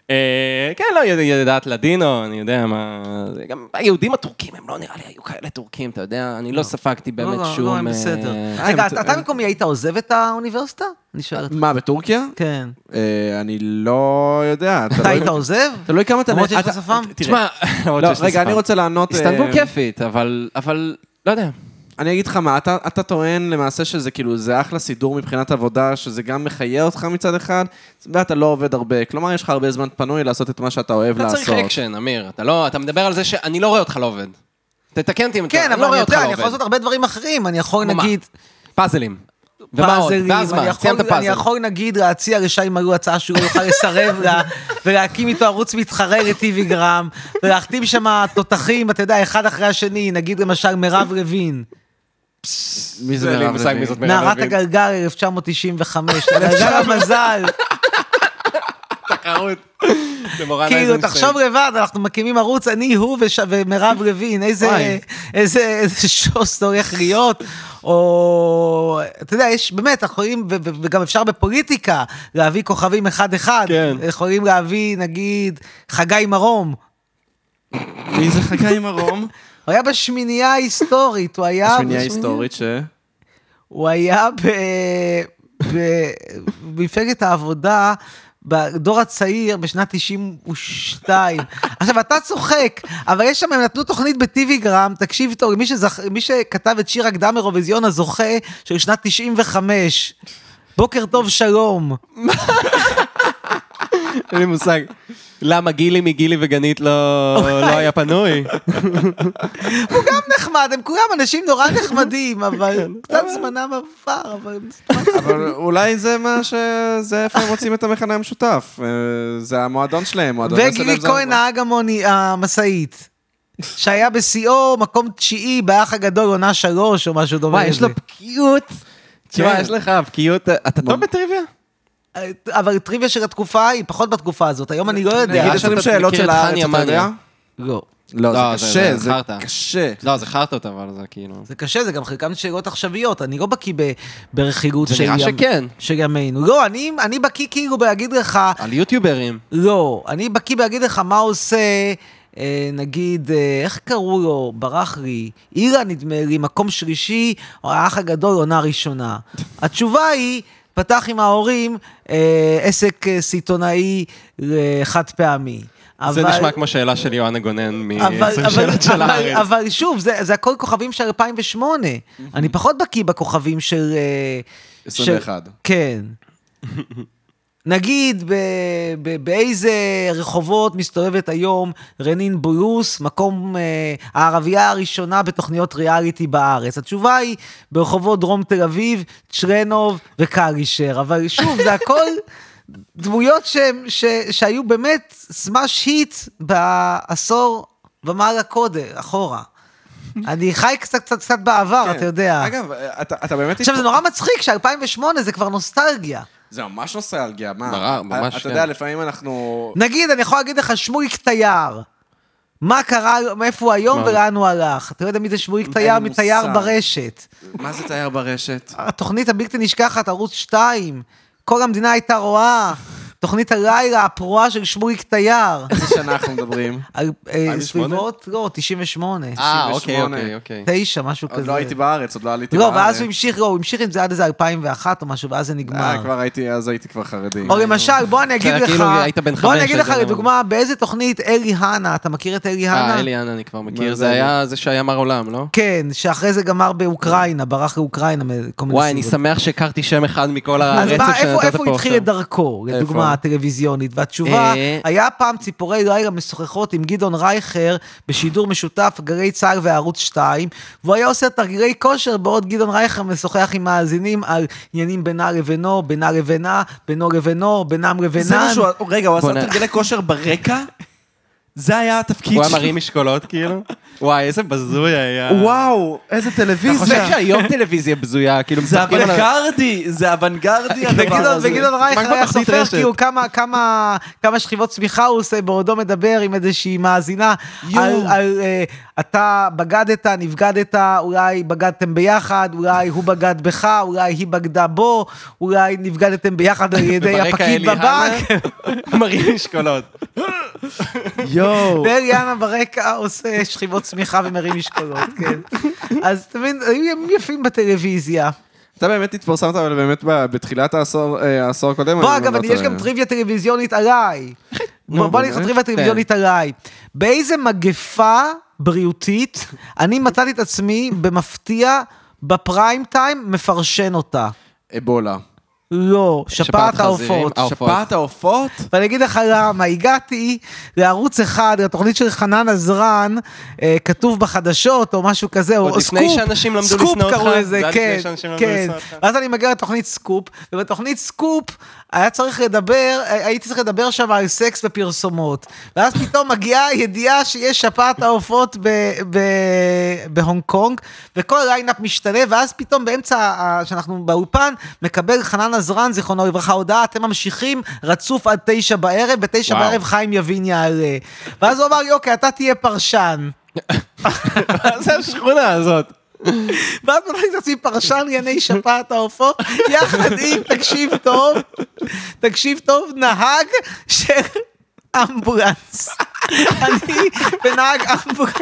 Speaker 3: אה, כן, לא, היא יודעת לדינו, אני יודע מה... זה גם היהודים הטורקים, הם לא נראה לי היו כאלה טורקים, אתה יודע, אני לא ספגתי באמת
Speaker 7: לא,
Speaker 3: שום...
Speaker 7: לא, הם
Speaker 3: אה,
Speaker 7: בסדר.
Speaker 4: רגע, אתה אתה במקומי היית עוזב את האוניברסיטה? אני שואל אותך.
Speaker 2: מה, בטורקיה?
Speaker 4: כן.
Speaker 2: אה, אני לא יודע.
Speaker 4: אתה לא
Speaker 2: תלוי-
Speaker 4: היית עוזב?
Speaker 3: לא
Speaker 2: תלוי כמה אתה...
Speaker 4: למרות שיש לך
Speaker 2: אתה-
Speaker 4: שפם?
Speaker 2: תראה,
Speaker 3: תשמע, למרות
Speaker 2: לא,
Speaker 3: שיש לי
Speaker 2: רגע,
Speaker 3: שפה.
Speaker 2: אני רוצה לענות... אה,
Speaker 3: איסטנבול כיפית, אבל, אבל, לא יודע.
Speaker 2: אני אגיד לך מה, אתה, אתה טוען למעשה שזה כאילו, זה אחלה סידור מבחינת עבודה, שזה גם מחיה אותך מצד אחד, ואתה לא עובד הרבה. כלומר, יש לך הרבה זמן פנוי לעשות את מה שאתה אוהב
Speaker 3: אתה
Speaker 2: לעשות.
Speaker 3: צריך אקשן, אמיר. אתה לא, אתה מדבר על זה שאני לא רואה אותך לא עובד. תתקן אותי אם אתה,
Speaker 4: כן,
Speaker 3: אני לא
Speaker 4: אבל
Speaker 3: רואה
Speaker 4: אני
Speaker 3: אותך
Speaker 4: יודע, אני
Speaker 3: לא
Speaker 4: יכול לעשות
Speaker 3: עובד.
Speaker 4: הרבה דברים אחרים. אני יכול,
Speaker 3: כמו מה?
Speaker 4: נגיד,
Speaker 3: פאזלים. ומה עוד?
Speaker 4: פאזלים.
Speaker 3: ואז
Speaker 4: אני
Speaker 3: מה?
Speaker 4: יכול-
Speaker 3: סיימת
Speaker 4: אני
Speaker 3: פאזל.
Speaker 4: יכול, נגיד, להציע לשי מלו הצעה שהוא לא יוכל לסרב לה, ולהקים איתו ערוץ מתחרה לטיביגרם, ולהחתים שם תותחים, אתה יודע, אחד אחרי השני, נגיד למשל מירב לוין.
Speaker 2: מי
Speaker 3: אין
Speaker 2: זה
Speaker 3: לי
Speaker 2: מירב
Speaker 3: מושג מי
Speaker 2: לוין?
Speaker 3: זאת מירב
Speaker 4: נערת
Speaker 3: לוין.
Speaker 4: הגלגל 1995, גלגל המזל.
Speaker 3: תחרות. זה מורן
Speaker 4: כאילו,
Speaker 3: אייזנשטיין.
Speaker 4: תחשוב לבד, אנחנו מקימים ערוץ, אני, הוא וש- ומירב לוין, איזה-
Speaker 3: וואי.
Speaker 4: איזה איזה שוס הולך להיות, או, אתה יודע, יש, באמת, אנחנו יכולים, ו- ו- וגם אפשר בפוליטיקה, להביא כוכבים אחד-אחד,
Speaker 3: כן.
Speaker 4: יכולים להביא, נגיד, חגי מרום,
Speaker 2: מי זה חגי מרום?
Speaker 4: הוא היה בשמינייה ההיסטורית, הוא היה...
Speaker 2: השמינייה
Speaker 4: בשמינייה-
Speaker 2: ההיסטורית ש...
Speaker 4: הוא היה ב... ב- במפלגת העבודה בדור הצעיר בשנת 92. עכשיו, אתה צוחק, אבל יש שם, הם נתנו תוכנית בטיביגרם, תקשיב טוב, מי, שזכ... מי שכתב את שיר הקדם אירוויזיון הזוכה של שנת 95. בוקר טוב, שלום.
Speaker 3: אין לי מושג. למה גילי מגילי וגנית לא לא היה פנוי?
Speaker 4: הוא גם נחמד, הם כולם אנשים נורא נחמדים, אבל קצת זמנם עבר, אבל...
Speaker 2: אבל אולי זה מה ש... זה איפה הם מוצאים את המכנה המשותף. אה, זה המועדון שלהם, מועדון
Speaker 4: וגילי כהן אה, נהג המוני- המשאית, שהיה בשיאו מקום תשיעי באח הגדול עונה שלוש או משהו דומה.
Speaker 3: וואי, יש לו
Speaker 4: לזה.
Speaker 3: בקיאות. תשמע,
Speaker 2: כן.
Speaker 3: יש לך בקיאות... אתה
Speaker 4: לא
Speaker 3: טוב בטריוויה?
Speaker 4: אבל טריוויה של התקופה היא פחות בתקופה הזאת, היום אני לא יודע.
Speaker 2: נגיד,
Speaker 3: אתה
Speaker 2: יש לנו
Speaker 3: מכיר
Speaker 2: שאלות
Speaker 3: את
Speaker 2: של
Speaker 3: חני
Speaker 2: הארץ, אתה
Speaker 3: המניה?
Speaker 2: יודע?
Speaker 4: לא.
Speaker 2: לא, זה
Speaker 3: לא, זה-
Speaker 2: קשה,
Speaker 3: זה
Speaker 2: זה
Speaker 3: חרטא.
Speaker 2: קשה.
Speaker 3: לא, זה חרטות, אבל זה כאילו...
Speaker 4: זה קשה, זה גם חלקם שאלות עכשוויות, אני לא בקיא ב- ברכילות
Speaker 3: זה
Speaker 4: של
Speaker 3: נראה
Speaker 4: ים-
Speaker 3: שכן.
Speaker 4: של ימינו. לא, אני- אני בקיא כאילו בלהגיד לך,
Speaker 3: על יוטיוברים.
Speaker 4: לא, אני בקיא בלהגיד לך מה עושה, אה, נגיד, אה, איך קראו לו, ברח לי, אירה נדמה לי, מקום שלישי, או האח הגדול, עונה ראשונה. התשובה היא, פתח עם ההורים אה, עסק אה, סיטונאי אה, חד פעמי.
Speaker 3: זה
Speaker 4: אבל-
Speaker 3: נשמע כמו שאלה של יואנה גונן
Speaker 4: אבל,
Speaker 3: מ-20
Speaker 4: אבל,
Speaker 3: שאלות של
Speaker 4: אבל,
Speaker 3: הארץ.
Speaker 4: אבל שוב, זה, זה הכל כוכבים של 2008. אני פחות בקיא בכוכבים של... אה,
Speaker 2: 21.
Speaker 4: של- כן. נגיד, ב, ב, באיזה רחובות מסתובבת היום רנין בולוס, מקום אה, הערבייה הראשונה בתוכניות ריאליטי בארץ? התשובה היא, ברחובות דרום תל אביב, צ'רנוב וקלישר. אבל שוב, זה הכל דמויות שהם- ש, שהיו באמת סמאש היט בעשור ומעלה קודם, אחורה. אני חי קצת קצת, קצת בעבר,
Speaker 2: כן.
Speaker 4: אתה יודע.
Speaker 2: אגב, אה, אתה אתה באמת...
Speaker 4: עכשיו, זה נורא מצחיק ש-2008 זה כבר נוסטלגיה.
Speaker 2: זה ממש נוסטלגיה, מה? אה,
Speaker 3: ברור, ממש,
Speaker 2: אתה
Speaker 3: כן.
Speaker 2: יודע, לפעמים אנחנו...
Speaker 4: נגיד, אני יכול להגיד לך שמוליק תייר. מה קרה, מאיפה הוא היום ולאן הוא הלך. אתה לא יודע מי זה שמוליק תייר
Speaker 2: לי
Speaker 4: מתייר
Speaker 2: מושג.
Speaker 4: ברשת.
Speaker 2: מה זה תייר ברשת?
Speaker 4: התוכנית הבלתי נשכחת, ערוץ 2. כל המדינה הייתה רואה. תוכנית הלילה הפרועה של שמוליק תייר.
Speaker 2: איזה שנה אנחנו מדברים?
Speaker 4: על- אה,
Speaker 3: 98?
Speaker 4: סביבות, לא, 98.
Speaker 3: אה,
Speaker 2: 98.
Speaker 3: אוקיי, אוקיי, אוקיי.
Speaker 4: 9, משהו כזה.
Speaker 2: עוד לא הייתי בארץ, עוד לא עליתי
Speaker 4: לא,
Speaker 2: בארץ.
Speaker 4: ואז הוא המשיך, לא, הוא המשיך עם זה עד איזה 2001 או משהו, ואז זה נגמר.
Speaker 2: אה, כבר הייתי, אז הייתי כבר חרדי.
Speaker 4: או למשל, בוא אני אגיד
Speaker 3: זה היה
Speaker 4: לך,
Speaker 3: כאילו היית בן
Speaker 4: בוא
Speaker 3: חמש,
Speaker 4: אני אגיד לך
Speaker 3: היית בן
Speaker 4: לדוגמה, באיזה תוכנית אלי הנה, אתה מכיר את אלי
Speaker 3: אה,
Speaker 4: הנה?
Speaker 3: אליאן אני כבר
Speaker 2: מה
Speaker 3: מכיר,
Speaker 2: זה
Speaker 3: זה היה זה שהיה מר עולם, לא?
Speaker 4: כן, שאחרי זה גמר באוקראינה, ברח לאוקראינה מכל מיני
Speaker 3: וואי, אני שמח שהכרתי שם אחד מכל הרצף שנתת
Speaker 4: אז
Speaker 3: פה
Speaker 4: מה,
Speaker 3: עכשיו.
Speaker 4: איפה איפה הוא התחיל את דרכו, לדוגמה, הטלוויזיונית? והתשובה,
Speaker 3: אה.
Speaker 4: היה פעם ציפורי לילה משוחחות עם גדעון רייכר בשידור משותף גלי צה"ל וערוץ 2, והוא היה עושה תרגילי כושר בעוד גדעון רייכר משוחח עם מאזינים על עניינים בינה לבינו, בינה לבינה, בינו לבינו, בינם לבינם.
Speaker 2: זה מה שהוא... רגע, הוא עשה
Speaker 3: בוא'נה.
Speaker 2: תרגלי כושר ברקע? זה היה התפקיד
Speaker 3: הוא היה
Speaker 2: שלו?
Speaker 3: מרים משקולות, כאילו? וואי, איזה בזוי היה.
Speaker 4: וואו, איזה
Speaker 3: אני חושב
Speaker 4: טלוויזיה.
Speaker 3: שהיום טלוויזיה בזויה, כאילו
Speaker 2: זה
Speaker 3: משחקים על ה...
Speaker 2: אוונגרדי, זה אוונגרדי הדבר
Speaker 4: וגדעון-
Speaker 2: הזה.
Speaker 4: וגדעון
Speaker 2: מה
Speaker 4: רייך
Speaker 2: כבר
Speaker 4: היה
Speaker 2: תחתית
Speaker 4: סופר
Speaker 2: רשת?
Speaker 4: כי הוא כמה, כמה, כמה שכיבות צמיחה הוא עושה בעודו מדבר עם איזושהי מאזינה
Speaker 2: יואו.
Speaker 4: על, על אה, אתה בגדת, נבגדת, אולי בגדתם ביחד, אולי הוא בגד בך, אולי היא בגדה בו, אולי נבגדתם ביחד על ידי
Speaker 3: ברקע
Speaker 4: הפקיד
Speaker 3: אלי
Speaker 4: בבנק, כן.
Speaker 3: הנה, מרים משקולות.
Speaker 2: יואו.
Speaker 4: ואליאנה ברקע עושה שכיבות צמיחה ומרים משקולות, כן. אז אתה מבין, היו ימים יפים בטלוויזיה.
Speaker 2: אתה באמת התפרסמת, אבל באמת ב- בתחילת העשור אה, העשור הקודם.
Speaker 4: בוא,
Speaker 2: אני
Speaker 4: אגב,
Speaker 2: לא
Speaker 4: אני-
Speaker 2: טועה.
Speaker 4: יש גם טריוויה טלוויזיונית עליי. בוא בוא אני אגיד לך
Speaker 3: כן.
Speaker 4: טריוויה טלוויזיונית עליי. באיזה מגפה בריאותית אני מצאתי את עצמי במפתיע בפריים טיים מפרשן אותה.
Speaker 2: אבולה.
Speaker 4: לא, שפעת
Speaker 3: חזירים,
Speaker 4: העופות.
Speaker 3: אה, העופות.
Speaker 2: שפעת העופות?
Speaker 4: ואני אגיד לך למה, הגעתי לערוץ אחד, לתוכנית של חנן עזרן, אה, כתוב בחדשות או משהו כזה, או
Speaker 3: עוד
Speaker 4: סקופ,
Speaker 3: לפני שאנשים למדו
Speaker 4: סקופ
Speaker 3: לשנוא אותך,
Speaker 4: קראו לזה,
Speaker 3: זה היה לפני
Speaker 4: כן,
Speaker 3: שאנשים למדו
Speaker 4: כן.
Speaker 3: לשנוא אותך.
Speaker 4: ואז אני מגיע לתוכנית סקופ, ובתוכנית סקופ היה צריך לדבר, אה, הייתי צריך לדבר שם על סקס ופרסומות. ואז פתאום מגיעה ידיעה שיש שפעת העופות ב- ב- בהונג קונג, וכל הליינאפ משתנה, ואז פתאום באמצע, ה- שאנחנו באולפן, מקבל חנן עזרן, זיכרונו לברכה, הודעה, אתם ממשיכים, רצוף עד תשע בערב, בתשע
Speaker 3: וואו.
Speaker 4: בערב חיים יבין יעלה. ואז הוא אמר לי, אוקיי, אתה תהיה פרשן.
Speaker 3: מה זה השכונה הזאת?
Speaker 4: ואז מצאתי את עצמי פרשן ענייני שפעת העופות, יחד עם, תקשיב טוב, תקשיב טוב, נהג של אמבולנס. אני ונהג אמבולנס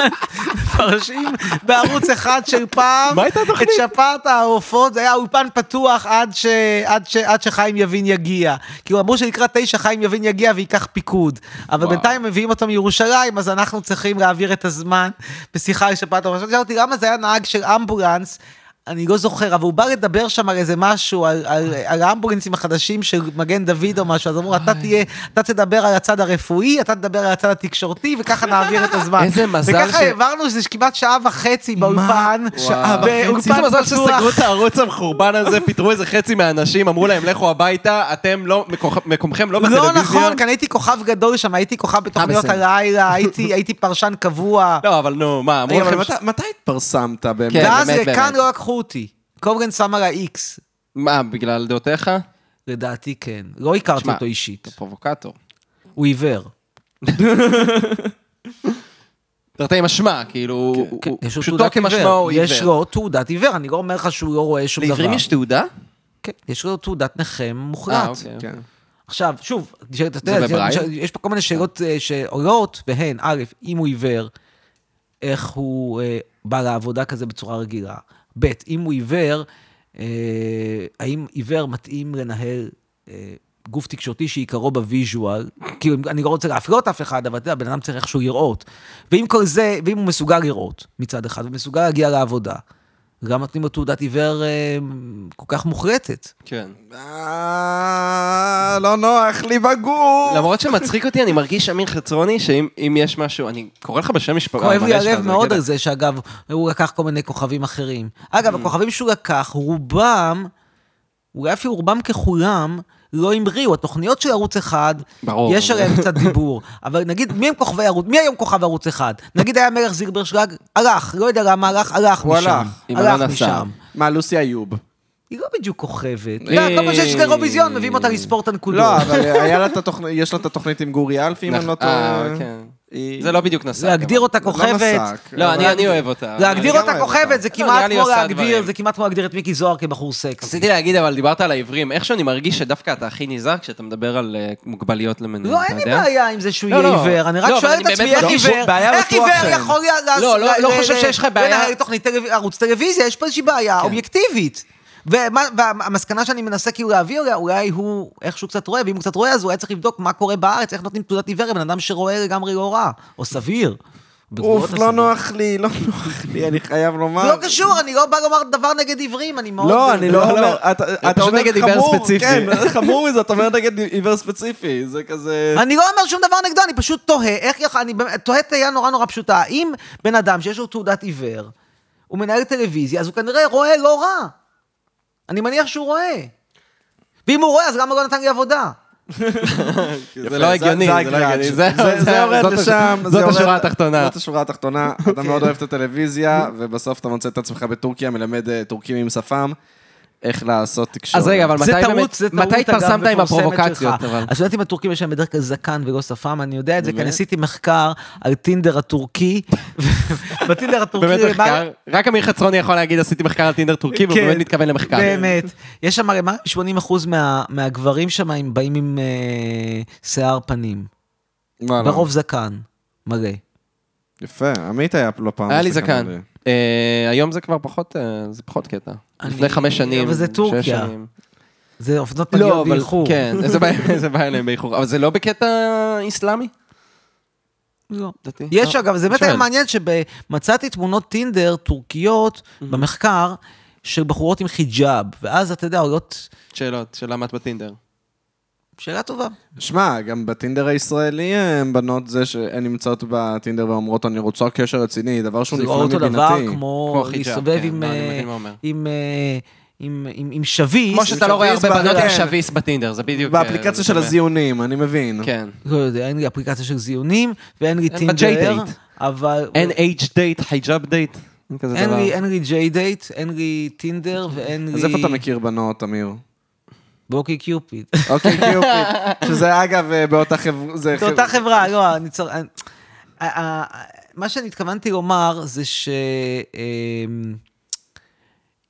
Speaker 4: מפרשים בערוץ אחד של פעם,
Speaker 3: מה הייתה התוכנית?
Speaker 4: את שפעת העופות, זה היה אולפן פתוח עד, ש... עד, ש... עד שחיים יבין יגיע. כאילו אמרו שלקראת תשע חיים יבין יגיע וייקח פיקוד. אבל
Speaker 3: וואו.
Speaker 4: בינתיים מביאים אותו מירושלים, אז אנחנו צריכים להעביר את הזמן בשיחה על שפעת העופות. שאלתי אותי למה זה היה נהג של אמבולנס. אני לא זוכר, אבל הוא בא לדבר שם על איזה משהו, על, על, על האמבולנסים החדשים של מגן דוד או משהו, אז אמרו, אתה תהיה, אתה תדבר על הצד הרפואי, אתה תדבר על הצד התקשורתי, וככה נעביר את הזמן.
Speaker 3: איזה מזל
Speaker 4: וככה
Speaker 3: ש-
Speaker 4: העברנו שזה כמעט שעה וחצי באולפן,
Speaker 2: שעה
Speaker 4: באולפן
Speaker 3: איזה מזל
Speaker 4: פתוח.
Speaker 3: שסגרו את הערוץ המחורבן הזה, פיטרו איזה חצי מהאנשים, אמרו להם לכו הביתה, אתם לא, מקומכם- מקומכם לא
Speaker 4: לא
Speaker 3: בטלוויזיה. אה,
Speaker 4: נכון, כאן הייתי כוכב גדול שם, הייתי כוכב בתוכניות
Speaker 3: בסדר.
Speaker 4: הלילה, הייתי הייתי פרשן קבוע,
Speaker 3: לא, אבל נו, מה, אמרו
Speaker 2: רגע, אבל
Speaker 3: לכם... ש-
Speaker 2: מת- מתי התפרסמת באמת?
Speaker 3: כן.
Speaker 4: ואז
Speaker 3: באמת,
Speaker 4: לכאן
Speaker 3: באמת.
Speaker 4: לא לקחו אותי. קובגן שם על ה-X,
Speaker 3: מה, בגלל דעותיך?
Speaker 4: לדעתי כן. לא הכרתי
Speaker 3: שמע,
Speaker 4: אותו אישית,
Speaker 3: אתה פרובוקטור.
Speaker 4: הוא עיוור.
Speaker 3: תרתי משמע, כאילו, הוא- הוא-
Speaker 4: כן, יש לו
Speaker 3: פשוטו
Speaker 4: תעודת
Speaker 3: כמשמעו
Speaker 4: עיוור.
Speaker 3: הוא
Speaker 4: יש
Speaker 3: עיוור.
Speaker 4: לו תעודת עיוור, אני לא אומר לך שהוא לא רואה שום דבר.
Speaker 3: לעיוורים יש תעודה?
Speaker 4: כן, יש לו תעודת נכה
Speaker 3: אה,
Speaker 4: מוחלט.
Speaker 3: אוקיי.
Speaker 2: כן.
Speaker 4: עכשיו, שוב, ש- אתה
Speaker 3: זה
Speaker 4: יודע,
Speaker 3: בברייל?
Speaker 4: ש- יש פה כל מיני שאלות אה, שעולות, והן, א', אם הוא עיוור, איך הוא אה, בא לעבודה כזה בצורה רגילה? ב', אם הוא עיוור, אה, האם עיוור מתאים לנהל אה, גוף תקשורתי שעיקרו בוויז'ואל? כאילו, אני לא רוצה להפלות אף אחד, אבל אתה יודע, בן אדם צריך איכשהו לראות. ואם כל זה, ואם הוא מסוגל לראות מצד אחד, ומסוגל להגיע לעבודה, גם נותנים לו תעודת עיוור אה, כל כך מוחלטת.
Speaker 3: כן.
Speaker 2: אה, לא נוח לי בגור.
Speaker 3: למרות שמצחיק אותי, אני מרגיש, אמיר חצרוני, שאם אם יש משהו, אני קורא לך בשם משפחה.
Speaker 4: כואב לי
Speaker 3: המלא שלך,
Speaker 4: הלב
Speaker 3: זה
Speaker 4: מאוד
Speaker 3: בקטע.
Speaker 4: על זה שאגב, הוא לקח כל מיני כוכבים אחרים. אגב, הכוכבים שהוא לקח, רובם, אולי אפילו רובם ככולם, לא המריאו. התוכניות של ערוץ אחד,
Speaker 3: ברור.
Speaker 4: יש עליהן קצת דיבור. אבל נגיד, מי הם כוכבי ערוץ, מי היום כוכב ערוץ אחד? נגיד היה מלך זילברשלג, הלך, לא יודע למה הלך, הלך
Speaker 2: הוא
Speaker 4: משם.
Speaker 2: הלך,
Speaker 3: עם אלונה
Speaker 4: הלך
Speaker 3: סער.
Speaker 4: משם.
Speaker 2: מה, לוסי איוב.
Speaker 4: היא לא בדיוק כוכבת. אתה יודע, כל פעם שיש
Speaker 3: אה.
Speaker 4: לאירוויזיון, מביאים אותה לספור את הנקודות.
Speaker 2: לא, אבל היה לה את התוכנית, יש לה את התוכנית עם גורי אלפי, אם אני לא
Speaker 3: אה,
Speaker 2: טועה.
Speaker 3: כן.
Speaker 2: היא-
Speaker 3: זה לא בדיוק נסק.
Speaker 4: להגדיר
Speaker 3: אבל-
Speaker 4: אותה כוכבת,
Speaker 2: נסק.
Speaker 3: לא, אני אני אוהב אותה.
Speaker 4: להגדיר
Speaker 2: גם
Speaker 4: אותה
Speaker 2: אוהב אותה.
Speaker 4: כוכבת, זה
Speaker 3: נראה
Speaker 4: כמעט
Speaker 3: לי
Speaker 4: כמו
Speaker 3: עושה
Speaker 4: להגדיר,
Speaker 3: דברים.
Speaker 4: זה כמעט כמו להגדיר את מיקי זוהר כבחור סקסי.
Speaker 3: רציתי להגיד, אבל דיברת על העיוורים. איכשהו אני מרגיש שדווקא אתה הכי נזהר כשאתה מדבר על אה, מוגבלויות למיניהם,
Speaker 4: לא,
Speaker 3: אתה
Speaker 4: אין לי
Speaker 3: יודע?
Speaker 4: בעיה עם זה שהוא
Speaker 3: לא,
Speaker 4: יהיה
Speaker 3: לא.
Speaker 4: עיוור, אני רק
Speaker 3: לא, אבל
Speaker 4: שואל
Speaker 3: אני
Speaker 4: את עצמי
Speaker 3: באמת
Speaker 4: איך
Speaker 3: לא
Speaker 2: חושב-
Speaker 4: עיוור,
Speaker 2: בעיה
Speaker 4: איך
Speaker 2: בטוח
Speaker 4: עיוור
Speaker 2: שאין.
Speaker 4: יכול לה- לה-
Speaker 3: לא, לא-
Speaker 4: ל-
Speaker 3: לא
Speaker 4: ל-
Speaker 3: חושב
Speaker 4: ל-
Speaker 3: שיש לך בעיה. כן.
Speaker 4: לנהל תוכנית טלו- ערוץ טלוויזיה, יש פה איזושהי בעיה אובייקטיבית. ומה- והמסקנה שאני מנסה כאילו להביא, אליה, אולי הוא איכשהו קצת רואה, ואם הוא קצת רואה אז הוא היה צריך לבדוק מה קורה בארץ, איך נותנים תעודת עיוור לבן אדם שרואה לגמרי לא רע, או סביר. בגבולות
Speaker 2: אוף,
Speaker 4: הסביר.
Speaker 2: לא נוח לי, לא נוח לי, אני חייב לומר.
Speaker 4: זה לא קשור, אני לא בא לומר דבר נגד עיוורים, אני מאוד... אה,
Speaker 2: לא, אני לא
Speaker 3: לא,
Speaker 2: אומר,
Speaker 3: לא.
Speaker 2: אתה-
Speaker 3: זה
Speaker 2: אתה
Speaker 3: פשוט
Speaker 2: אומר
Speaker 3: נגד עיוור
Speaker 2: חמור,
Speaker 3: ספציפי.
Speaker 2: כן, חמור מזה, אתה אומר נגד עיוור ספציפי, זה כזה...
Speaker 4: אני לא אומר שום דבר נגדו, אני פשוט תוהה, איך יכול, אני באמת- תוהה תהייה נורא נורא פשוטה, האם בן אדם שיש לו תעודת עיוור, הוא מנהל טלוויזיה, אז הוא כנראה רואה לא רע. אני מניח שהוא רואה. ואם הוא רואה, אז למה לא נתן לי עבודה?
Speaker 2: יפה,
Speaker 3: לא הגיוני, זה לא
Speaker 2: הגרעד
Speaker 3: הגיוני.
Speaker 2: שלי.
Speaker 3: זה-
Speaker 2: זה-
Speaker 3: זה-
Speaker 2: זה יורד
Speaker 3: זאת הש-
Speaker 2: לשם. זה
Speaker 3: זאת
Speaker 2: יורד-
Speaker 3: השורה התחתונה. אוקיי.
Speaker 2: זאת השורה התחתונה. אתה מאוד אוהב את הטלוויזיה, ובסוף אתה מוצא את עצמך בטורקיה, מלמד אה, טורקים עם שפם, איך לעשות תקשורת.
Speaker 3: אז רגע, אבל מתי
Speaker 4: זה
Speaker 3: באמת,
Speaker 4: טעות, זה טעות,
Speaker 3: מתי
Speaker 4: אגב,
Speaker 3: התפרסמת עם
Speaker 4: מפורסמת
Speaker 3: הפרובוקציות?
Speaker 4: שלך.
Speaker 3: אבל?
Speaker 4: אז את יודעת אם הטורקים יש להם בדרך כלל זקן ולא שפם, אני יודע את זה, כי אני עשיתי מחקר על טינדר הטורקי, בטינדר הטורקי...
Speaker 3: באמת
Speaker 4: מה-
Speaker 3: מחקר, רק אמיר חצרוני יכול להגיד עשיתי מחקר על טינדר טורקי, והוא
Speaker 4: כן,
Speaker 3: כאילו, באמת מתכוון למחקר.
Speaker 4: באמת. יש שם הרי מה- 80% מה- מהגברים שם הם באים עם אה, שיער פנים.
Speaker 3: אה,
Speaker 2: וואלה.
Speaker 3: לא.
Speaker 4: ברוב זקן, מלא.
Speaker 2: לא, יפה, עמית היה לא פעם.
Speaker 3: היה לי
Speaker 2: בשקן
Speaker 3: זקן.
Speaker 2: הזה.
Speaker 3: אה, היום זה כבר פחות, אה, זה פחות קטע.
Speaker 4: אני-
Speaker 3: לפני חמש שנים,
Speaker 4: אבל זה
Speaker 3: שש
Speaker 4: טורקיה.
Speaker 3: שנים.
Speaker 4: זה אופנות
Speaker 3: לא,
Speaker 4: מגיעות
Speaker 3: אבל
Speaker 4: באיחור.
Speaker 3: כן, זה בא- זה בא אליהם באיחור. אבל זה לא בקטע איסלאמי?
Speaker 4: לא.
Speaker 3: דתי?
Speaker 4: יש
Speaker 3: לא.
Speaker 4: אגב, זה באמת
Speaker 3: שואל.
Speaker 4: היה מעניין שמצאתי תמונות טינדר טורקיות במחקר של בחורות עם חיג'אב, ואז אתה יודע, עולות...
Speaker 3: שאלות, של למה את בטינדר.
Speaker 4: שאלה טובה.
Speaker 2: שמע, גם בטינדר הישראלי הם בנות זה שהן נמצאות בטינדר ואומרות, אני רוצה קשר רציני, דבר שהוא
Speaker 4: זה
Speaker 2: נפלא
Speaker 4: לא
Speaker 2: מבינתי.
Speaker 4: אותו דבר כמו
Speaker 3: כמו חיג'אב,
Speaker 4: להסתובב
Speaker 3: כן,
Speaker 4: עם,
Speaker 3: לא, אני
Speaker 4: אה,
Speaker 3: מבין מה הוא אומר.
Speaker 4: עם, אה, עם- עם עם שביס.
Speaker 3: כמו שאתה לא רואה הרבה
Speaker 2: שביס
Speaker 3: בנות עם
Speaker 4: כן.
Speaker 2: ברגל.
Speaker 3: שביס בטינדר, זה בדיוק... אה, זה
Speaker 2: באפליקציה של
Speaker 3: דומה.
Speaker 2: הזיונים, אני מבין.
Speaker 3: כן.
Speaker 4: לא יודע, אין לי אפליקציה של זיונים, ואין לי
Speaker 3: אין ב-
Speaker 4: טינדר,
Speaker 3: J-Date.
Speaker 4: אבל...
Speaker 3: אין אייג' דייט, חייג'אב דייט, אין כזה
Speaker 4: אין
Speaker 3: דבר.
Speaker 4: לי, אין לי ג'יי דייט, אין לי טינדר ואין לי...
Speaker 2: אוקיי. אז איפה אתה מכיר בנות, אמיר?
Speaker 4: בוקי קיופיד.
Speaker 2: אוקיי, קיופיד. שזה אגב, אה, באותה חברה... זה
Speaker 4: זו אותה חברה, לא, אני צריך... אני- ה- ה- ה- מה שאני התכוונתי לומר זה ש... אמ,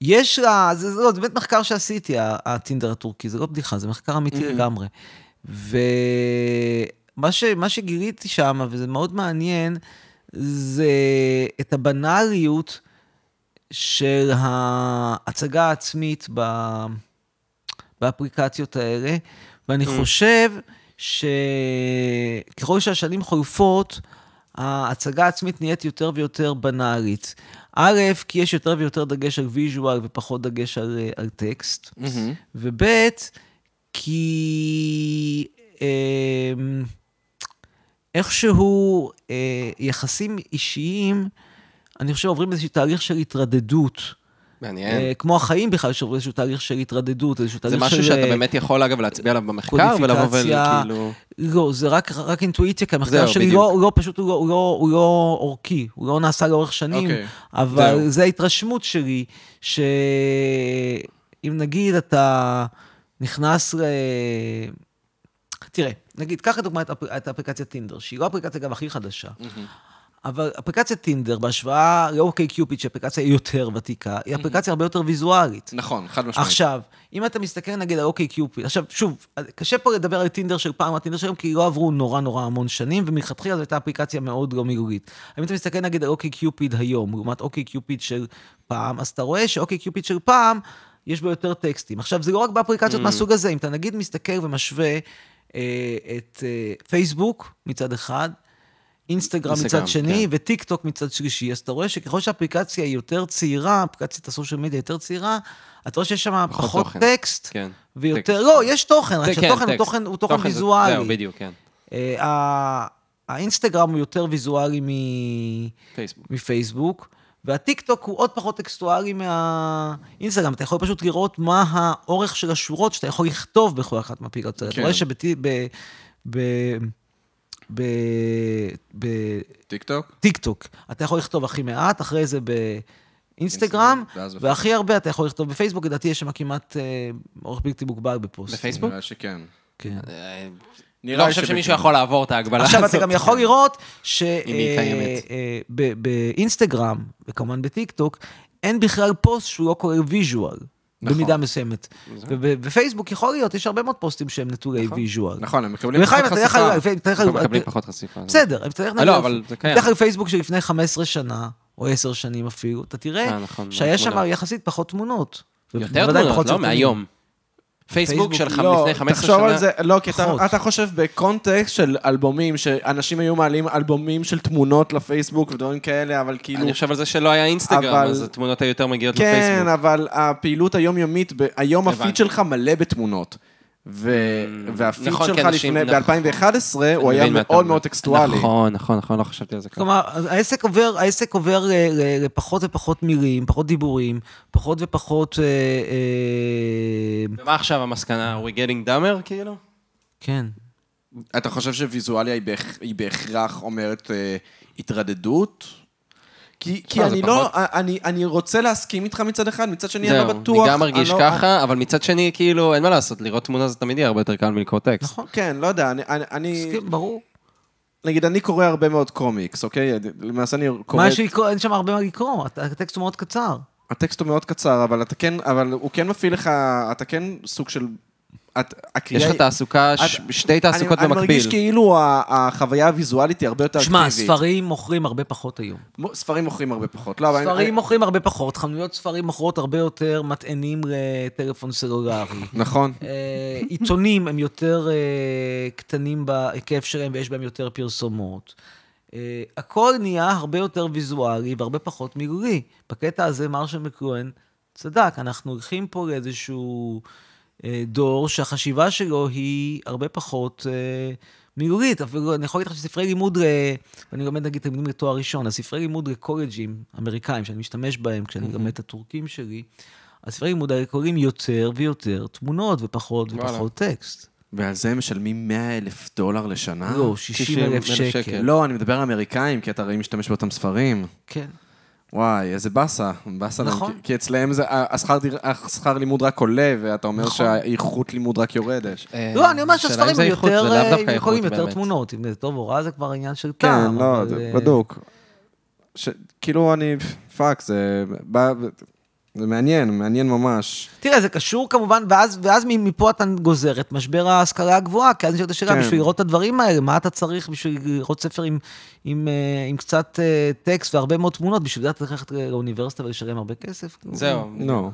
Speaker 4: יש לה, זה, זה לא, זה באמת מחקר שעשיתי, ה- הטינדר הטורקי, זה לא בדיחה, זה מחקר אמיתי לגמרי. ומה ש, מה שגיליתי שם, וזה מאוד מעניין, זה את הבנאליות של ההצגה העצמית ב, באפליקציות האלה, ואני חושב שככל שהשנים חולפות, ההצגה העצמית נהיית יותר ויותר בנאלית. א', כי יש יותר ויותר דגש על ויז'ואל ופחות דגש על, אה, על טקסט, וב', כי אמ, איכשהו אה, יחסים אישיים, אני חושב, עוברים איזשהו תהליך של התרדדות.
Speaker 3: מעניין.
Speaker 4: אה, כמו החיים בכלל, שעוברים איזשהו תהליך של התרדדות, איזשהו
Speaker 3: זה
Speaker 4: תהליך של...
Speaker 3: משהו שאתה
Speaker 4: אה,
Speaker 3: באמת יכול, אגב, להצביע עליו במחקר, ולבוא
Speaker 4: קודיפיקציה.
Speaker 3: וכאילו...
Speaker 4: לא, זה רק, רק אינטואיציה, כי המחקר
Speaker 3: זהו,
Speaker 4: שלי
Speaker 3: בדיוק.
Speaker 4: לא, הוא לא פשוט, הוא לא, הוא, לא, הוא לא אורכי, הוא לא נעשה לאורך שנים,
Speaker 2: אוקיי,
Speaker 4: אבל
Speaker 2: זהו.
Speaker 4: זו ההתרשמות שלי, שאם נגיד אתה נכנס ל... תראה, נגיד, קח לדוגמה את, אפ... את האפליקציה טינדר, שהיא לא האפליקציה גם הכי חדשה, אבל אפליקציית טינדר, בהשוואה לאוקיי קיופיד, שהיא אפליקציה יותר ותיקה, היא אפליקציה הרבה יותר ויזואלית.
Speaker 2: נכון, חד משמעית.
Speaker 4: עכשיו, אם אתה מסתכל נגיד על אוקיי קיופיד, עכשיו, שוב, קשה פה לדבר על טינדר של פעם, הטינדר של היום, כי לא עברו נורא נורא המון שנים, ומלכתחילה זו הייתה אפליקציה מאוד לא מילולית. אם אתה מסתכל נגיד על אוקיי קיופיד היום, לעומת אוקיי קיופיד של פעם, אז אתה רואה שאוקיי קיופיד של פעם, יש בו יותר טקסטים. עכשיו, זה לא רק באפליקציות מהסוג הזה, אם אתה נגיד מסתכל ומשווה אה, את אה, פייסבוק מצד אחד, אינסטגרם
Speaker 3: אינסטגרם,
Speaker 4: מצד שני,
Speaker 3: כן.
Speaker 4: וטיק טוק מצד שלישי, אז אתה רואה שככל שהאפליקציה היא יותר צעירה, אפליקציית הסושיאל מדיה יותר צעירה, אתה רואה שיש שם
Speaker 3: פחות
Speaker 4: פחות
Speaker 3: תוכן.
Speaker 4: טקסט,
Speaker 3: כן,
Speaker 4: ויותר,
Speaker 3: טקסט.
Speaker 4: לא, יש תוכן, רק
Speaker 3: כן,
Speaker 4: שהתוכן הוא
Speaker 3: טקסט.
Speaker 4: תוכן- הוא תוכן
Speaker 3: זה- זהו,
Speaker 4: ויזואלי.
Speaker 3: בדיוק, כן.
Speaker 4: אה, ה- האינסטגרם הוא יותר ויזואלי מ-
Speaker 3: פייסבוק.
Speaker 4: מפייסבוק, והטיק טוק הוא עוד פחות טקסטואלי מהאינסטגרם. אתה יכול פשוט לראות מה האורך של השורות שאתה יכול לכתוב בכל אחת מהפעילות. אתה
Speaker 2: כן.
Speaker 4: רואה שבטי... ב- ב- ב- ב-
Speaker 2: טיקטוק?
Speaker 4: טיק טוק. אתה יכול לכתוב הכי מעט, אחרי זה באינסטגרם,
Speaker 2: ואז בפייסבוק.
Speaker 4: והכי הרבה אתה יכול לכתוב בפייסבוק, לדעתי יש שם כמעט אה, אורך בלתי מוגבל בפוסט.
Speaker 3: בפייסבוק? אה,
Speaker 2: נראה שכן.
Speaker 4: כן.
Speaker 3: לא חושב שמישהו יכול לעבור את ההגבלה הזאת.
Speaker 4: עכשיו אתה גם יכול לראות
Speaker 3: כן.
Speaker 4: אה,
Speaker 3: אם היא קיימת.
Speaker 4: שבאינסטגרם, וכמובן בטיק טוק, אין בכלל פוסט שהוא לא כולל ויז'ואל. במידה מסוימת. ובפייסבוק יכול להיות, יש הרבה מאוד פוסטים שהם נטולי ויז'ואל.
Speaker 2: נכון, הם מקבלים
Speaker 4: וחיים,
Speaker 2: פחות
Speaker 4: אתה תלך
Speaker 2: חשיפה.
Speaker 4: על... תלך
Speaker 3: אנחנו
Speaker 4: על-
Speaker 3: מקבלים
Speaker 4: ת-
Speaker 3: פחות חשיפה.
Speaker 4: בסדר, אם תלך
Speaker 3: אה, לא, אבל זה קיים.
Speaker 4: תלך על פייסבוק שלפני 15 שנה, או 10 שנים אפילו, אתה
Speaker 3: אה,
Speaker 4: תראה
Speaker 3: נכון,
Speaker 4: שהיה
Speaker 3: תמונות.
Speaker 4: שם יחסית פחות תמונות.
Speaker 3: יותר
Speaker 4: ובוודאי
Speaker 3: תמונות,
Speaker 4: פחות
Speaker 3: לא
Speaker 4: סרטונים.
Speaker 3: מהיום. פייסבוק
Speaker 4: פייסבוק,
Speaker 3: שלך
Speaker 2: לא,
Speaker 3: לפני 15 שנה.
Speaker 2: תחשוב על זה, לא, כי אתה,
Speaker 4: פחות.
Speaker 2: אתה חושב בקונטקסט של אלבומים, שאנשים היו מעלים אלבומים של תמונות לפייסבוק ודברים כאלה, אבל כאילו...
Speaker 3: אני חושב על זה שלא היה אינסטגרם,
Speaker 2: אבל-
Speaker 3: אז התמונות היו יותר מגיעות
Speaker 2: כן,
Speaker 3: לפייסבוק.
Speaker 2: אבל הפעילות היומיומית, ב- היום
Speaker 3: הבנתי.
Speaker 2: הפיד שלך מלא בתמונות. ו- והפיד
Speaker 3: נכון, כי
Speaker 2: שלך
Speaker 3: אנשים-
Speaker 2: לפני,
Speaker 3: נכון.
Speaker 2: ב-2011, הוא
Speaker 3: אני
Speaker 2: היה
Speaker 3: מבין מה אתה
Speaker 2: מאוד
Speaker 3: אומר.
Speaker 2: מאוד טקסטואלי.
Speaker 3: נכון, נכון, נכון, לא חשבתי על זה ככה.
Speaker 4: כלומר, העסק עובר, העסק עובר ל- ל- לפחות ופחות מילים, פחות דיבורים, פחות ופחות... אה, אה,
Speaker 3: ומה עכשיו המסקנה? Are we getting dumber, כאילו?
Speaker 4: כן.
Speaker 2: אתה חושב שוויזואליה היא בהכ- היא בהכרח אומרת אה, התרדדות? כי, כי
Speaker 3: לא, זה
Speaker 2: אני
Speaker 3: פחות-
Speaker 2: לא, אני, אני רוצה להסכים איתך מצד אחד, מצד שני אני
Speaker 3: זהו,
Speaker 2: לא בטוח.
Speaker 3: אני גם מרגיש
Speaker 2: אני לא-
Speaker 3: ככה, אבל מצד שני, כאילו, אין מה לעשות, לראות תמונה זה תמיד יהיה הרבה יותר קל מלקרוא טקסט.
Speaker 2: נכון, כן, לא יודע, אני, אני, אני
Speaker 4: מסכים, ברור.
Speaker 2: נגיד, אני קורא הרבה מאוד קומיקס, אוקיי? למעשה אני קורא...
Speaker 4: מה שיקרוא, אין שם הרבה מה לקרוא, הט- הטקסט הוא מאוד קצר.
Speaker 2: הטקסט הוא מאוד קצר, אבל אתה כן, אבל הוא כן מפעיל לך, אתה כן סוג של... את,
Speaker 3: יש
Speaker 2: הקריאה-
Speaker 3: לך תעסוקה, ש-
Speaker 2: את-
Speaker 3: שתי תעסוקות
Speaker 2: אני, אני
Speaker 3: במקביל.
Speaker 2: מרגיש כאילו ה- החוויה הוויזואלית היא הרבה יותר
Speaker 4: שמע,
Speaker 2: אקטיבית.
Speaker 4: ספרים מוכרים הרבה פחות היום.
Speaker 2: מ- ספרים מוכרים הרבה פחות. לא, אבל אני-
Speaker 4: ספרים מוכרים הרבה פחות, חנויות ספרים מוכרות הרבה יותר מטענים לטלפון סלולרי.
Speaker 2: נכון.
Speaker 4: אה, עיתונים הם יותר אה, קטנים בהיקף שלהם ויש בהם יותר פרסומות. אה, הכל נהיה הרבה יותר ויזואלי והרבה פחות מילולי. בקטע הזה מרשל מקרואן צדק, אנחנו הולכים פה לאיזשהו אה, דור שהחשיבה שלו היא הרבה פחות אה, מילולית. אפילו, אני יכול להגיד לך שספרי לימוד, ל- ואני לומד נגיד תלמידים לתואר ראשון, אז ספרי לימוד לקולג'ים אמריקאים, שאני משתמש בהם כשאני לומד את הטורקים שלי, הספרי לימוד האלה קוראים יותר ויותר תמונות ופחות ופחות טקסט.
Speaker 2: ועל זה הם משלמים 100 אלף דולר לשנה?
Speaker 4: לא, 60
Speaker 3: 60,000
Speaker 4: אלף
Speaker 3: שקל.
Speaker 4: שקל.
Speaker 2: לא, אני מדבר על אמריקאים, כי אתה הרי משתמש באותם ספרים.
Speaker 4: כן.
Speaker 2: וואי, איזה באסה. באסה להם,
Speaker 4: נכון.
Speaker 2: כי- כי אצלהם זה, ה- השכר דיר- השכר לימוד רק עולה, ואתה אומר
Speaker 4: נכון.
Speaker 2: שהאיכות לימוד רק יורדת.
Speaker 3: אה,
Speaker 4: לא, אני אומר
Speaker 3: השאלה אם
Speaker 4: שהספרים
Speaker 3: זה
Speaker 4: הם
Speaker 3: איכות,
Speaker 4: יותר,
Speaker 3: זה לאו
Speaker 4: אה,
Speaker 3: דווקא
Speaker 4: הם יכולים
Speaker 3: איכות,
Speaker 4: יותר
Speaker 3: באמת.
Speaker 4: תמונות. אם זה טוב או רע זה כבר עניין של
Speaker 2: כן,
Speaker 4: טעם.
Speaker 2: לא,
Speaker 4: אבל,
Speaker 2: זה
Speaker 4: אה,
Speaker 2: בדוק. ש- כאילו אני, פאק, זה... בא- זה מעניין, מעניין ממש.
Speaker 4: תראה, זה קשור כמובן, ואז, ואז מ- מפה אתה גוזר את משבר ההשכלה הגבוהה, כי אז נשאלת השאלה,
Speaker 2: כן.
Speaker 4: בשביל לראות את הדברים האלה, מה אתה צריך בשביל לראות ספר עם, עם, אה, עם קצת אה, טקסט והרבה מאוד תמונות, בשביל זה אתה צריך ללכת לאוניברסיטה ולשלם הרבה כסף?
Speaker 3: זהו.
Speaker 2: לא.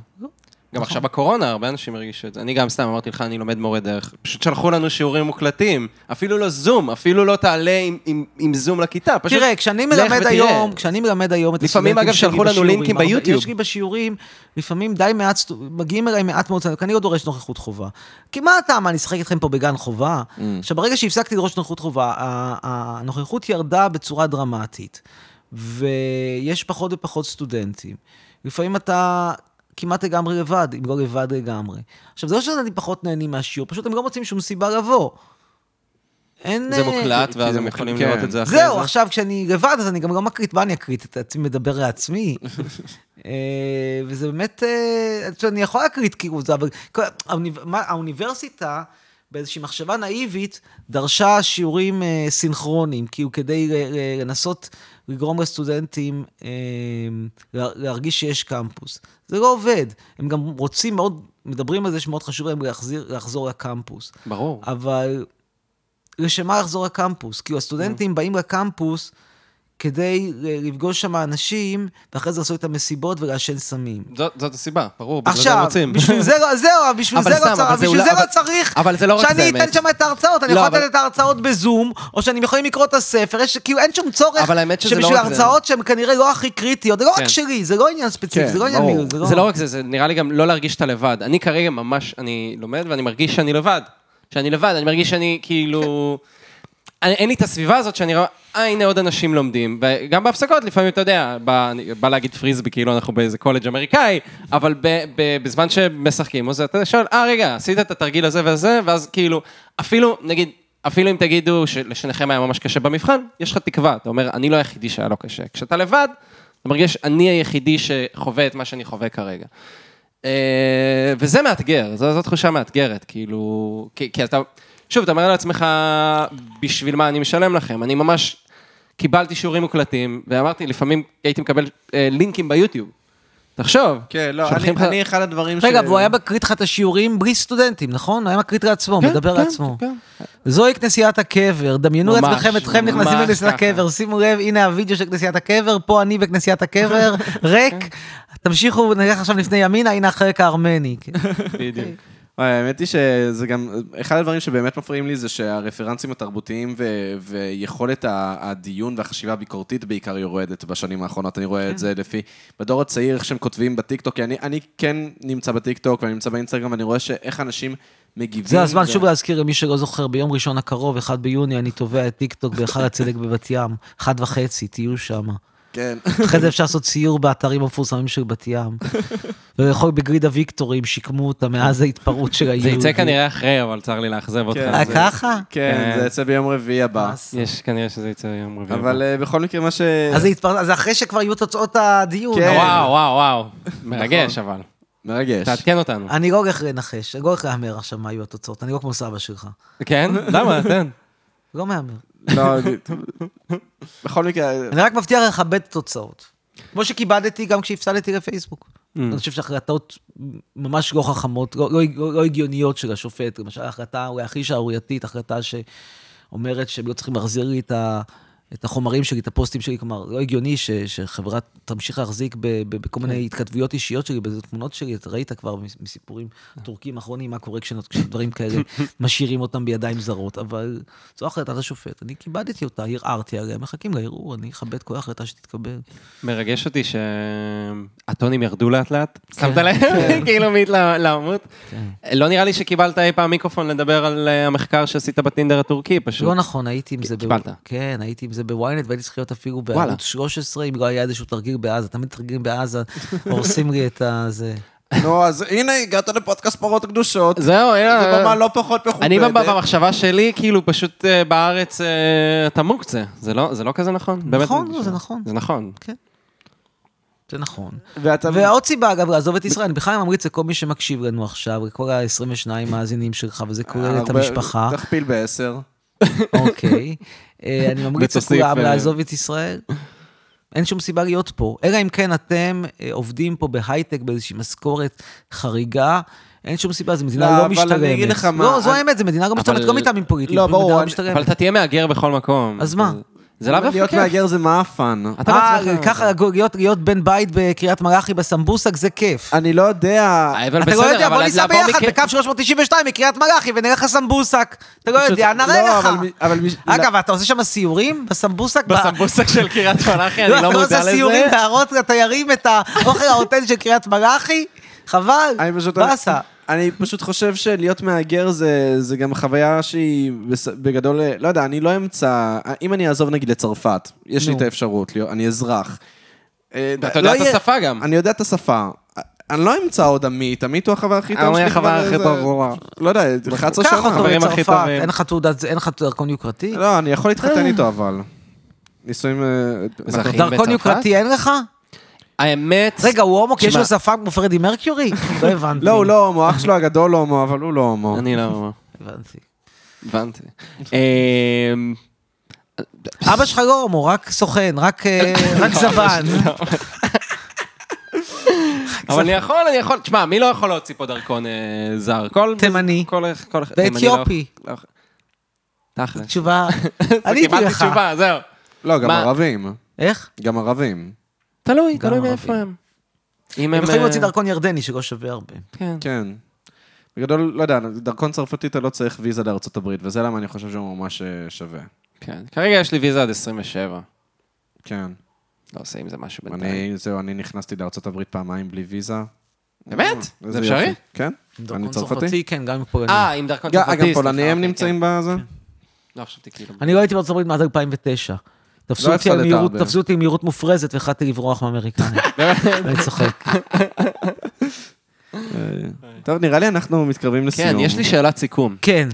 Speaker 3: גם עכשיו בקורונה, הרבה אנשים הרגישו את זה. אני גם סתם אמרתי לך, אני לומד מורה דרך. פשוט שלחו לנו שיעורים מוקלטים. אפילו לא זום, אפילו לא תעלה עם- עם- עם זום לכיתה. פשוט
Speaker 4: תראה, כשאני
Speaker 3: לך
Speaker 4: מלמד
Speaker 3: ותראה.
Speaker 4: היום, כשאני מלמד היום את
Speaker 3: לפעמים, אגב, שלחו לנו
Speaker 4: בשיעורים,
Speaker 3: לינקים
Speaker 4: הרבה-
Speaker 3: ביוטיוב.
Speaker 4: יש לי בשיעורים, לפעמים די מעט, סטו- מגיעים אליי מעט מאוד, סטודנטים, כי אני לא דורש נוכחות חובה. כי מה אתה, מה, אני אשחק איתכם פה בגן חובה?
Speaker 3: Mm.
Speaker 4: עכשיו, ברגע שהפסקתי לדרוש נוכחות חובה, ה- הנוכחות ירדה בצורה דרמטית, ויש פחות ופחות סטודנטים. לפעמים אתה... כמעט לגמרי לבד, אם לא לבד לגמרי. עכשיו, זה לא שאנשים פחות נהנים מהשיעור, פשוט הם לא מוצאים שום סיבה לבוא. אין...
Speaker 3: זה
Speaker 4: אה,
Speaker 3: מוקלט,
Speaker 2: כי
Speaker 3: ואז
Speaker 2: זה
Speaker 3: הם
Speaker 2: מוקלט,
Speaker 3: יכולים
Speaker 2: כן.
Speaker 3: לראות את זה אחרי זה.
Speaker 4: זהו, עכשיו כשאני לבד, אז אני גם לא מקליט, מה אני אקליט? את עצמי מדבר לעצמי. אה, וזה באמת, אה, אתה יודע, אני יכול להקליט כאילו זה, אבל כל- האוניב- מה- האוניברסיטה, באיזושהי מחשבה נאיבית, דרשה שיעורים אה, סינכרונים, כאילו כדי ל- ל- לנסות לגרום לסטודנטים אה, לה- להרגיש שיש קמפוס. זה לא עובד. הם גם רוצים מאוד, מדברים על זה שמאוד חשוב להם להחזיר, לחזור לקמפוס.
Speaker 3: ברור.
Speaker 4: אה. אבל לשם מה לחזור לקמפוס? כאילו,
Speaker 3: Mm.
Speaker 4: הסטודנטים באים לקמפוס כדי ל- לפגוש שם אנשים, ואחרי זה לעשות את המסיבות ולעשן סמים.
Speaker 3: זאת זאת הסיבה, ברור, בגלל זה הם
Speaker 4: עכשיו,
Speaker 3: רוצים.
Speaker 4: בשביל זה לא, זהו, בשביל
Speaker 3: אבל
Speaker 4: זה
Speaker 3: סתם,
Speaker 4: לא צריך,
Speaker 3: אבל זה
Speaker 4: בשביל
Speaker 3: אולי-
Speaker 4: זה לא
Speaker 3: אבל-
Speaker 4: צריך
Speaker 3: אבל זה לא רק זה,
Speaker 4: שאני אתן
Speaker 3: האמת.
Speaker 4: שם את ההרצאות, אני
Speaker 3: לא,
Speaker 4: יכול
Speaker 3: אבל-
Speaker 4: לתת את ההרצאות בזום, או שאני יכולים לקרוא את הספר, יש, כאילו אין שום צורך,
Speaker 3: אבל האמת שזה לא
Speaker 4: שבשביל
Speaker 3: רק זה.
Speaker 4: ההרצאות שהן כנראה לא הכי קריטיות, זה לא
Speaker 3: כן.
Speaker 4: רק שלי, זה לא עניין ספציפי,
Speaker 2: כן,
Speaker 4: זה לא עניין
Speaker 2: ברור.
Speaker 4: מילוט, זה לא...
Speaker 3: זה לא רק זה, זה נראה לי גם לא להרגיש שאתה לבד. אני כרגע ממש, אני לומד ואני מרגיש שאני לבד. שאני לבד, אני מרגיש שאני כאילו... אני, אין לי את הסביבה הזאת שאני רואה, אה, הנה עוד אנשים לומדים. וגם בהפסקות, לפעמים, אתה יודע, בא, אני- בא להגיד פריסבי, כאילו אנחנו באיזה קולג' אמריקאי, אבל ב, ב, בזמן שמשחקים, אז אתה שואל, אה, רגע, עשית את התרגיל הזה והזה, ואז כאילו, אפילו, נגיד, אפילו אם תגידו שלשניכם היה ממש קשה במבחן, יש לך תקווה. אתה אומר, אני לא היחידי שהיה לו קשה. כשאתה לבד, אתה מרגיש, אני היחידי שחווה את מה שאני חווה כרגע. אה, וזה מאתגר, זו, זו תחושה מאתגרת, כאילו, כי, כי אתה, שוב, אתה אומר לעצמך, בשביל מה אני משלם לכם? אני ממש קיבלתי שיעורים מוקלטים, ואמרתי, לפעמים הייתי מקבל אה, לינקים ביוטיוב. תחשוב.
Speaker 2: כן, לא,
Speaker 3: שולחים
Speaker 2: אני-
Speaker 3: לך-
Speaker 2: אני אחד הדברים ש...
Speaker 4: רגע, והוא היה מקריא לך את השיעורים בלי סטודנטים, נכון? היה מקריא לעצמו,
Speaker 3: כן,
Speaker 4: מדבר
Speaker 3: כן,
Speaker 4: לעצמו.
Speaker 3: כן.
Speaker 4: זוהי כנסיית הקבר, דמיינו
Speaker 3: ממש,
Speaker 4: לעצמכם אתכם
Speaker 3: ממש
Speaker 4: נכנסים לכנסיית
Speaker 3: ככה.
Speaker 4: הקבר, שימו לב, הנה הוידאו של כנסיית הקבר, פה אני בכנסיית הקבר, ריק, תמשיכו, נלך עכשיו לפני ימינה, הנה החלק הארמני.
Speaker 3: בדיוק.
Speaker 2: וואי, האמת היא שזה גם, אחד הדברים שבאמת מפריעים לי זה שהרפרנסים התרבותיים ו- ויכולת ה- הדיון והחשיבה הביקורתית בעיקר יורדת בשנים האחרונות. אני רואה את זה לפי, בדור הצעיר, איך שהם כותבים בטיקטוק, כי אני, אני כן נמצא בטיקטוק ואני נמצא באינסטגרם, ואני רואה שאיך אנשים מגיבים.
Speaker 4: זה הזמן שוב להזכיר למי שלא זוכר, ביום ראשון הקרוב, 1 ביוני, אני תובע את טיקטוק בהיכל הצדק בבת ים, אחת וחצי, תהיו שם.
Speaker 2: כן.
Speaker 4: אחרי זה אפשר לעשות סיור באתרים המפורסמים של בת ים. ולאכול בגריד הוויקטורים, שיקמו אותה מאז ההתפרעות של היהודים.
Speaker 3: זה יצא כנראה אחרי, אבל צר לי לאכזב אותך.
Speaker 2: כן,
Speaker 4: אה,
Speaker 2: זה-
Speaker 4: ככה?
Speaker 2: כן,
Speaker 3: כן.
Speaker 2: זה יצא ביום רביעי הבא.
Speaker 4: אה,
Speaker 3: יש, כנראה שזה יצא יום רביעי.
Speaker 2: אבל אה, בכל מקרה, מה ש...
Speaker 4: אז זה התפר- אז זה אחרי שכבר יהיו תוצאות הדיון.
Speaker 2: כן.
Speaker 3: אה, וואו, וואו, וואו. מרגש,
Speaker 2: נכון.
Speaker 3: אבל.
Speaker 2: מרגש.
Speaker 3: תעדכן אותנו.
Speaker 4: אני לא הולך לנחש, אני לא הולך להמר עכשיו מה יהיו התוצאות, אני לא כמו סבא שלך.
Speaker 3: כן? למה? תן.
Speaker 4: לא מהמר.
Speaker 2: לא, בכל מקרה,
Speaker 4: אני רק מבטיח לכבד את התוצאות. כמו שכיבדתי גם כשהפסדתי לפייסבוק. אני חושב שהחלטות ממש לא חכמות, לא, לא, לא, לא הגיוניות של השופט, למשל ההחלטה אולי הכי שערורייתית, החלטה שאומרת שהם לא צריכים להחזיר לי את, ה, את החומרים שלי, את הפוסטים שלי, כלומר, לא הגיוני ש, שחברה תמשיך להחזיק ב, ב, בכל מיני התכתבויות אישיות שלי, בתמונות שלי, אתה ראית כבר מס- מסיפורים טורקים אחרונים, מה קורה כשנות- כשדברים כאלה, משאירים אותם בידיים זרות, אבל זו החלטת השופט, אני כיבדתי אותה, ערערתי עליה, מחכים לערעור, אני אכבד כל החלטה שתתקבל.
Speaker 3: מרגש אותי שהטונים ירדו לאט לאט. שמת
Speaker 4: כן,
Speaker 3: לב? כאילו מהתלהמות. לא נראה לי שקיבלת אי פעם מיקרופון לדבר על אה, המחקר שעשית בטינדר הטורקי, פשוט.
Speaker 4: לא נכון, הייתי עם זה... ב-
Speaker 3: קיבלת.
Speaker 4: כן, הייתי עם זה בוויינט, והייתי צריך להיות אפילו
Speaker 3: וואלה.
Speaker 4: בערוץ 13, אם לא היה איזשהו תרגיל בעזה. תמיד תרגילים בעזה, הורסים לי את הזה.
Speaker 2: נו, אז הנה, הגעת לפודקאסט פרות קדושות. זו
Speaker 3: זהו, אה,
Speaker 2: במה לא פחות
Speaker 3: אני
Speaker 2: מכובדת.
Speaker 3: במחשבה שלי, כאילו, פשוט אה, בארץ אה, אתה מוקצה. זה לא- זה לא כזה נכון? באמת
Speaker 4: נכון,
Speaker 3: אני
Speaker 4: לא,
Speaker 3: חושב.
Speaker 4: זה נכון.
Speaker 3: זה נכון.
Speaker 4: זה נכון.
Speaker 2: ואתה...
Speaker 4: ועוד סיבה, אגב, לעזוב את ישראל, אני בכלל ממליץ לכל מי שמקשיב לנו עכשיו, לכל ה-22 מאזינים שלך, וזה כולל את
Speaker 2: הרבה-
Speaker 4: המשפחה,
Speaker 2: תכפיל בעשר.
Speaker 4: אוקיי. אה, אני ממליץ
Speaker 3: ותוסיף,
Speaker 4: לכולם
Speaker 3: אה,
Speaker 4: לעזוב את ישראל. אין שום סיבה להיות פה. אלא אם כן אתם אה, עובדים פה בהייטק באיזושהי משכורת חריגה. אין שום סיבה, זו
Speaker 2: לא,
Speaker 4: מדינה לא
Speaker 2: אבל
Speaker 4: משתלמת.
Speaker 2: אני אגיד לך מה,
Speaker 4: לא, זו
Speaker 2: אני-
Speaker 4: האמת, זו מדינה לא משתלמת,
Speaker 3: אבל-
Speaker 4: לא מטעמים פוליטיים.
Speaker 2: לא,
Speaker 4: פשוט
Speaker 2: ברור,
Speaker 4: מדינה לא
Speaker 2: אני-
Speaker 4: משתלמת.
Speaker 3: אבל אתה תהיה מהגר בכל מקום.
Speaker 4: אז מה?
Speaker 3: זה לאו דווקא
Speaker 2: להיות
Speaker 3: כיף.
Speaker 2: מהגר זה מאפן.
Speaker 3: אתה
Speaker 4: אה,
Speaker 3: בעצמך-
Speaker 4: ככה להיות, להיות בן בית בקריית מלאכי בסמבוסק זה כיף.
Speaker 2: אני לא יודע.
Speaker 3: אה, אבל
Speaker 4: אתה לא יודע,
Speaker 3: בסדר,
Speaker 4: בוא
Speaker 3: אבל
Speaker 4: ניסע
Speaker 3: לעבור
Speaker 4: ביחד
Speaker 3: מכ-
Speaker 4: בקו 392 מקריית מלאכי ונלך לסמבוסק. אתה לא יודע,
Speaker 2: לא,
Speaker 4: נראה לך.
Speaker 2: אבל מי- לא. אבל מי-
Speaker 4: אגב, אתה עושה שם סיורים בסמבוסק?
Speaker 3: בסמבוסק של קריית מלאכי,
Speaker 4: לא,
Speaker 3: אני
Speaker 4: אתה
Speaker 3: לא
Speaker 4: לא
Speaker 3: מודע
Speaker 4: עושה סיורים
Speaker 3: לזה.
Speaker 4: להראות לתיירים את האוכל האותן של קריית מלאכי?
Speaker 3: לא.
Speaker 4: חבל,
Speaker 2: אני פשוט...
Speaker 4: באסה.
Speaker 2: אני פשוט חושב שלהיות מהגר זה, זה גם חוויה שהיא בס- בגדול, לא יודע, אני לא אמצא, אם אני אעזוב נגיד לצרפת, יש לי
Speaker 4: נו.
Speaker 2: את האפשרות, להיות- אני אזרח. אה, לא
Speaker 3: ואתה
Speaker 4: לא
Speaker 3: יודע את השפה גם.
Speaker 2: אני יודע את השפה. אני לא אמצא עוד עמית, עמית הוא החבר הכי טוב
Speaker 3: הוא
Speaker 2: שלי.
Speaker 3: החבר
Speaker 2: כבר
Speaker 3: הכי
Speaker 2: איזה-
Speaker 3: טוב, הוא-
Speaker 2: לא יודע, 11 שנה.
Speaker 4: קח אותו
Speaker 3: החברים הכי
Speaker 4: לצרפת,
Speaker 3: טובים.
Speaker 4: אין לך תעודת, אין לך דרכון יוקרתי?
Speaker 2: לא, אני יכול
Speaker 3: אה.
Speaker 2: להתחתן איתו, אבל. נישואים... אה,
Speaker 3: מזרחי.
Speaker 2: אנחנו-
Speaker 4: דרכון
Speaker 3: בצרפת?
Speaker 4: יוקרתי אין לך?
Speaker 3: האמת,
Speaker 4: רגע, הוא הומו כי יש
Speaker 3: תשמע.
Speaker 4: לו שפה כמו פרדי מרקיורי? לא הבנתי.
Speaker 2: לא, הוא לא הומו, אח שלו הגדול לא הומו, אבל הוא לא הומו.
Speaker 3: אני לא
Speaker 4: הבנתי.
Speaker 3: הבנתי. אמ,
Speaker 4: אבא שלך לא הומו, רק סוכן, רק אה,
Speaker 3: לא,
Speaker 4: רק זבן.
Speaker 3: אבל אני יכול, אני יכול, תשמע, מי לא יכול להוציא פה דרכון אה, זר? כל...
Speaker 4: תימני.
Speaker 3: כל איך... כל איך...
Speaker 4: ואתיופי.
Speaker 3: תימני לא יכול- לא יכול. תכל'ס.
Speaker 4: תשובה, עניתי
Speaker 3: קיבלתי
Speaker 4: לך.
Speaker 3: תשובה, זהו.
Speaker 2: לא, גם
Speaker 3: מה?
Speaker 2: ערבים.
Speaker 4: איך?
Speaker 2: גם ערבים.
Speaker 3: תלוי,
Speaker 4: גם
Speaker 3: תלוי
Speaker 4: ערבים.
Speaker 3: מאיפה הם. אם
Speaker 4: הם
Speaker 3: הם...
Speaker 4: יכולים
Speaker 3: אה,
Speaker 4: להוציא דרכון ירדני שלא שווה הרבה.
Speaker 3: כן.
Speaker 2: כן. בגדול, לא יודע, דרכון צרפתי אתה לא צריך ויזה לארצות הברית, וזה למה אני חושב שהוא ממש אה, שווה.
Speaker 3: כן. כרגע יש לי ויזה עד 27.
Speaker 2: כן.
Speaker 3: לא עושה עם זה משהו בינתיים.
Speaker 2: אני, זהו, אני נכנסתי לארצות הברית פעמיים בלי ויזה. אה,
Speaker 3: באמת?
Speaker 2: איזה
Speaker 3: זה אפשרי?
Speaker 2: יופי. כן. אני
Speaker 4: דרכון
Speaker 2: צרפתי.
Speaker 4: כן, גם עם פולנים.
Speaker 3: אה, עם דרכון
Speaker 2: גם-
Speaker 3: צרפתי.
Speaker 2: גם
Speaker 3: סליחה,
Speaker 2: פולנים הם
Speaker 3: אוקיי,
Speaker 2: נמצאים
Speaker 3: כן.
Speaker 2: בזה?
Speaker 3: לא חשבתי כאילו.
Speaker 4: אני לא הייתי בארצות הברית מאז 2009. תפסו
Speaker 2: לא
Speaker 4: אותי על
Speaker 2: הפסדת
Speaker 4: מהירות-
Speaker 2: הרבה.
Speaker 4: תפסו אותי עם מהירות מופרזת והחלטתי לברוח מהאמריקאים. אני צוחק.
Speaker 2: טוב, נראה לי אנחנו מתקרבים לסיום.
Speaker 3: כן, יש לי שאלת סיכום.
Speaker 4: כן,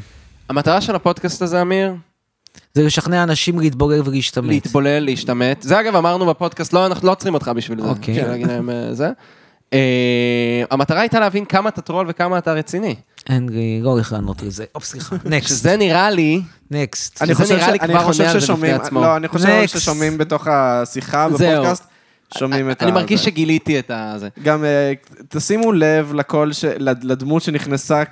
Speaker 3: המטרה של הפודקאסט הזה, אמיר,
Speaker 4: זה לשכנע אנשים להתבוגר ולהשתמט.
Speaker 3: להתבולל, להשתמט. זה אגב אמרנו בפודקאסט, לא, אנחנו לא עוצרים אותך בשביל זה.
Speaker 4: אוקיי.
Speaker 3: בשביל להגיד להם אה, זה. אה, המטרה הייתה להבין כמה אתה טרול וכמה אתה רציני.
Speaker 4: אין לי, לא הולך לענות לזה. אופ, סליחה. נקסט.
Speaker 3: שזה נראה לי,
Speaker 4: נקסט.
Speaker 2: אני
Speaker 3: שזה
Speaker 2: חושב
Speaker 3: נראה
Speaker 2: ש-
Speaker 3: לי
Speaker 2: אני
Speaker 3: כבר
Speaker 2: חושב
Speaker 3: עונה על זה
Speaker 2: ששומעים-
Speaker 3: בפני עצמו.
Speaker 2: לא, אני חושב
Speaker 4: Next.
Speaker 2: ששומעים בתוך השיחה
Speaker 3: זהו.
Speaker 2: בפודקאסט, שומעים את ה...
Speaker 3: אני מרגיש
Speaker 2: זה.
Speaker 3: שגיליתי את הזה.
Speaker 2: גם אה, תשימו לב לקול, ש- לד- לדמות שנכנסה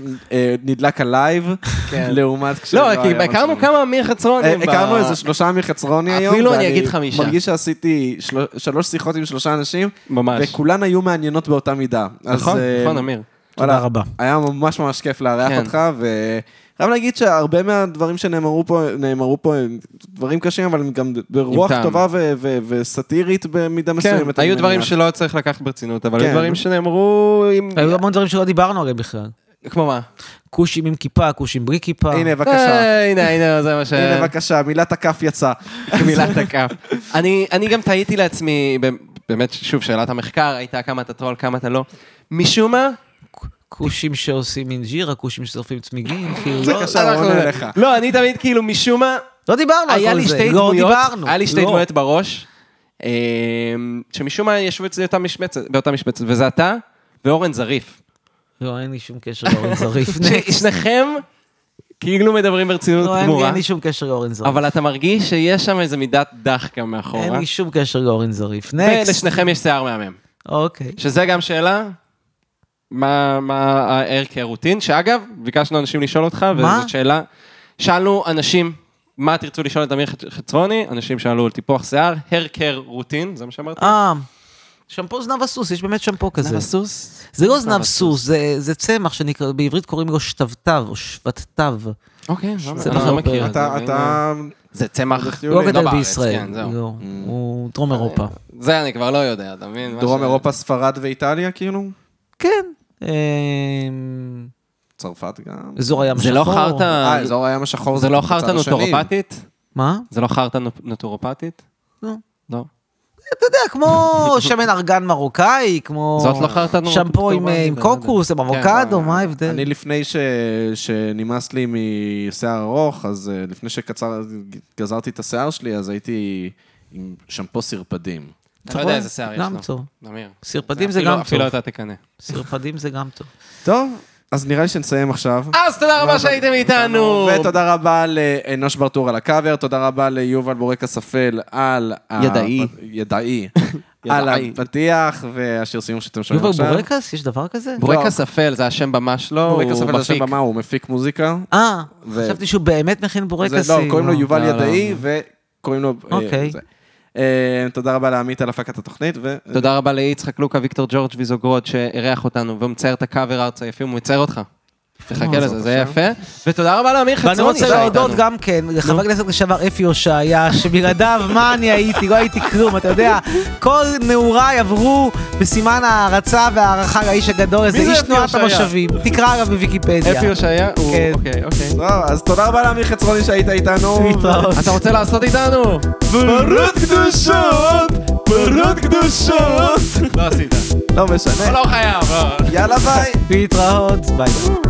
Speaker 2: כשנדלק הלייב, לעומת כשלא
Speaker 3: לא,
Speaker 2: היה
Speaker 3: כי
Speaker 2: מצלמה.
Speaker 3: הכרנו כמה אמיר חצרוני.
Speaker 2: אה, הכרנו
Speaker 3: ב-
Speaker 2: איזה שלושה עמי חצרוני
Speaker 3: אפילו
Speaker 2: היום.
Speaker 3: אני
Speaker 2: ואני
Speaker 3: אגיד חמישה.
Speaker 2: מרגיש שעשיתי של- שלוש שיחות עם שלושה אנשים,
Speaker 3: ממש.
Speaker 2: וכולן היו מעניינות באותה מידה. אז,
Speaker 3: נכון,
Speaker 2: אה,
Speaker 3: נכון, אמיר.
Speaker 2: וואלה,
Speaker 4: תודה רבה.
Speaker 2: היה ממש ממש כיף לארח
Speaker 3: כן.
Speaker 2: אותך, וחייב להגיד שהרבה מהדברים שנאמרו פה, נאמרו פה הם דברים קשים, אבל הם גם ברוח
Speaker 3: טעם.
Speaker 2: טובה ו- ו- וסאטירית במידה
Speaker 3: כן,
Speaker 2: מסוימת. אני
Speaker 3: היו דברים
Speaker 2: מניח.
Speaker 3: שלא צריך לקחת ברצינות, אבל היו
Speaker 2: כן.
Speaker 3: דברים שנאמרו עם...
Speaker 4: היו המון דברים שלא דיברנו עליהם בכלל.
Speaker 3: כמו מה?
Speaker 4: כושים עם כיפה, כושים בלי כיפה.
Speaker 2: הנה, בבקשה.
Speaker 3: אה, הנה, הנה, זה מה ש...
Speaker 2: הנה, בבקשה, מילת הכף יצאה.
Speaker 3: מילת הכף. אני, אני גם תהיתי לעצמי, באמת, שוב, שאלת המחקר, הייתה כמה אתה טרול, כמה אתה לא. משום מה,
Speaker 4: כושים שעושים אינג'ירה, כושים ששורפים צמיגים, כאילו... לא-
Speaker 2: בבקשה, הוא עונה לך.
Speaker 3: לא, אני תמיד כאילו, משום מה,
Speaker 4: לא דיברנו על
Speaker 3: היה
Speaker 4: כל
Speaker 3: לי
Speaker 4: זה,
Speaker 3: שתי
Speaker 4: לא
Speaker 3: דמויות,
Speaker 4: דיברנו.
Speaker 3: היה לי שתי
Speaker 4: לא.
Speaker 3: דמויות בראש, אה, שמשום מה ישבו אצלי אותה משבצת- באותה משבצת, וזה אתה ואורן זריף.
Speaker 4: לא, אין לי שום קשר לאורן זריף.
Speaker 3: ש- שניכם כאילו מדברים ברצינות
Speaker 4: לא, אין לי-
Speaker 3: גמורה,
Speaker 4: אין לי שום קשר לאורן זריף.
Speaker 3: אבל אתה מרגיש שיש שם איזה מידת דחקה
Speaker 4: אין
Speaker 3: מאחורה,
Speaker 4: לי שום קשר לאורן זריף. נקסט.
Speaker 3: ולשניכם יש שיער מהמם.
Speaker 4: אוקיי.
Speaker 3: שזה גם שאלה, מה, מה הערך הרוטין, שאגב, ביקשנו אנשים לשאול אותך,
Speaker 4: מה?
Speaker 3: וזאת שאלה. שאלנו אנשים, מה תרצו לשאול את אמיר חצ- חצרוני? אנשים שאלו על טיפוח שיער, הר קר רוטין, זה מה שאמרתי?
Speaker 4: אה, שמפו זנב הסוס, יש באמת שמפו כזה.
Speaker 3: הסוס?
Speaker 4: זה לא זנב
Speaker 3: זנב
Speaker 4: סוס, זה- זה צמח שנקרא, בעברית קוראים לו שבתתב או שבתתב.
Speaker 3: אוקיי, לא-
Speaker 4: זה נכון.
Speaker 3: אני לא
Speaker 4: מחר
Speaker 3: מכיר את זה.
Speaker 2: אתה, אתה...
Speaker 3: זה צמח,
Speaker 4: הוא לא גדל
Speaker 3: בארץ,
Speaker 4: בישראל,
Speaker 3: כן, זהו. אה,
Speaker 4: לא, הוא דרום אירופה.
Speaker 3: זה אני כבר לא יודע, אתה מבין? מה
Speaker 2: דרום
Speaker 3: ש-
Speaker 2: אירופה, ספרד ואיטליה, כאילו?
Speaker 4: כן, אמ,
Speaker 2: צרפת גם.
Speaker 4: אזור הים
Speaker 3: זה
Speaker 4: השחור.
Speaker 3: לא חרטא,
Speaker 2: אה, אזור הים השחור
Speaker 3: זה לא
Speaker 2: בצד
Speaker 3: חרטא
Speaker 2: השני.
Speaker 3: נוטורופטית?
Speaker 4: מה?
Speaker 3: זה לא חרטא נו- נוטורופטית?
Speaker 4: לא.
Speaker 3: לא.
Speaker 4: אתה יודע, כמו שמן ארגן מרוקאי, כמו...
Speaker 3: זאת לא חרטא נורא
Speaker 4: שמפו
Speaker 3: טובה,
Speaker 4: עם-
Speaker 3: אני
Speaker 4: עם
Speaker 3: לא
Speaker 4: קוקוס, עם
Speaker 3: יודע.
Speaker 4: אבוקדו, מה
Speaker 2: אני
Speaker 4: ההבדל?
Speaker 2: לפני ש... שנמאס לי משיער ארוך, אז אה, לפני שגזרתי את השיער שלי, אז הייתי עם שמפו סרפדים.
Speaker 3: אתה לא יודע איזה שיער יש לו.
Speaker 4: גם טוב.
Speaker 3: אמיר.
Speaker 4: סרפדים זה
Speaker 3: אפילו-
Speaker 4: גם טוב.
Speaker 3: אפילו אתה תקנא.
Speaker 4: סרפדים זה גם טוב.
Speaker 2: טוב, אז נראה לי שנסיים עכשיו.
Speaker 3: אז תודה
Speaker 4: לא,
Speaker 3: רבה שהייתם איתנו.
Speaker 2: ותודה רבה לאנוש ברטור על הקאבר, תודה רבה ליובל בורקס אפל על... ה-
Speaker 3: ידעי.
Speaker 2: ידעי. על הפתיח והשיר סיום שאתם שומעים
Speaker 4: יובל
Speaker 2: עכשיו.
Speaker 4: בורקס? יש דבר כזה?
Speaker 3: בורקס אפל זה השם במה שלו, הוא
Speaker 2: בורקס אפל זה שם
Speaker 3: מפיק.
Speaker 2: במה, הוא מפיק מוזיקה.
Speaker 4: אה,
Speaker 2: ו-
Speaker 4: חשבתי שהוא באמת מכין
Speaker 2: זה-
Speaker 4: בורקסים.
Speaker 2: לא, קוראים לו יובל
Speaker 3: לא, לא.
Speaker 2: ידעי וקוראים לו... אה,
Speaker 4: אוקיי.
Speaker 2: זה. אה, תודה רבה לעמית על הפקת התוכנית, ו...
Speaker 3: תודה רבה ליצחק לוקה, ויקטור ג'ורג' ויזוגרוד שאירח אותנו, והוא מצייר את הקאבר ארצה יפים, הוא מצייר אותך. תחכה לזה, זה יהיה יפה. ותודה רבה לאמיר חצרוני. אה,
Speaker 4: ואני רוצה
Speaker 3: שהיה
Speaker 4: להודות
Speaker 2: לא,
Speaker 3: איתנו.
Speaker 4: גם כן לחבר הכנסת לשעבר אפי הושעיה, שבלעדיו מה אני הייתי, לא הייתי כלום, אתה יודע, כל נעוריי עברו בסימן ההערצה וההערכה לאיש הגדול הזה,
Speaker 3: מי זה
Speaker 4: איש
Speaker 3: אפי
Speaker 4: תנועת
Speaker 3: הושעיה?
Speaker 4: המושבים, תקרא עליו בוויקיפדיה.
Speaker 3: אה, אפי הושעיה? הוא-
Speaker 4: כן.
Speaker 3: אוקיי, אוקיי.
Speaker 2: טוב, אז תודה רבה לאמיר חצרוני שהיית איתנו.
Speaker 4: להתראות.
Speaker 3: אתה רוצה לעשות איתנו?
Speaker 2: פרות קדושות, פרות קדושות.
Speaker 3: לא עשית.
Speaker 2: לא משנה.
Speaker 3: לא חייב. לא.
Speaker 2: יאללה ביי.
Speaker 4: להתראות, ביי.